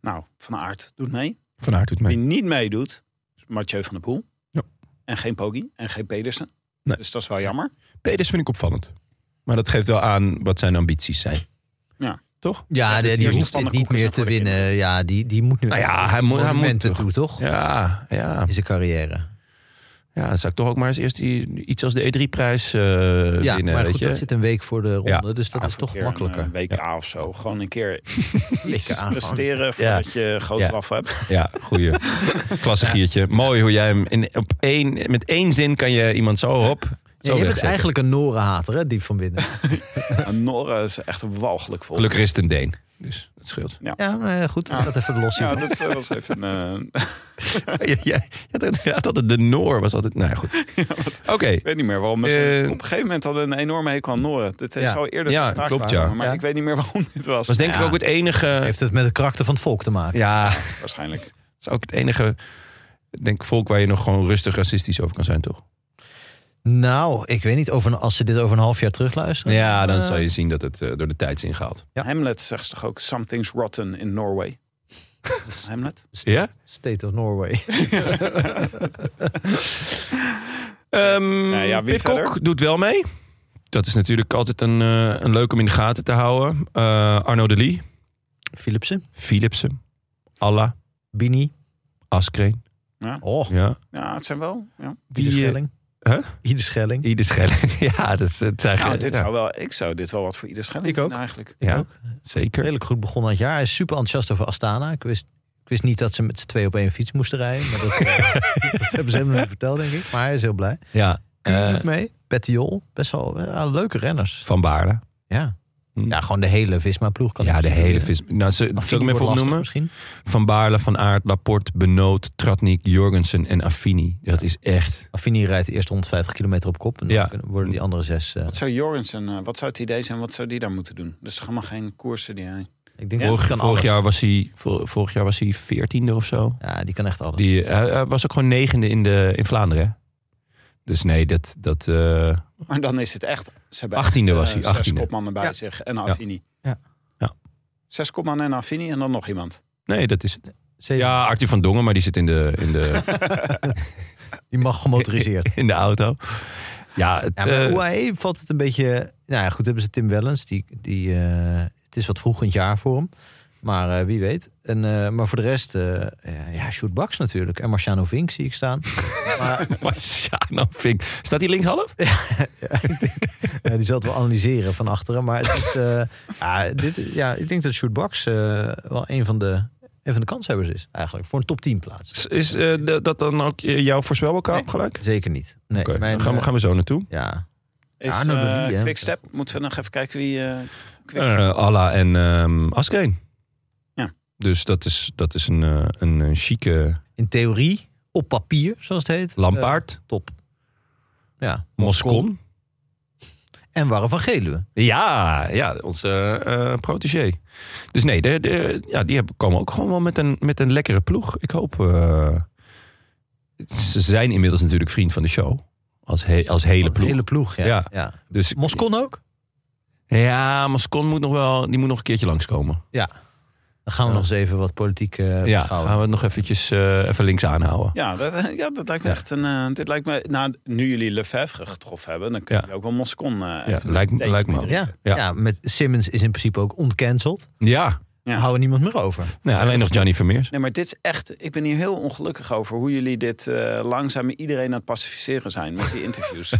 Speaker 3: Nou, Van Aert doet mee.
Speaker 1: Van Aert doet mee.
Speaker 3: Wie niet meedoet, is Mathieu van der Poel.
Speaker 1: Ja.
Speaker 3: En geen Poggi en geen Pedersen.
Speaker 1: Nee.
Speaker 3: Dus dat is wel jammer.
Speaker 1: Peders vind ik opvallend. Maar dat geeft wel aan wat zijn ambities zijn.
Speaker 3: Ja.
Speaker 1: Toch?
Speaker 2: Ja,
Speaker 3: Zet
Speaker 2: die,
Speaker 3: het
Speaker 2: die
Speaker 3: eerst
Speaker 2: hoeft
Speaker 3: op
Speaker 2: dit
Speaker 3: pannenkoeken
Speaker 2: niet meer
Speaker 3: zetten
Speaker 2: te
Speaker 3: voor de
Speaker 2: winnen. Ja, die, die moet nu
Speaker 1: Nou ja,
Speaker 2: echt
Speaker 1: hij moet- hij
Speaker 2: monumenten
Speaker 1: moet
Speaker 2: toe, toch?
Speaker 1: Ja, ja.
Speaker 2: In zijn carrière.
Speaker 1: ja, dan zou ik toch ook maar eens eerst die, iets als de E3-prijs eh
Speaker 2: ja,
Speaker 1: winnen.
Speaker 2: maar
Speaker 1: weet
Speaker 2: goed,
Speaker 1: je?
Speaker 2: dat zit een week voor de ronde, dus dat
Speaker 3: Ja,
Speaker 2: is
Speaker 3: of een
Speaker 2: toch
Speaker 3: keer
Speaker 2: makkelijker.
Speaker 3: Een eh, WK of zo. Gewoon een keer
Speaker 2: Lekker
Speaker 3: iets
Speaker 2: aangaan.
Speaker 3: presteren voordat je groot
Speaker 1: Ja.
Speaker 3: eraf hebt.
Speaker 1: Ja, goeie. Klasse Giertje. Mooi hoe jij hem in, op één, met één zin kan je iemand zo hop. Zo
Speaker 2: Ja, je bent
Speaker 1: wegzetten.
Speaker 2: eigenlijk een Norenhater, hè, diep van binnen.
Speaker 3: En Norre is echt walgelijk vol.
Speaker 1: Gelukkig is het een Deen. Dus dat scheelt.
Speaker 2: Ja, maar goed, dat staat even los.
Speaker 3: Ja, dat eh, was even een... eh,
Speaker 1: Ja, ja, ja, dat- inderdaad, altijd de Noor was altijd... Nou ja, goed. Oké,
Speaker 3: ik weet niet meer waarom.
Speaker 1: Eh,
Speaker 3: Ze op een gegeven moment hadden we een enorme hekel aan Noren. Dit is
Speaker 2: Ja.
Speaker 3: al eerder
Speaker 1: Ja,
Speaker 3: te sprake
Speaker 1: klopt,
Speaker 3: gekomen,
Speaker 1: ja.
Speaker 3: Maar
Speaker 2: Ja.
Speaker 3: ik weet niet meer waarom dit was.
Speaker 1: was denk ik
Speaker 2: Ja.
Speaker 1: ook het enige...
Speaker 2: Heeft het met de krachten van het volk te maken?
Speaker 1: Ja,
Speaker 3: Waarschijnlijk.
Speaker 1: is ook het enige denk ik, volk waar je nog gewoon rustig racistisch over kan zijn, toch?
Speaker 2: Nou, ik weet niet, over, een- als ze dit over een half jaar terugluisteren.
Speaker 1: Ja, dan
Speaker 2: eh,
Speaker 1: zal je zien dat het eh, door de tijd is ingehaald.
Speaker 2: Ja.
Speaker 3: Hamlet zegt ze toch ook something's rotten in Norway. Hamlet?
Speaker 1: Ja?
Speaker 2: State of Norway.
Speaker 1: Ehm
Speaker 3: Nou ja, wie
Speaker 1: Pidcock
Speaker 3: verder?
Speaker 1: doet wel mee. Dat is natuurlijk altijd een, eh, een leuk om in de gaten te houden. Eh, Arno de Lee,
Speaker 2: Philipsen.
Speaker 1: Philipsen, Alla,
Speaker 2: Bini.
Speaker 1: Askreen.
Speaker 2: Oh,
Speaker 1: Ja.
Speaker 3: Ja, het zijn wel. Ja.
Speaker 2: Ieder
Speaker 1: eh,
Speaker 2: Schelling.
Speaker 1: Huh?
Speaker 2: Ieder Schelling.
Speaker 1: Ieder Schelling. ja, dat, is- het zijn
Speaker 3: Nou,
Speaker 1: ge-
Speaker 3: dit
Speaker 1: ja,
Speaker 3: zou wel, ik zou dit wel wat voor ieder schelling
Speaker 2: Ik ook.
Speaker 3: vinden eigenlijk.
Speaker 1: ja, zeker.
Speaker 2: Redelijk goed begonnen aan het jaar. Hij is super enthousiast over Astana. Ik wist, ik wist niet dat ze met z'n twee op één fiets moesten rijden. Maar dat, eh, dat hebben ze hem niet verteld, denk ik. Maar hij is heel blij.
Speaker 1: Ja.
Speaker 2: Kuhn
Speaker 1: eh,
Speaker 2: doet mee. Bettiol. Best wel eh, leuke renners.
Speaker 1: van Baarle.
Speaker 2: Ja.
Speaker 1: Hm.
Speaker 2: ja, gewoon de hele Visma-ploeg. kan
Speaker 1: Ja,
Speaker 2: ik
Speaker 1: de
Speaker 2: misschien,
Speaker 1: hele
Speaker 2: eh,
Speaker 1: vis. Nou, ze-
Speaker 2: Affini
Speaker 1: zal ik hem
Speaker 2: wordt
Speaker 1: even
Speaker 2: lastig
Speaker 1: opnoemen?
Speaker 2: Misschien.
Speaker 1: Van Baarle, Van Aert, Laporte, Benoot, Tratnik, Jorgensen en Affini. Dat is echt...
Speaker 2: Affini rijdt de eerste 150 kilometer op kop. En dan
Speaker 1: Ja.
Speaker 2: kunnen- worden die andere zes... eh,
Speaker 3: Wat zou Jorensen, eh, wat zou het idee zijn, wat zou die daar moeten doen? Dus helemaal geen koersen die hij...
Speaker 2: ik denk
Speaker 1: Vorig,
Speaker 2: die kan
Speaker 1: vorig
Speaker 2: alles.
Speaker 1: jaar was hij, vor- vorig jaar was hij veertiende of zo.
Speaker 2: Ja, die kan echt alles.
Speaker 1: Die, hij, hij was ook gewoon negende in, de, in Vlaanderen. hè? Dus nee, dat... dat eh,
Speaker 3: Maar dan is het echt... Ze hebben
Speaker 1: 18e
Speaker 3: echt,
Speaker 1: was
Speaker 3: eh,
Speaker 1: hij,
Speaker 3: Zes
Speaker 1: 18e.
Speaker 3: kopmannen bij zich en Affini.
Speaker 2: Ja.
Speaker 1: Ja.
Speaker 3: Zes kopmannen en Affini en dan nog iemand.
Speaker 1: nee, dat is het.
Speaker 2: Zeven.
Speaker 1: Ja, Artie van Dongen, maar die zit in de, in de,
Speaker 2: Die mag gemotoriseerd.
Speaker 1: in de auto. Ja, het,
Speaker 2: Ja, maar
Speaker 1: eh,
Speaker 2: UAE valt het een beetje... Nou ja, goed, hebben ze Tim Wellens. Die, die, eh, het is wat vroeg in het jaar voor hem. Maar eh, wie weet. En, eh, maar voor de rest, eh, eh, ja, Sjoerd Baks natuurlijk. En Marciano Vink zie ik staan. maar
Speaker 1: Marciano Vink. nou, Staat hij linkshalf?
Speaker 2: eh, die zal het wel analyseren van achteren. Maar het is, eh, ja, dit, ja, ik denk dat Sjoerd Baks eh, wel een van, de, een van de kanshebbers is. Eigenlijk voor een top 10 plaats.
Speaker 1: Is, is eh, d- dat dan ook eh, jouw voorspelbokaal
Speaker 2: Nee.
Speaker 1: gelijk?
Speaker 2: Zeker niet. Nee,
Speaker 1: Oké,
Speaker 2: mijn,
Speaker 1: dan gaan we,
Speaker 2: eh,
Speaker 1: gaan we zo naartoe.
Speaker 2: Ja,
Speaker 3: Is
Speaker 2: Arno de
Speaker 3: eh,
Speaker 2: Lee, hè?
Speaker 3: Quickstep, moeten we nog even kijken wie... eh Quickstep-
Speaker 1: Eh Alla en ehm Askreen.
Speaker 3: Ja.
Speaker 1: Dus dat is, dat is een, eh, een, een chique
Speaker 2: in theorie, op papier, zoals het heet.
Speaker 1: lampaard.
Speaker 2: eh, top. Ja,
Speaker 1: Moscon.
Speaker 2: En Warren van Geluwe.
Speaker 1: Ja, ja, onze eh, eh, protégé. Dus nee, de, de, ja, die hebben, komen ook gewoon wel met een, met een lekkere ploeg. Ik hoop... eh, ze zijn inmiddels natuurlijk vriend van de show. Als, he- als hele
Speaker 2: Een
Speaker 1: ploeg.
Speaker 2: Hele ploeg, ja.
Speaker 1: Ja.
Speaker 2: ja.
Speaker 1: Dus,
Speaker 2: Moscon ook?
Speaker 1: ja, Moscon moet nog wel... Die moet nog een keertje langskomen.
Speaker 2: Dan gaan we
Speaker 1: Ja.
Speaker 2: nog eens even wat politiek eh
Speaker 1: Ja,
Speaker 2: beschouwen.
Speaker 1: gaan we het nog eventjes eh, even links aanhouden.
Speaker 3: Ja, dat, ja, dat lijkt me
Speaker 1: Ja.
Speaker 3: echt een... eh, dit lijkt me, nou, nu jullie Lefebvre getroffen hebben, dan kun je
Speaker 1: Ja.
Speaker 3: ook wel Moscon... eh
Speaker 1: Ja,
Speaker 3: even een
Speaker 1: lijkt,
Speaker 3: beetje
Speaker 1: lijkt me ook.
Speaker 3: meedoen.
Speaker 2: Ja.
Speaker 1: Ja.
Speaker 2: Ja. met Simmons is in principe ook ontcanceld.
Speaker 1: Ja,
Speaker 3: Ja.
Speaker 2: Houden niemand meer over.
Speaker 1: nou, alleen nog Johnny Vermeers.
Speaker 3: Nee, maar dit is echt... Ik ben hier heel ongelukkig over hoe jullie dit eh, langzaam iedereen aan het pacificeren zijn met die interviews.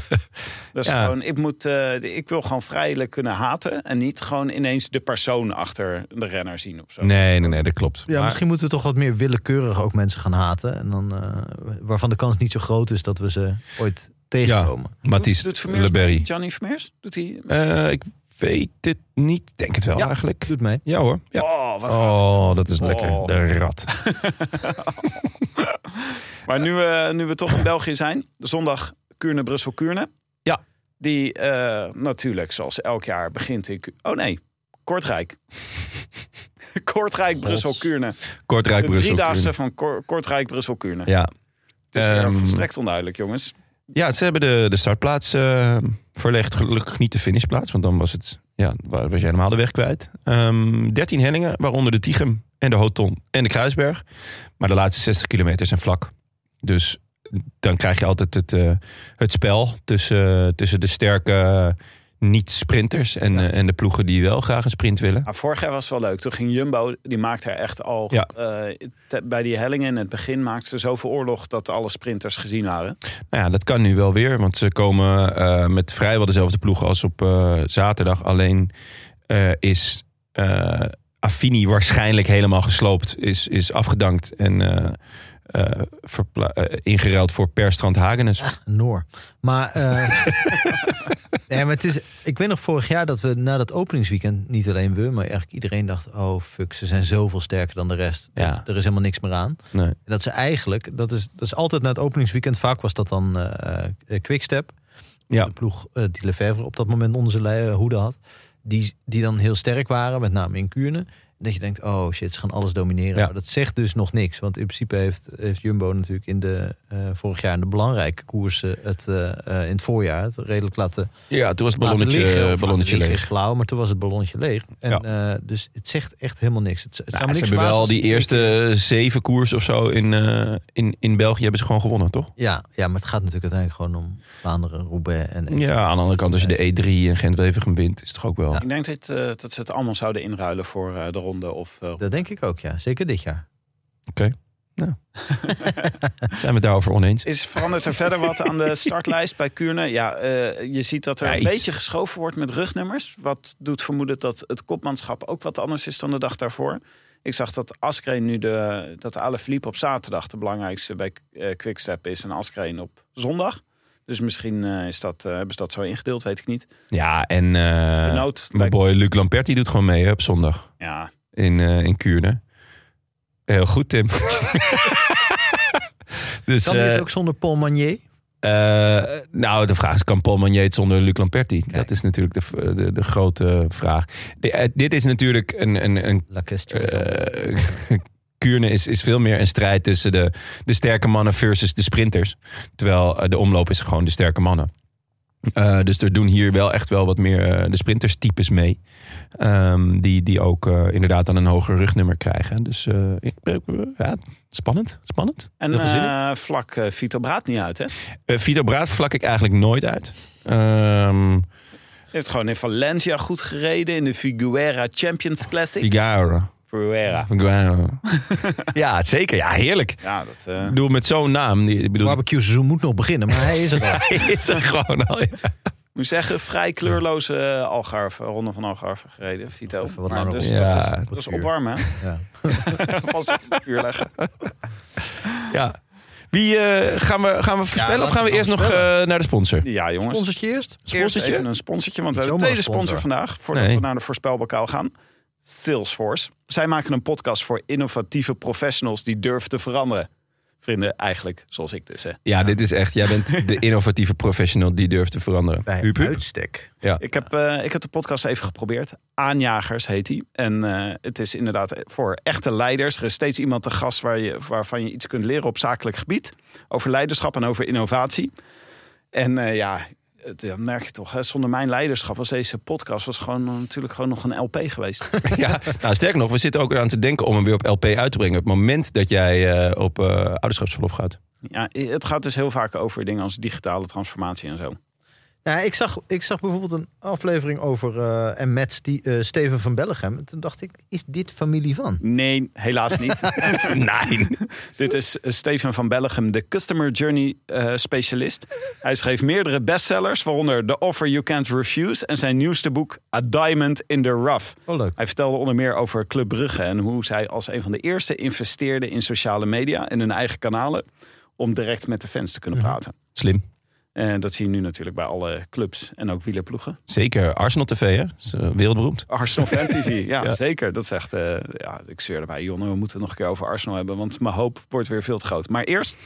Speaker 3: dat is
Speaker 1: Ja.
Speaker 3: gewoon... Ik, moet, eh, ik wil gewoon vrijelijk kunnen haten en niet gewoon ineens de persoon achter de renner zien of zo.
Speaker 1: Nee, nee, nee, dat klopt.
Speaker 2: Ja,
Speaker 1: Maar-
Speaker 2: misschien moeten we toch wat meer willekeurig ook mensen gaan haten. En dan, eh, waarvan de kans niet zo groot is dat we ze ooit tegenkomen.
Speaker 1: Mathies
Speaker 3: Doet- doet Vermeers
Speaker 1: Leberry.
Speaker 3: mee? Johnny Vermeers? Doet hij...
Speaker 1: Eh, ik weet het niet. Ik Denk het wel
Speaker 2: Ja.
Speaker 1: eigenlijk.
Speaker 2: Doet mee.
Speaker 1: Ja hoor. Ja.
Speaker 3: Oh, wat
Speaker 1: Oh, dat is
Speaker 3: Oh.
Speaker 1: lekker. De rat.
Speaker 3: Maar nu, eh, nu we toch in België zijn, de zondag Kuurne, Brussel, Kuurne.
Speaker 1: Ja.
Speaker 3: Die eh, natuurlijk, zoals elk jaar, begint in. Ku- Oh nee, Kortrijk. Kortrijk, Brussel, Kuurne.
Speaker 1: Kortrijk,
Speaker 3: De
Speaker 1: Brussel.
Speaker 3: driedaagse van Kor- Kortrijk, Brussel, Kuurne.
Speaker 1: Ja.
Speaker 3: Het is weer
Speaker 1: Ehm,
Speaker 3: volstrekt onduidelijk, jongens.
Speaker 1: ja, ze hebben de, de startplaats eh, verlegd. Gelukkig niet de finishplaats, want dan was het. Ja, wa- was jij helemaal de weg kwijt. Ehm 13 hellingen, waaronder de Tichem en de Hoton en de Kruisberg. Maar de laatste 60 kilometer zijn vlak. Dus dan krijg je altijd het, eh, het spel tussen, tussen de sterke eh, niet-sprinters en, eh, en de ploegen die wel graag een sprint willen.
Speaker 3: Maar vorig jaar was het wel leuk. Toen ging Jumbo, die maakte er echt al...
Speaker 1: Ja.
Speaker 3: eh, te- bij die hellingen in het begin maakte ze zoveel oorlog... dat alle sprinters gezien waren.
Speaker 1: Nou ja, dat kan nu wel weer. Want ze komen eh, met vrijwel dezelfde ploeg als op eh, zaterdag. Alleen eh, is eh Affini waarschijnlijk helemaal gesloopt. Is, is afgedankt. En eh eh, verpla- eh, ingeruild voor Per Strand Hagenes.
Speaker 2: Ah. Noor. Maar, eh, nee, maar het is, ik weet nog vorig jaar dat we na dat openingsweekend, niet alleen we, maar eigenlijk iedereen dacht, oh fuck, ze zijn zoveel sterker dan de rest.
Speaker 1: Ja.
Speaker 2: Er is helemaal niks meer aan.
Speaker 1: Nee.
Speaker 2: En Dat ze eigenlijk, dat is, dat is altijd na het openingsweekend, vaak was dat dan eh, eh, Quickstep.
Speaker 1: Ja.
Speaker 2: De ploeg eh, die Lefebvre op dat moment onder zijn lei- eh, hoede had. Die, die dan heel sterk waren, met name in Kuurne. Dat je denkt, oh shit, ze gaan alles domineren.
Speaker 1: Ja.
Speaker 2: Maar dat zegt dus nog niks. Want in principe heeft, heeft Jumbo natuurlijk in de, eh, vorig jaar in de belangrijke koersen... Het, eh, eh, in het voorjaar het redelijk laten
Speaker 1: Ja, toen was het
Speaker 2: laten
Speaker 1: ballonnetje,
Speaker 2: liggen, of
Speaker 1: ballonnetje
Speaker 2: laten liggen
Speaker 1: leeg.
Speaker 2: is flauw, maar toen was het ballonnetje leeg. En, eh, dus het zegt echt helemaal niks. Het, het zou me
Speaker 1: Nou,
Speaker 2: niks
Speaker 1: ze hebben
Speaker 2: verbazen
Speaker 1: wel
Speaker 2: als
Speaker 1: die
Speaker 2: ze één keer-
Speaker 1: eerste zeven koers of zo in, eh, in, in België hebben ze gewoon gewonnen, toch?
Speaker 2: Ja, ja, maar het gaat natuurlijk uiteindelijk gewoon om Vlaanderen, Roubaix en...
Speaker 1: Ja, aan de andere kant, als je de E3 en Gent-Wevergem wint, is het toch ook wel...
Speaker 3: Ik denk dat, eh, dat ze het allemaal zouden inruilen voor eh, de ronde. Of, eh,
Speaker 2: Dat denk ik ook, ja. Zeker dit jaar.
Speaker 1: Zijn we het daarover oneens?
Speaker 3: is verandert er verder wat aan de startlijst bij Kuurne? Ja, eh, je ziet dat er
Speaker 1: Ja,
Speaker 3: een
Speaker 1: iets.
Speaker 3: beetje geschoven wordt met rugnummers. Wat doet vermoeden dat het kopmanschap ook wat anders is dan de dag daarvoor. Ik zag dat Askreen nu de, dat Alaphilippe op zaterdag de belangrijkste bij eh, Quickstep is. En Askreen op zondag. Dus misschien eh, is dat, eh, hebben ze dat zo ingedeeld, weet ik niet.
Speaker 1: Ja, en eh,
Speaker 3: Benoot,
Speaker 1: mijn
Speaker 3: lijkt-
Speaker 1: boy Luc Lampert die doet gewoon mee hè, op zondag
Speaker 3: ja,
Speaker 1: in, eh, in Kuurne. Heel goed, Tim. dus,
Speaker 2: Kan dit
Speaker 1: eh,
Speaker 2: ook zonder Paul Magnier?
Speaker 1: Eh, nou, de vraag is: kan Paul Magnet het zonder Luc Lamperti? Dat is natuurlijk de, v- de, de grote vraag. De- eh, dit is natuurlijk een. een, een
Speaker 2: La question.
Speaker 1: eh, Kuurne is, is veel meer een strijd tussen de, de sterke mannen versus de sprinters. Terwijl eh, de omloop is gewoon de sterke mannen. Eh, dus er doen hier wel echt wel wat meer eh, de sprinterstypes mee. Ehm, die, die ook eh, inderdaad dan een hoger rugnummer krijgen. Dus eh, ik, ben- ja, spannend, spannend.
Speaker 3: en
Speaker 1: Heel veel zin in.
Speaker 3: eh, vlak eh Vito Braat niet uit, hè? Die
Speaker 1: Eh, Vito Braat vlak ik eigenlijk nooit uit. Ehm
Speaker 3: heeft gewoon in Valencia goed gereden. In de Figuera Champions Classic.
Speaker 1: Figaro.
Speaker 3: Figuera.
Speaker 1: Figaro. ja, zeker. Ja, heerlijk.
Speaker 3: Ja, dat... eh,
Speaker 1: Ik bedoel, met zo'n naam. die- Ik bedoel,
Speaker 2: Barbecue seizoen moet nog beginnen, maar hij is er al.
Speaker 1: hij is er gewoon al.
Speaker 3: Ik moet zeggen, vrij kleurloze eh, Algarve, Ronde van Algarve gereden, Vito.
Speaker 2: Even wat
Speaker 3: Maar
Speaker 2: langer
Speaker 3: dus
Speaker 1: op- Ja,
Speaker 3: dat is,
Speaker 1: op het
Speaker 3: dat is
Speaker 2: vuur.
Speaker 3: opwarmen. hè?
Speaker 2: Ja.
Speaker 3: Vast op het vuur leggen.
Speaker 1: Ja. Wie eh, gaan, we, gaan we voorspellen
Speaker 2: laten
Speaker 1: of gaan we
Speaker 2: we
Speaker 1: eerst
Speaker 2: gaan
Speaker 1: nog
Speaker 2: voorspellen.
Speaker 1: eh, naar de sponsor?
Speaker 3: Ja, jongens.
Speaker 2: Sponsortje eerst?
Speaker 3: Eerst
Speaker 1: sponsortje?
Speaker 3: even een sponsortje, want we
Speaker 2: Niet
Speaker 3: hebben een
Speaker 2: zomaar
Speaker 3: tweede
Speaker 2: een
Speaker 3: sponsor,
Speaker 2: sponsor.
Speaker 3: vandaag. Voordat
Speaker 1: Nee.
Speaker 3: we naar de voorspelbokaal gaan. Salesforce. Zij maken een podcast voor innovatieve professionals die durven te veranderen. Vrienden, eigenlijk zoals ik dus. Hè.
Speaker 1: Ja, dit is echt. Jij bent de innovatieve professional die durft te veranderen.
Speaker 2: Bij
Speaker 1: Huub, huub.
Speaker 2: uitstek.
Speaker 3: Ik heb, eh, ik heb de podcast even geprobeerd. Aanjagers heet die. En eh, het is inderdaad voor echte leiders. Er is steeds iemand te gast waar je, waarvan je iets kunt leren op zakelijk gebied. Over leiderschap en over innovatie. En eh, ja, het, dan merk je toch. Hè, zonder mijn leiderschap was deze podcast was gewoon, natuurlijk gewoon nog een LP geweest.
Speaker 1: Ja. Nou, sterker nog, we zitten ook eraan te denken om hem weer op LP uit te brengen. Op het moment dat jij eh, op eh, ouderschapsverlof gaat.
Speaker 3: ja, het gaat dus heel vaak over dingen als digitale transformatie en zo.
Speaker 2: Nou, ik, zag, ik zag bijvoorbeeld een aflevering over eh, en met Stie- eh, Steven van Bellegem. En toen dacht ik, is dit familie van?
Speaker 3: Nee, helaas niet.
Speaker 1: Nee.
Speaker 3: Dit is eh, Steven van Bellegem, de Customer Journey eh, specialist. Hij schreef meerdere bestsellers, waaronder The Offer You Can't Refuse en zijn nieuwste boek A Diamond in the Rough.
Speaker 2: Oh, leuk.
Speaker 3: Hij vertelde onder meer over Club Brugge en hoe zij als een van de eerste investeerden in sociale media en hun eigen kanalen om direct met de fans te kunnen praten.
Speaker 1: Slim.
Speaker 3: En dat zie je nu natuurlijk bij alle clubs en ook wielerploegen.
Speaker 1: Zeker Arsenal TV, hè? Is, eh, wereldberoemd.
Speaker 3: Arsenal Fan TV, ja, zeker. Dat is echt, eh, ja, ik zweer erbij. Jonne, we moeten het nog een keer over Arsenal hebben, want mijn hoop wordt weer veel te groot. Maar eerst,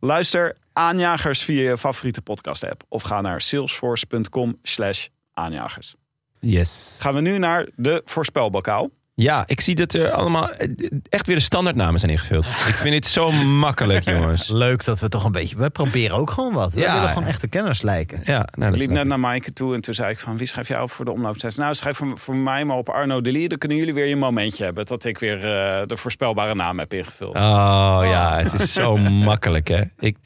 Speaker 3: luister aanjagers via je favoriete podcast app. Of ga naar salesforce.com slash aanjagers.
Speaker 1: Yes.
Speaker 3: Gaan we nu naar de voorspelbokaal.
Speaker 1: Ja, ik zie dat er allemaal eh, echt weer de standaardnamen zijn ingevuld. Ik vind dit zo makkelijk, jongens.
Speaker 2: Leuk dat we toch een beetje... We proberen ook gewoon wat. We
Speaker 1: Ja.
Speaker 2: willen gewoon echte kenners lijken.
Speaker 1: Ja, nou,
Speaker 3: Ik
Speaker 1: dat
Speaker 3: liep
Speaker 1: snap
Speaker 3: net
Speaker 1: ik.
Speaker 3: naar Maaike toe en toen zei ik van, wie schrijf jou voor de omloop? Zei ze, nou schrijf voor, voor mij maar op Arno Delie. Dan kunnen jullie weer je momentje hebben dat ik weer eh, de voorspelbare naam heb ingevuld.
Speaker 1: Oh ja, het is zo makkelijk, hè. Ik,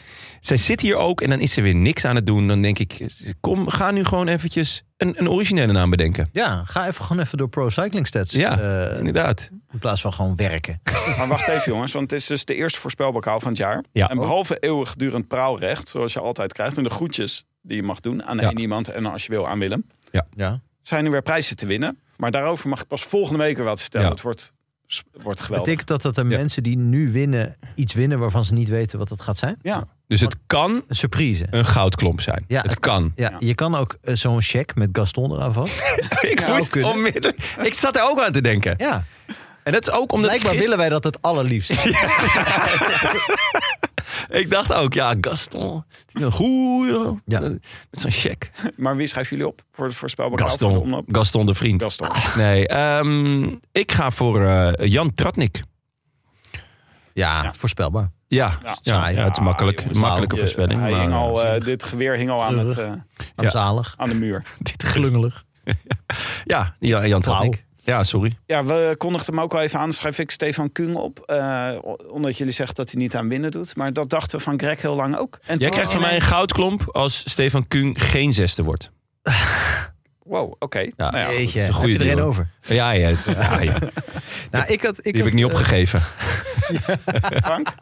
Speaker 1: zij zit hier ook en dan is ze weer niks aan het doen. Dan denk ik, kom, ga nu gewoon eventjes een, een originele naam bedenken.
Speaker 2: Ja, ga even gewoon even door Pro Cycling Stats.
Speaker 1: Ja,
Speaker 2: eh,
Speaker 1: inderdaad.
Speaker 2: in plaats van gewoon werken.
Speaker 3: Maar wacht even jongens, want het is dus de eerste voorspelbokaal van het jaar.
Speaker 1: Ja.
Speaker 3: En behalve eeuwigdurend praalrecht, zoals je altijd krijgt... en de groetjes die je mag doen aan
Speaker 1: Ja.
Speaker 3: één iemand en als je wil aan Willem...
Speaker 2: Ja.
Speaker 3: zijn er weer prijzen te winnen. Maar daarover mag ik pas volgende week weer wat vertellen.
Speaker 1: Ja.
Speaker 3: Het wordt s- wordt geweldig.
Speaker 2: Betekent dat dat de
Speaker 1: Ja.
Speaker 2: mensen die nu winnen iets winnen waarvan ze niet weten wat dat gaat zijn?
Speaker 3: Ja,
Speaker 1: Dus het kan
Speaker 2: Een surprise.
Speaker 1: een goudklomp zijn.
Speaker 2: Ja,
Speaker 1: het
Speaker 2: het-
Speaker 1: kan.
Speaker 2: Ja, je kan ook eh, zo'n check met Gaston eraan vast.
Speaker 1: ik,
Speaker 2: zou
Speaker 1: moest
Speaker 2: kunnen.
Speaker 1: onmiddellijk, ik zat er ook aan te denken.
Speaker 2: Ja,
Speaker 1: En dat is ook omdat ik
Speaker 2: blijkbaar
Speaker 1: gister-
Speaker 2: willen wij dat het allerliefst.
Speaker 1: Ik dacht ook, ja, Gaston. het is Een goede.
Speaker 2: Ja.
Speaker 1: Met zo'n check.
Speaker 3: maar wie schrijven jullie op voor het voorspelbare Voor de
Speaker 1: Gaston.
Speaker 3: omloop?
Speaker 1: Gaston de vriend.
Speaker 3: Gaston.
Speaker 1: Nee, ehm, ik ga voor eh, Jan Tratnik.
Speaker 2: Ja, voorspelbaar.
Speaker 1: Ja, ja,
Speaker 3: Ja.
Speaker 1: ja, het is makkelijk.
Speaker 3: Ah, jongens,
Speaker 1: makkelijke
Speaker 3: Je-
Speaker 1: voorspelling.
Speaker 3: hij
Speaker 1: maar,
Speaker 3: hing al,
Speaker 1: eh,
Speaker 3: eh, dit geweer hing al aan, het, eh,
Speaker 2: Armzalig,
Speaker 3: aan de muur.
Speaker 1: dit
Speaker 2: glungelig.
Speaker 1: Ja, ja, Jan Tratnik. Ja, sorry.
Speaker 3: Ja, we kondigden hem ook al even aan. Schrijf ik Stefan Kung op. eh, omdat jullie zeggen dat hij niet aan winnen doet. Maar dat dachten we van Greg heel lang ook. En
Speaker 1: Jij
Speaker 3: toen-
Speaker 1: krijgt van mij een goudklomp als Stefan Kuhn geen zesde wordt.
Speaker 3: Wow, oké. Nou ja, goed.
Speaker 2: Jeetje,
Speaker 1: een
Speaker 2: heb
Speaker 1: goede
Speaker 2: je er één
Speaker 1: deal.
Speaker 2: over?
Speaker 1: Ja, ja, ja, ja.
Speaker 2: Nou, ik had,
Speaker 1: die
Speaker 2: ik
Speaker 1: heb ik
Speaker 2: had,
Speaker 1: niet
Speaker 2: eh,
Speaker 1: opgegeven.
Speaker 3: Frank?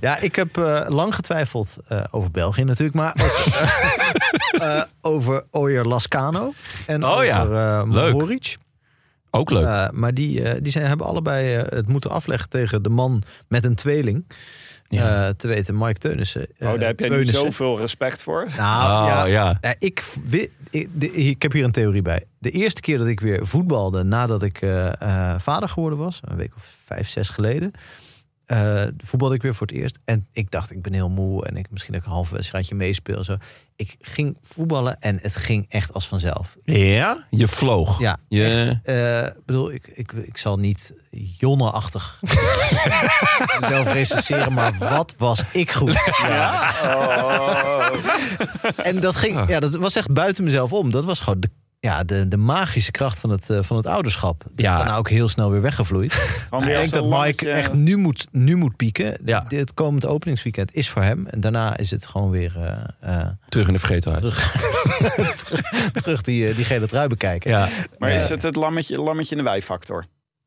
Speaker 2: Ja, ik heb eh, lang getwijfeld eh, over België natuurlijk, maar ook, eh, eh, over Oyer Lascano en
Speaker 1: Oh
Speaker 2: over
Speaker 1: ja,
Speaker 2: eh,
Speaker 1: leuk.
Speaker 2: Mohoric.
Speaker 1: Ook leuk.
Speaker 2: Eh, maar die, eh, die zijn, hebben allebei eh, het moeten afleggen tegen de man met een tweeling.
Speaker 1: Ja.
Speaker 2: Eh, te weten, Mike Teunissen. eh,
Speaker 3: Oh, daar heb jij nu
Speaker 2: Teunissen.
Speaker 3: zoveel respect voor.
Speaker 2: Nou,
Speaker 1: Oh,
Speaker 2: ja,
Speaker 1: ja.
Speaker 2: Eh, ik, v- wi- ik, de- ik heb hier een theorie bij. De eerste keer dat ik weer voetbalde nadat ik eh, eh, vader geworden was, een week of vijf, zes geleden, eh, voetbalde ik weer voor het eerst. En ik dacht, ik ben heel moe en ik misschien dat ik een half wedstrijdje meespeel. en Zo. Ik ging voetballen en het ging echt als vanzelf.
Speaker 1: ja? Je vloog.
Speaker 2: Ja,
Speaker 1: Je-
Speaker 2: echt. Eh, bedoel, ik, ik, ik zal niet jonneachtig zelf recenseren, maar wat was ik goed. Oh. En dat ging, ja, dat was echt buiten mezelf om. Dat was gewoon de, ja, de, de magische kracht van het, eh, van het ouderschap. Die
Speaker 1: Ja.
Speaker 2: is daarna ook heel snel weer weggevloeid.
Speaker 3: Gewoon
Speaker 2: Ik
Speaker 3: weer
Speaker 2: denk
Speaker 3: zo'n
Speaker 2: dat Mike
Speaker 3: lammetje.
Speaker 2: echt nu moet, nu moet pieken.
Speaker 1: Ja.
Speaker 2: Dit- Het komend openingsweekend is voor hem. En daarna is het gewoon weer eh, eh,
Speaker 1: Terug in de vergetelheid.
Speaker 2: terug die, eh, die gele trui bekijken.
Speaker 1: Ja.
Speaker 3: Maar is het het lammetje, lammetje en de wij-factor?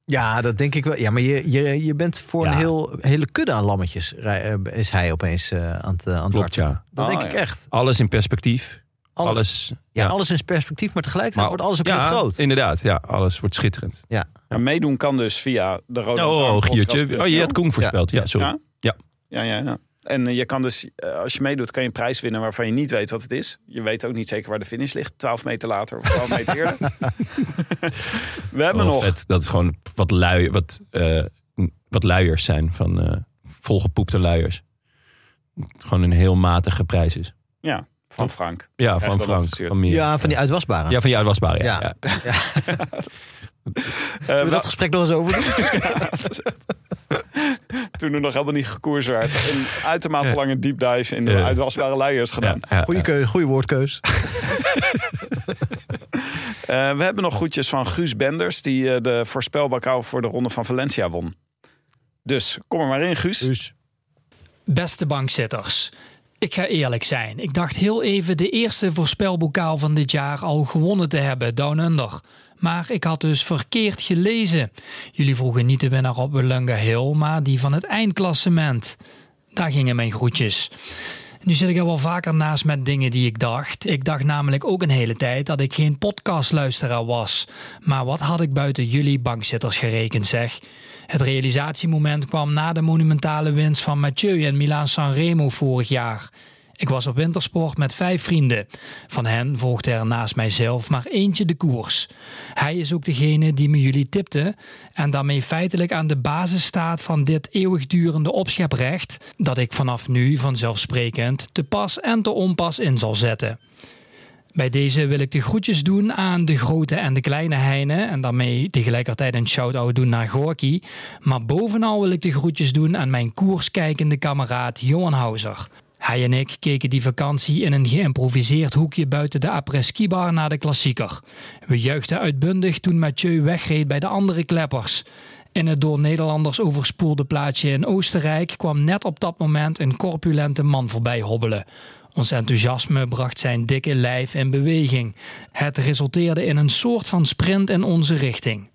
Speaker 2: Ja, dat denk ik wel. Ja, maar je, je, je bent voor
Speaker 1: Ja.
Speaker 2: een heel, hele kudde aan lammetjes. rij- eh, Is hij opeens eh, aan het eh, aan het
Speaker 1: Klopt,
Speaker 2: darten.
Speaker 1: ja.
Speaker 2: Dat
Speaker 3: Ah,
Speaker 2: denk
Speaker 3: ja.
Speaker 2: ik echt.
Speaker 1: Alles in perspectief.
Speaker 2: Alle-
Speaker 1: Alles.
Speaker 2: Ja, Alles is perspectief, maar tegelijkertijd wordt alles ook
Speaker 1: ja,
Speaker 2: heel groot.
Speaker 1: Inderdaad, ja. Alles wordt schitterend.
Speaker 3: Maar meedoen kan dus via de rode
Speaker 1: Oh,
Speaker 3: Lantaarn
Speaker 1: oh Giertje.
Speaker 3: podcast.nl.
Speaker 1: Oh, je had Koen voorspeld. Ja, sorry.
Speaker 3: Ja? Ja, ja, ja. En eh, je kan dus, eh, als je meedoet, kan je een prijs winnen waarvan je niet weet wat het is. Je weet ook niet zeker waar de finish ligt. 12 meter later of 12 meter eerder. We hebben
Speaker 1: Wel
Speaker 3: nog.
Speaker 1: Oh, vet dat het gewoon wat, lui, wat, eh, wat luiers zijn van eh, volgepoepte luiers. Het gewoon een heel matige prijs is.
Speaker 3: Ja, van Frank.
Speaker 1: Ja,
Speaker 3: Echt
Speaker 1: van
Speaker 3: wel
Speaker 1: Frank.
Speaker 3: gestuurd.
Speaker 1: Van Mier.
Speaker 2: Ja, van die uitwasbare.
Speaker 1: ja, van jou was waar. Ja.
Speaker 2: Ja.
Speaker 1: Ja.
Speaker 3: Eh,
Speaker 2: Zullen we dat gesprek nog eens over doen?
Speaker 3: we- Toen er nog helemaal niet gekoers werd. Een uitermate
Speaker 1: Ja.
Speaker 3: lange deep dive in de
Speaker 1: Ja.
Speaker 3: uitwasbare luiers gedaan.
Speaker 1: Ja, ja,
Speaker 2: Goeie,
Speaker 1: ja.
Speaker 2: keu- goeie woordkeus.
Speaker 3: Eh, we hebben nog groetjes van Guus Benders, die eh, de voorspelbakau voor de ronde van Valencia won. Dus kom er maar in, Guus.
Speaker 4: Beste bankzitters, ik ga eerlijk zijn. Ik dacht heel even de eerste voorspelbokaal van dit jaar al gewonnen te hebben, Down Under. Maar ik had dus verkeerd gelezen. Jullie vroegen niet de winnaar op Belunga Hill, maar die van het eindklassement. Daar gingen mijn groetjes. Nu zit ik er wel vaker naast met dingen die ik dacht. Ik dacht namelijk ook een hele tijd dat ik geen podcastluisteraar was. Maar wat had ik buiten jullie bankzitters gerekend, zeg? Het realisatiemoment kwam na de monumentale winst van Mathieu en Milan Sanremo vorig jaar. Ik was op wintersport met vijf vrienden. Van hen volgde er naast mijzelf maar eentje de koers. Hij is ook degene die me jullie tipte en daarmee feitelijk aan de basis staat van dit eeuwigdurende opscheprecht dat ik vanaf nu vanzelfsprekend te pas en te onpas in zal zetten. Bij deze wil ik de groetjes doen aan de grote en de kleine Heine. En daarmee tegelijkertijd een shout-out doen naar Gorky. Maar bovenal wil ik de groetjes doen aan mijn koerskijkende kameraad Johan Hauser. Hij en ik keken die vakantie in een geïmproviseerd hoekje buiten de après bar naar de klassieker. We juichten uitbundig toen Mathieu wegreed bij de andere kleppers. In het door Nederlanders overspoelde plaatsje in Oostenrijk kwam net op dat moment een corpulente man voorbij hobbelen. Ons enthousiasme bracht zijn dikke lijf in beweging. Het resulteerde in een soort van sprint in onze richting.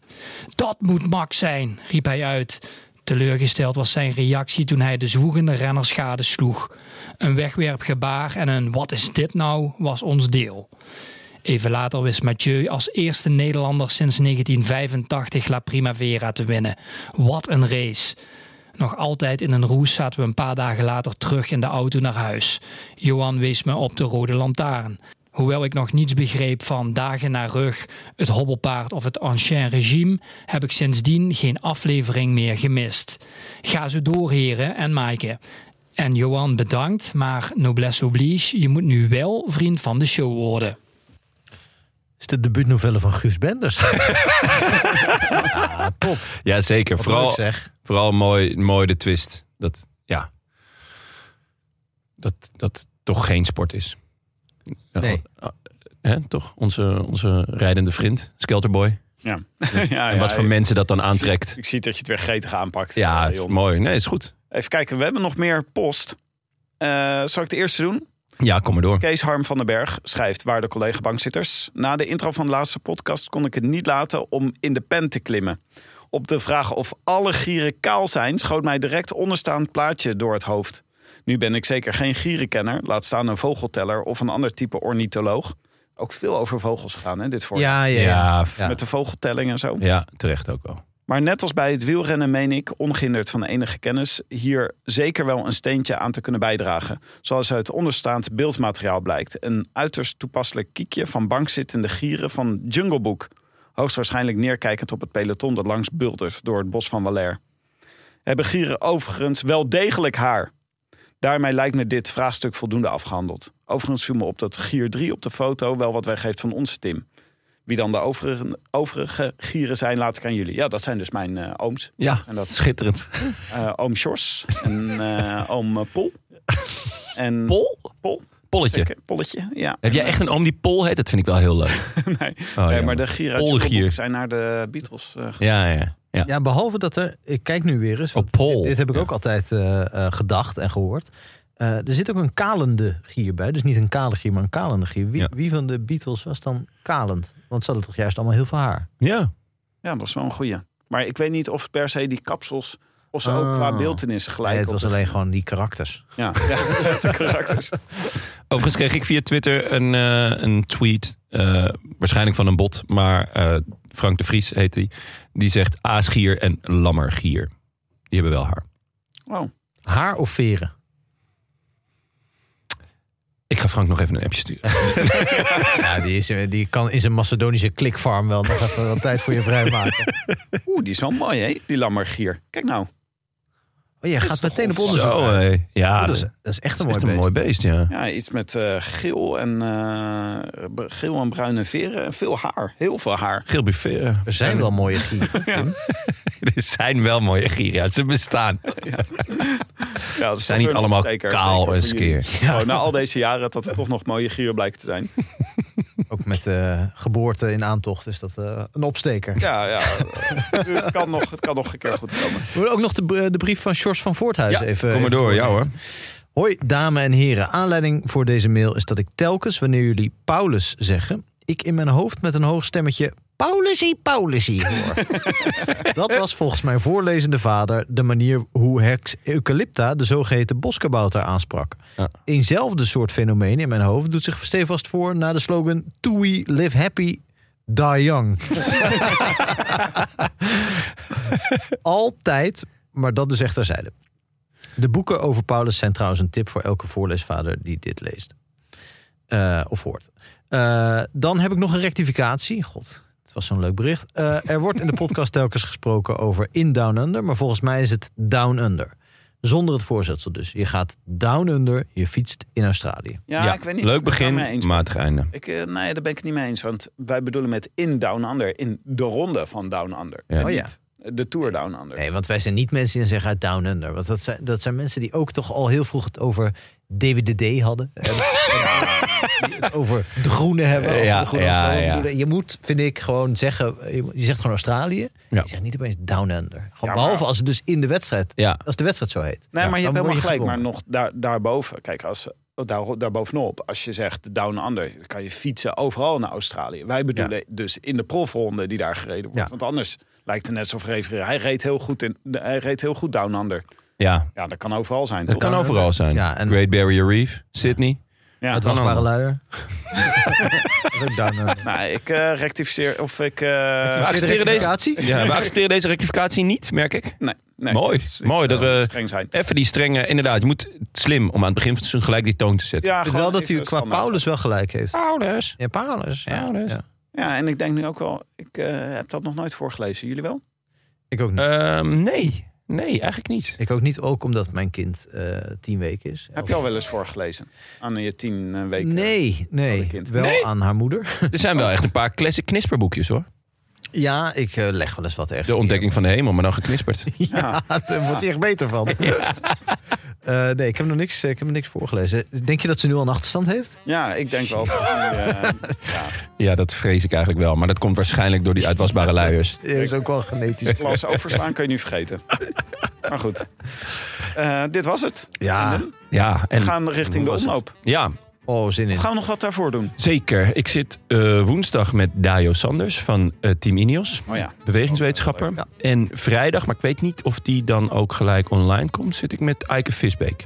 Speaker 4: Dat moet Max zijn, riep hij uit. Teleurgesteld was zijn reactie toen hij de zwoegende renners gadesloeg. Een wegwerpgebaar en een wat is dit nou was ons deel. Even later wist Mathieu als eerste Nederlander sinds 1985 La Primavera te winnen. Wat een race! Nog altijd in een roes zaten we een paar dagen later terug in de auto naar huis. Johan wees me op de rode lantaarn. Hoewel ik nog niets begreep van dagen naar rug, het hobbelpaard of het ancien regime, heb ik sindsdien geen aflevering meer gemist. Ga zo door, heren en Maaike. En Johan bedankt, maar noblesse oblige, je moet nu wel vriend van de show worden.
Speaker 2: Is de debuutnovelle van Guus Benders? ja, top.
Speaker 1: Ja, zeker.
Speaker 2: Wat
Speaker 1: Vooral,
Speaker 2: leuk zeg.
Speaker 1: vooral mooi, mooi de twist. Dat, ja. Dat, dat toch geen sport is. Ja,
Speaker 2: Nee.
Speaker 1: ah, hè, toch? Onze, onze rijdende vriend, Skelterboy.
Speaker 3: Ja. ja,
Speaker 1: en wat voor
Speaker 3: ik,
Speaker 1: mensen dat dan aantrekt.
Speaker 3: ik zie dat je het weer gretig aanpakt.
Speaker 1: Ja,
Speaker 3: eh,
Speaker 1: het is
Speaker 3: Jon.
Speaker 1: mooi. Nee, is goed.
Speaker 3: Even kijken, we hebben nog meer post. Eh, zal ik de eerste doen?
Speaker 1: Ja, kom maar door.
Speaker 3: Kees Harm van den Berg schrijft, waarde collega-bankzitters. Na de intro van de laatste podcast kon ik het niet laten om in de pen te klimmen. Op de vraag of alle gieren kaal zijn, schoot mij direct onderstaand plaatje door het hoofd. Nu ben ik zeker geen gierenkenner, laat staan een vogelteller of een ander type ornitholoog. Ook veel over vogels gegaan, hè, dit voor.
Speaker 2: Ja, ja, ja.
Speaker 1: Ja, f- ja.
Speaker 3: Met de vogeltelling en zo.
Speaker 1: terecht ook wel.
Speaker 3: Maar net als bij het wielrennen meen ik, ongehinderd van enige kennis, hier zeker wel een steentje aan te kunnen bijdragen. Zoals uit onderstaand beeldmateriaal blijkt. Een uiterst toepasselijk kiekje van bankzittende gieren van Jungle Book. Hoogstwaarschijnlijk neerkijkend op het peloton dat langs buldert door het bos van Waller. Hebben gieren overigens wel degelijk haar? Daarmee lijkt me dit vraagstuk voldoende afgehandeld. Overigens viel me op dat gier 3 op de foto wel wat weggeeft van onze Tim. Wie dan de overige, overige gieren zijn, laat ik aan jullie. Ja, dat zijn dus mijn eh, ooms.
Speaker 1: Ja,
Speaker 3: En dat-
Speaker 1: schitterend.
Speaker 3: Eh, oom Sjors en eh oom eh, Pol. En
Speaker 1: Pol?
Speaker 3: Pol? eh,
Speaker 1: Polletje.
Speaker 3: Oké, Polletje, ja.
Speaker 1: Heb jij echt een oom die Pol heet? Dat vind ik wel heel leuk.
Speaker 3: Nee,
Speaker 1: Oh,
Speaker 3: nee,
Speaker 1: ja.
Speaker 3: maar de gieren uit
Speaker 1: Polgier.
Speaker 3: Jungle Book zijn naar de Beatles eh, gegaan.
Speaker 1: Ja, ja, ja.
Speaker 2: behalve dat er... Ik kijk nu weer eens.
Speaker 1: Oh,
Speaker 2: want
Speaker 1: Paul.
Speaker 2: Dit, dit heb ik ook altijd eh, eh, gedacht en gehoord. Eh, er zit ook een kalende gier bij. Dus niet een kale gier, maar een kalende gier. Wie,
Speaker 1: Ja.
Speaker 2: wie van de Beatles was dan kalend? Want ze hadden toch juist allemaal heel veel haar?
Speaker 1: Ja.
Speaker 3: Ja, dat is wel een goeie. Maar ik weet niet of het per se die kapsels... Of ze
Speaker 2: Ah.
Speaker 3: ook qua beeldenis gelijk
Speaker 2: Nee, het
Speaker 3: op
Speaker 2: was
Speaker 3: de-
Speaker 2: alleen gewoon die karakters.
Speaker 3: Ja, ja de karakters.
Speaker 1: Overigens kreeg ik via Twitter een, eh, een tweet. eh, waarschijnlijk van een bot. Maar eh, Frank de Vries heet die. Die zegt aasgier en lammergier. Die hebben wel haar.
Speaker 3: Oh,
Speaker 2: Haar of veren?
Speaker 1: Ik ga Frank nog even een appje sturen.
Speaker 2: Ja, die, is, eh, die kan in zijn Macedonische klikfarm wel nog even wat tijd voor je vrijmaken.
Speaker 3: oeh, die is wel mooi, hè? Die lammergier. Kijk nou.
Speaker 2: Oh, jij gaat meteen op onderzoek.
Speaker 1: Zo,
Speaker 2: uit.
Speaker 1: hé. Ja,
Speaker 2: Oh, dat,
Speaker 1: dat
Speaker 2: is,
Speaker 1: is
Speaker 2: dat is echt een mooi
Speaker 1: echt een
Speaker 2: beest.
Speaker 1: mooi beest, ja.
Speaker 3: Ja, iets met eh, geel, en, eh, b- geel en bruine veren. en Veel haar. Heel veel haar.
Speaker 1: Geel buffet.
Speaker 2: Er zijn wel mooie gieren.
Speaker 1: Er zijn wel mooie gieren. ja. Ze bestaan.
Speaker 3: Ja, dat
Speaker 1: Ze zijn niet allemaal kaal en
Speaker 3: keer.
Speaker 1: skeer.
Speaker 3: Oh, na al deze jaren dat er toch nog mooie gieren blijken te zijn.
Speaker 2: Ook met eh, geboorte in aantocht is dat eh, een opsteker.
Speaker 3: Ja, ja. Dus het, kan nog, het kan nog een keer goed komen.
Speaker 2: We willen ook nog de, br- de brief van Sjors van Voorthuizen even...
Speaker 1: Kom maar
Speaker 2: even
Speaker 1: door, ja hoor.
Speaker 2: Hoi, dames en heren. Aanleiding voor deze mail is dat ik telkens, wanneer jullie Paulus zeggen... ik in mijn hoofd met een hoog stemmetje... Paulusie, Paulusie hoor. dat was volgens mijn voorlezende vader... de manier hoe Hex Eucalypta de zogeheten boskabouter aansprak.
Speaker 1: Ja.
Speaker 2: Eenzelfde soort fenomeen in mijn hoofd doet zich stevast voor... na de slogan Tui, live happy, die young. Altijd, maar dat dus echt terzijde. De boeken over Paulus zijn trouwens een tip voor elke voorleesvader die dit leest. Eh, of hoort. Eh, dan heb ik nog een rectificatie. God, het was zo'n leuk bericht. Eh, er wordt in de podcast telkens gesproken over in Down Under, maar volgens mij is het Down Under. Zonder het voorzetsel dus. Je gaat Down Under, je fietst in Australië.
Speaker 3: Ja, ik weet niet. of
Speaker 1: Leuk
Speaker 3: ik het
Speaker 1: begin,
Speaker 3: daarmee eens ben.
Speaker 1: matig einde.
Speaker 3: Ik, eh, nee, daar ben ik het niet mee eens. Want wij bedoelen met in Down Under. In de ronde van Down Under.
Speaker 1: Ja.
Speaker 2: Oh ja.
Speaker 3: De Tour Down Under.
Speaker 2: Nee, want wij zijn niet mensen die zeggen uit Down Under. Want dat zijn, dat zijn mensen die ook toch al heel vroeg het over DWDD hadden. En, en die het over de groene hebben. Als
Speaker 1: Ja,
Speaker 2: de groene
Speaker 1: ja,
Speaker 2: of zo.
Speaker 1: ja.
Speaker 2: Ik bedoel, Je moet, vind ik, gewoon zeggen... Je zegt gewoon Australië.
Speaker 1: Ja.
Speaker 2: Je zegt niet opeens Down Under. Gewoon,
Speaker 3: maar-
Speaker 2: behalve als het dus in de wedstrijd...
Speaker 1: Ja,
Speaker 2: Als de wedstrijd zo heet.
Speaker 3: Nee, maar
Speaker 2: Dan
Speaker 3: je hebt helemaal
Speaker 2: word je
Speaker 3: gelijk. Maar
Speaker 2: gedwongen.
Speaker 3: nog daar, daarboven, kijk, als, daar, daarbovenop, als je zegt Down Under, kan je fietsen overal naar Australië. Wij bedoelen dus in de profronde die daar gereden wordt.
Speaker 2: Ja.
Speaker 3: Want anders lijkt het net alsof refereren. Hij reed heel goed, in, hij reed heel goed Down Under.
Speaker 1: ja.
Speaker 3: Ja, dat kan overal zijn.
Speaker 1: Dat
Speaker 3: toch?
Speaker 1: kan overal zijn.
Speaker 2: Ja, en-
Speaker 1: Great Barrier Reef, Sydney.
Speaker 3: Ja,
Speaker 2: Het was
Speaker 1: Down
Speaker 2: maar
Speaker 1: Under.
Speaker 2: luier. Dat is ook down under.
Speaker 3: Nou, ik eh, rectificeer of ik... eh,
Speaker 1: We accepteren,
Speaker 2: rectificatie?
Speaker 1: deze, ja, we accepteren deze rectificatie niet, merk ik.
Speaker 3: nee, nee.
Speaker 1: Mooi.
Speaker 3: Dus ik
Speaker 1: Mooi
Speaker 3: zou
Speaker 1: dat we-
Speaker 3: streng zijn.
Speaker 1: Even die strenge, inderdaad. Je moet slim om aan het begin van het seizoen gelijk die toon te zetten.
Speaker 3: Ja,
Speaker 2: Ik vind
Speaker 3: gewoon
Speaker 2: wel dat
Speaker 3: even
Speaker 2: u qua
Speaker 3: standaard.
Speaker 2: Paulus wel gelijk heeft.
Speaker 1: Paulus.
Speaker 2: Ja, Paulus. Ja,
Speaker 1: Ah. Paulus.
Speaker 2: ja.
Speaker 3: Ja, en ik denk nu ook wel, ik eh, heb dat nog nooit voorgelezen. Jullie wel?
Speaker 2: Ik ook niet.
Speaker 1: Ehm, nee, nee, eigenlijk niet.
Speaker 2: Ik ook niet, ook omdat mijn kind eh, tien weken is.
Speaker 3: Heb je al wel eens voorgelezen? Aan je tien eh, weken?
Speaker 2: Nee,
Speaker 3: Oude
Speaker 2: nee.
Speaker 3: kind.
Speaker 2: Wel
Speaker 1: Nee?
Speaker 2: aan haar moeder.
Speaker 1: Er zijn wel echt een paar classic knisperboekjes hoor.
Speaker 2: Ja, ik eh, leg wel eens wat ergens.
Speaker 1: De ontdekking van de hemel, maar dan geknisperd.
Speaker 2: Ja, daar wordt hij echt beter van. Eh, nee, ik heb nog niks, eh, ik heb nog niks voorgelezen. Denk je dat ze nu al een achterstand heeft?
Speaker 3: Ja, ik denk wel. dat die, eh, ja,
Speaker 1: Ja, dat vrees ik eigenlijk wel. Maar dat komt waarschijnlijk door die uitwasbare luiers.
Speaker 2: Eh, is ook wel genetisch.
Speaker 3: klas overslaan kun je nu vergeten. Maar goed. Eh, dit was het.
Speaker 2: Ja,
Speaker 1: Ja,
Speaker 3: We
Speaker 1: en
Speaker 3: gaan richting de
Speaker 1: was het?
Speaker 3: omloop.
Speaker 1: ja
Speaker 2: oh, zin in.
Speaker 3: Of gaan we nog wat daarvoor doen?
Speaker 1: zeker. Ik zit eh, woensdag met Dario Sanders van eh, Team Ineos.
Speaker 3: Oh ja.
Speaker 1: Bewegingswetenschapper. En vrijdag, maar ik weet niet of die dan ook gelijk online komt, zit ik met Eike Visbeek.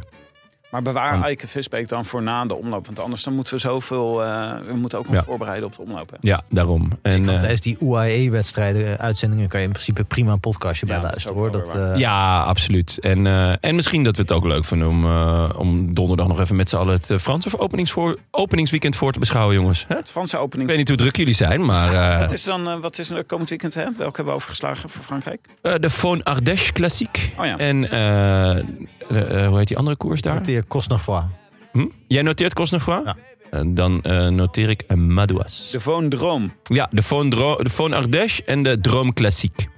Speaker 3: Maar bewaar Eike Visbeek dan voor na de omloop. Want anders dan moeten we zoveel... eh, we moeten ook nog
Speaker 1: Ja.
Speaker 3: voorbereiden op de omloop. Hè?
Speaker 1: Ja, daarom. En,
Speaker 2: Want
Speaker 1: eh,
Speaker 2: tijdens die UAE-wedstrijden, eh, uitzendingen, kan je in principe prima een podcastje bij
Speaker 3: Ja, dat is
Speaker 2: luisteren
Speaker 3: ook
Speaker 2: hoor.
Speaker 3: wel
Speaker 2: Dat,
Speaker 3: weer
Speaker 2: eh,
Speaker 1: ja, absoluut. En, eh, en misschien dat we het ook leuk vinden om, eh, om donderdag nog even met z'n allen het eh, Franse openingsvoor, openingsweekend voor te beschouwen, jongens. Hè?
Speaker 3: Het Franse
Speaker 1: Ik
Speaker 3: opening.
Speaker 1: weet niet hoe druk jullie zijn, maar eh,
Speaker 3: Wat is dan eh, wat is er komend weekend? Hè? Welke hebben we overgeslagen voor Frankrijk?
Speaker 1: eh, de Von Ardèche Klassiek.
Speaker 3: Oh ja.
Speaker 1: En eh, eh, eh, hoe heet die andere koers daar?
Speaker 2: Noteer Cosnefroid.
Speaker 1: Hm? Jij noteert Cosnefroid?
Speaker 2: Ja.
Speaker 1: Eh, dan eh, noteer ik een Madouas.
Speaker 3: De Voondroom.
Speaker 1: Ja, de Von, Dro- de Von Ardèche en de Droom Klassiek.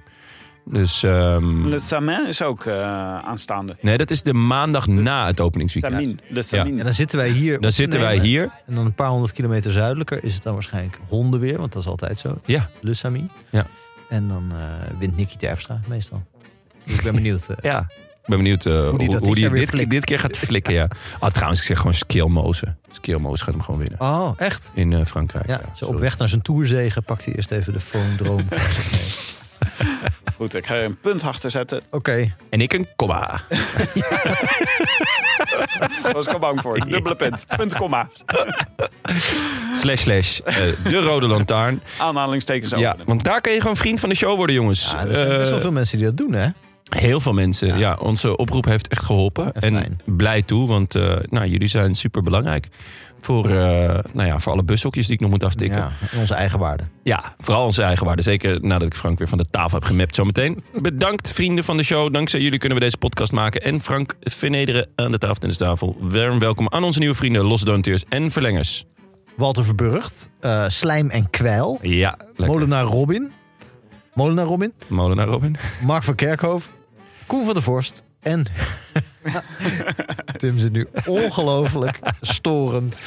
Speaker 1: Dus ehm,
Speaker 3: Le Samin is ook eh, aanstaande.
Speaker 1: nee, dat is de maandag na het openingsweekend.
Speaker 3: Samin. Le Samin.
Speaker 2: En dan zitten wij hier. op
Speaker 1: Dan
Speaker 2: te
Speaker 1: zitten wij
Speaker 2: nemen.
Speaker 1: hier.
Speaker 2: En dan een paar honderd kilometer zuidelijker is het dan waarschijnlijk honden weer, want dat is altijd zo.
Speaker 1: Ja.
Speaker 2: Lusami.
Speaker 1: Ja.
Speaker 2: En dan eh, wint Nicky Terpstra meestal. Dus ik ben benieuwd. eh,
Speaker 1: Ja, ik ben benieuwd eh, hoe
Speaker 2: die
Speaker 1: die,
Speaker 2: dat
Speaker 1: hoe,
Speaker 2: dit
Speaker 1: die
Speaker 2: jaar weer
Speaker 1: dit,
Speaker 2: flikt.
Speaker 1: dit keer gaat flikken. Ja. Ah, trouwens, ik zeg gewoon Skillmozen. Skillmozen gaat hem gewoon winnen.
Speaker 2: Oh, echt?
Speaker 1: In eh, Frankrijk.
Speaker 2: Ja, zo
Speaker 1: sorry.
Speaker 2: op weg naar zijn toerzegen pakt hij eerst even de foondroom. Oké,
Speaker 3: Goed, ik ga er een punt achter zetten.
Speaker 1: En ik een komma.
Speaker 3: Daar was ik al bang voor. Dubbele punt. Punt, komma.
Speaker 1: slash slash. eh, de rode lantaarn.
Speaker 3: Aanhalingstekens
Speaker 1: ja,
Speaker 3: openen.
Speaker 1: want daar kan je gewoon vriend van de show worden, jongens.
Speaker 2: Ja, er zijn best wel
Speaker 1: Eh,
Speaker 2: veel mensen die dat doen, hè?
Speaker 1: Heel veel mensen. Ja. onze oproep heeft echt geholpen.
Speaker 2: En
Speaker 1: En,
Speaker 2: fijn.
Speaker 1: blij toe, want eh, nou, jullie zijn super belangrijk. Voor, eh, nou ja, voor alle bushokjes die ik nog moet aftikken.
Speaker 2: Ja, in onze eigen waarde.
Speaker 1: Ja, vooral onze eigen waarde. Zeker nadat ik Frank weer van de tafel heb gemapt zometeen. Bedankt vrienden van de show. Dankzij jullie kunnen we deze podcast maken. En Frank Vernederen aan de tafeltennistafel. Warm welkom aan onze nieuwe vrienden, losse donateurs en verlengers.
Speaker 2: Walter Verburgt, eh, Slijm en Kwijl,
Speaker 1: Ja, lekker.
Speaker 2: Molenaar Robin, Molenaar Robin,
Speaker 1: Molenaar Robin.
Speaker 2: Mark van Kerkhoven, Koen van der Vorst en... Tim zit nu ongelooflijk storend.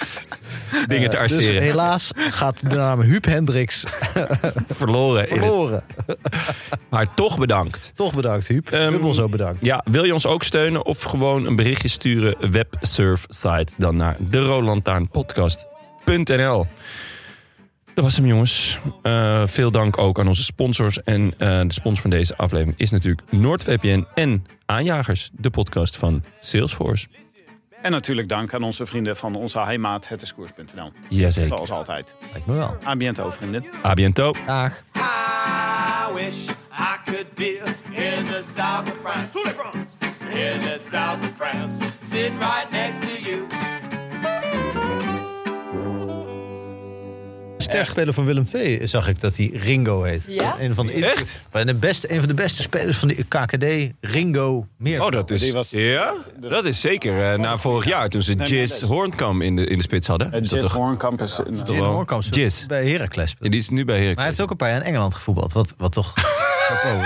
Speaker 1: Dingen te
Speaker 2: Eh, dus
Speaker 1: arceren.
Speaker 2: helaas gaat de naam Huub Hendricks
Speaker 1: Verloren. in het-
Speaker 2: verloren.
Speaker 1: Maar toch bedankt.
Speaker 2: Toch bedankt, Huub.
Speaker 1: Ehm,
Speaker 2: Dubbel zo bedankt.
Speaker 1: Ja, wil je ons ook steunen of gewoon een berichtje sturen? Websurf site dan naar de Rolantaarnpodcast.nl. Dat was hem, jongens. Eh, veel dank ook aan onze sponsors. En eh, de sponsor van deze aflevering is natuurlijk NoordVPN en Aanjagers, de podcast van Salesforce.
Speaker 3: En natuurlijk dank aan onze vrienden van onze heimaat, hetiskoers.nl.
Speaker 1: Jazeker.
Speaker 3: Zoals altijd.
Speaker 2: Lijkt me wel.
Speaker 3: A biento, vrienden.
Speaker 1: A biento.
Speaker 2: Dag.
Speaker 5: I wish I could be in the south of France. In the south of France. Sitting right next to you.
Speaker 2: Sterspeler van Willem II zag ik dat hij Ringo heet.
Speaker 6: Ja?
Speaker 2: Een van de,
Speaker 1: Echt?
Speaker 2: Van de beste, een van de beste spelers van de KKD, Ringo Meer.
Speaker 3: Die was-
Speaker 1: Oh, ja, dat is zeker. eh, na vorig jaar, toen ze Jizz Hoornkamp in de, in de spits hadden. Is dat
Speaker 3: Jess
Speaker 1: toch-
Speaker 3: Hoornkamp is in-
Speaker 2: Jim Hoorkamp speelde
Speaker 1: Jizz.
Speaker 2: bij Heracles.
Speaker 1: Ja, die is nu bij Heerlijk.
Speaker 2: Maar hij heeft ook een paar jaar in Engeland gevoetbald. Wat, wat toch... chapeau.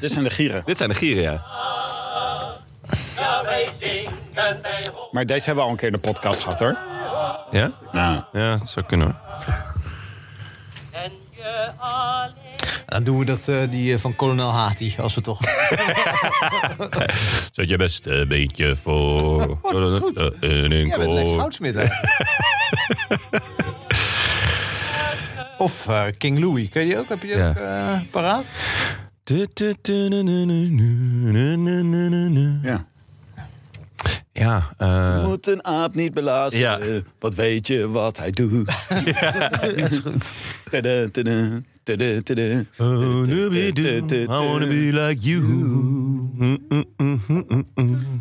Speaker 3: Dit zijn de gieren.
Speaker 1: Dit zijn de gieren, ja.
Speaker 3: Maar deze hebben we al een keer in de podcast gehad, hoor.
Speaker 1: Ja?
Speaker 3: Nou,
Speaker 1: Ja, dat zou kunnen hoor.
Speaker 2: Dan doen we dat, eh, die eh, van kolonel Hati, als we toch...
Speaker 1: Zet je beste beentje voor.
Speaker 2: Oh, dat is goed.
Speaker 1: In een
Speaker 2: Jij bent Lex
Speaker 1: koor.
Speaker 2: Houtsmit, hè? Of eh, King Louis, ken je die ook? Heb je die
Speaker 1: Ja.
Speaker 2: ook eh, paraat?
Speaker 1: Du- du- du- nu- nu- nu- nu- nu- nu- nu- nu- nu.
Speaker 3: ja.
Speaker 1: Ja, eh,
Speaker 3: Moet een aap niet belazen.
Speaker 1: Ja.
Speaker 3: Wat weet je wat hij doet? ja, is goed. Tada, tada, tada, tada.
Speaker 1: like you.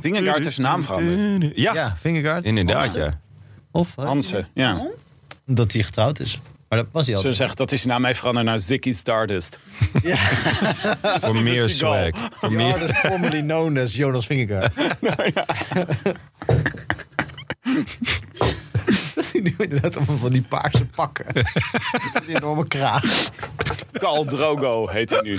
Speaker 3: Vingegaard is naam veranderd.
Speaker 1: Ja,
Speaker 2: Ja, Vingegaard.
Speaker 1: inderdaad, ja.
Speaker 2: Of eh,
Speaker 3: Hansen, ja.
Speaker 2: dat hij getrouwd is. Maar dat was hij
Speaker 3: Ze
Speaker 2: al.
Speaker 3: zegt dat is zijn naam heeft veranderd naar Ziggy Stardust.
Speaker 1: Voor meer
Speaker 3: Seagal.
Speaker 1: swag. Voor meer...
Speaker 2: is formerly known as Jonas Vingegaard. Nou Dat hij nu inderdaad allemaal van die paarse pakken. Met die enorme kraag.
Speaker 3: Cal Drogo heet hij nu.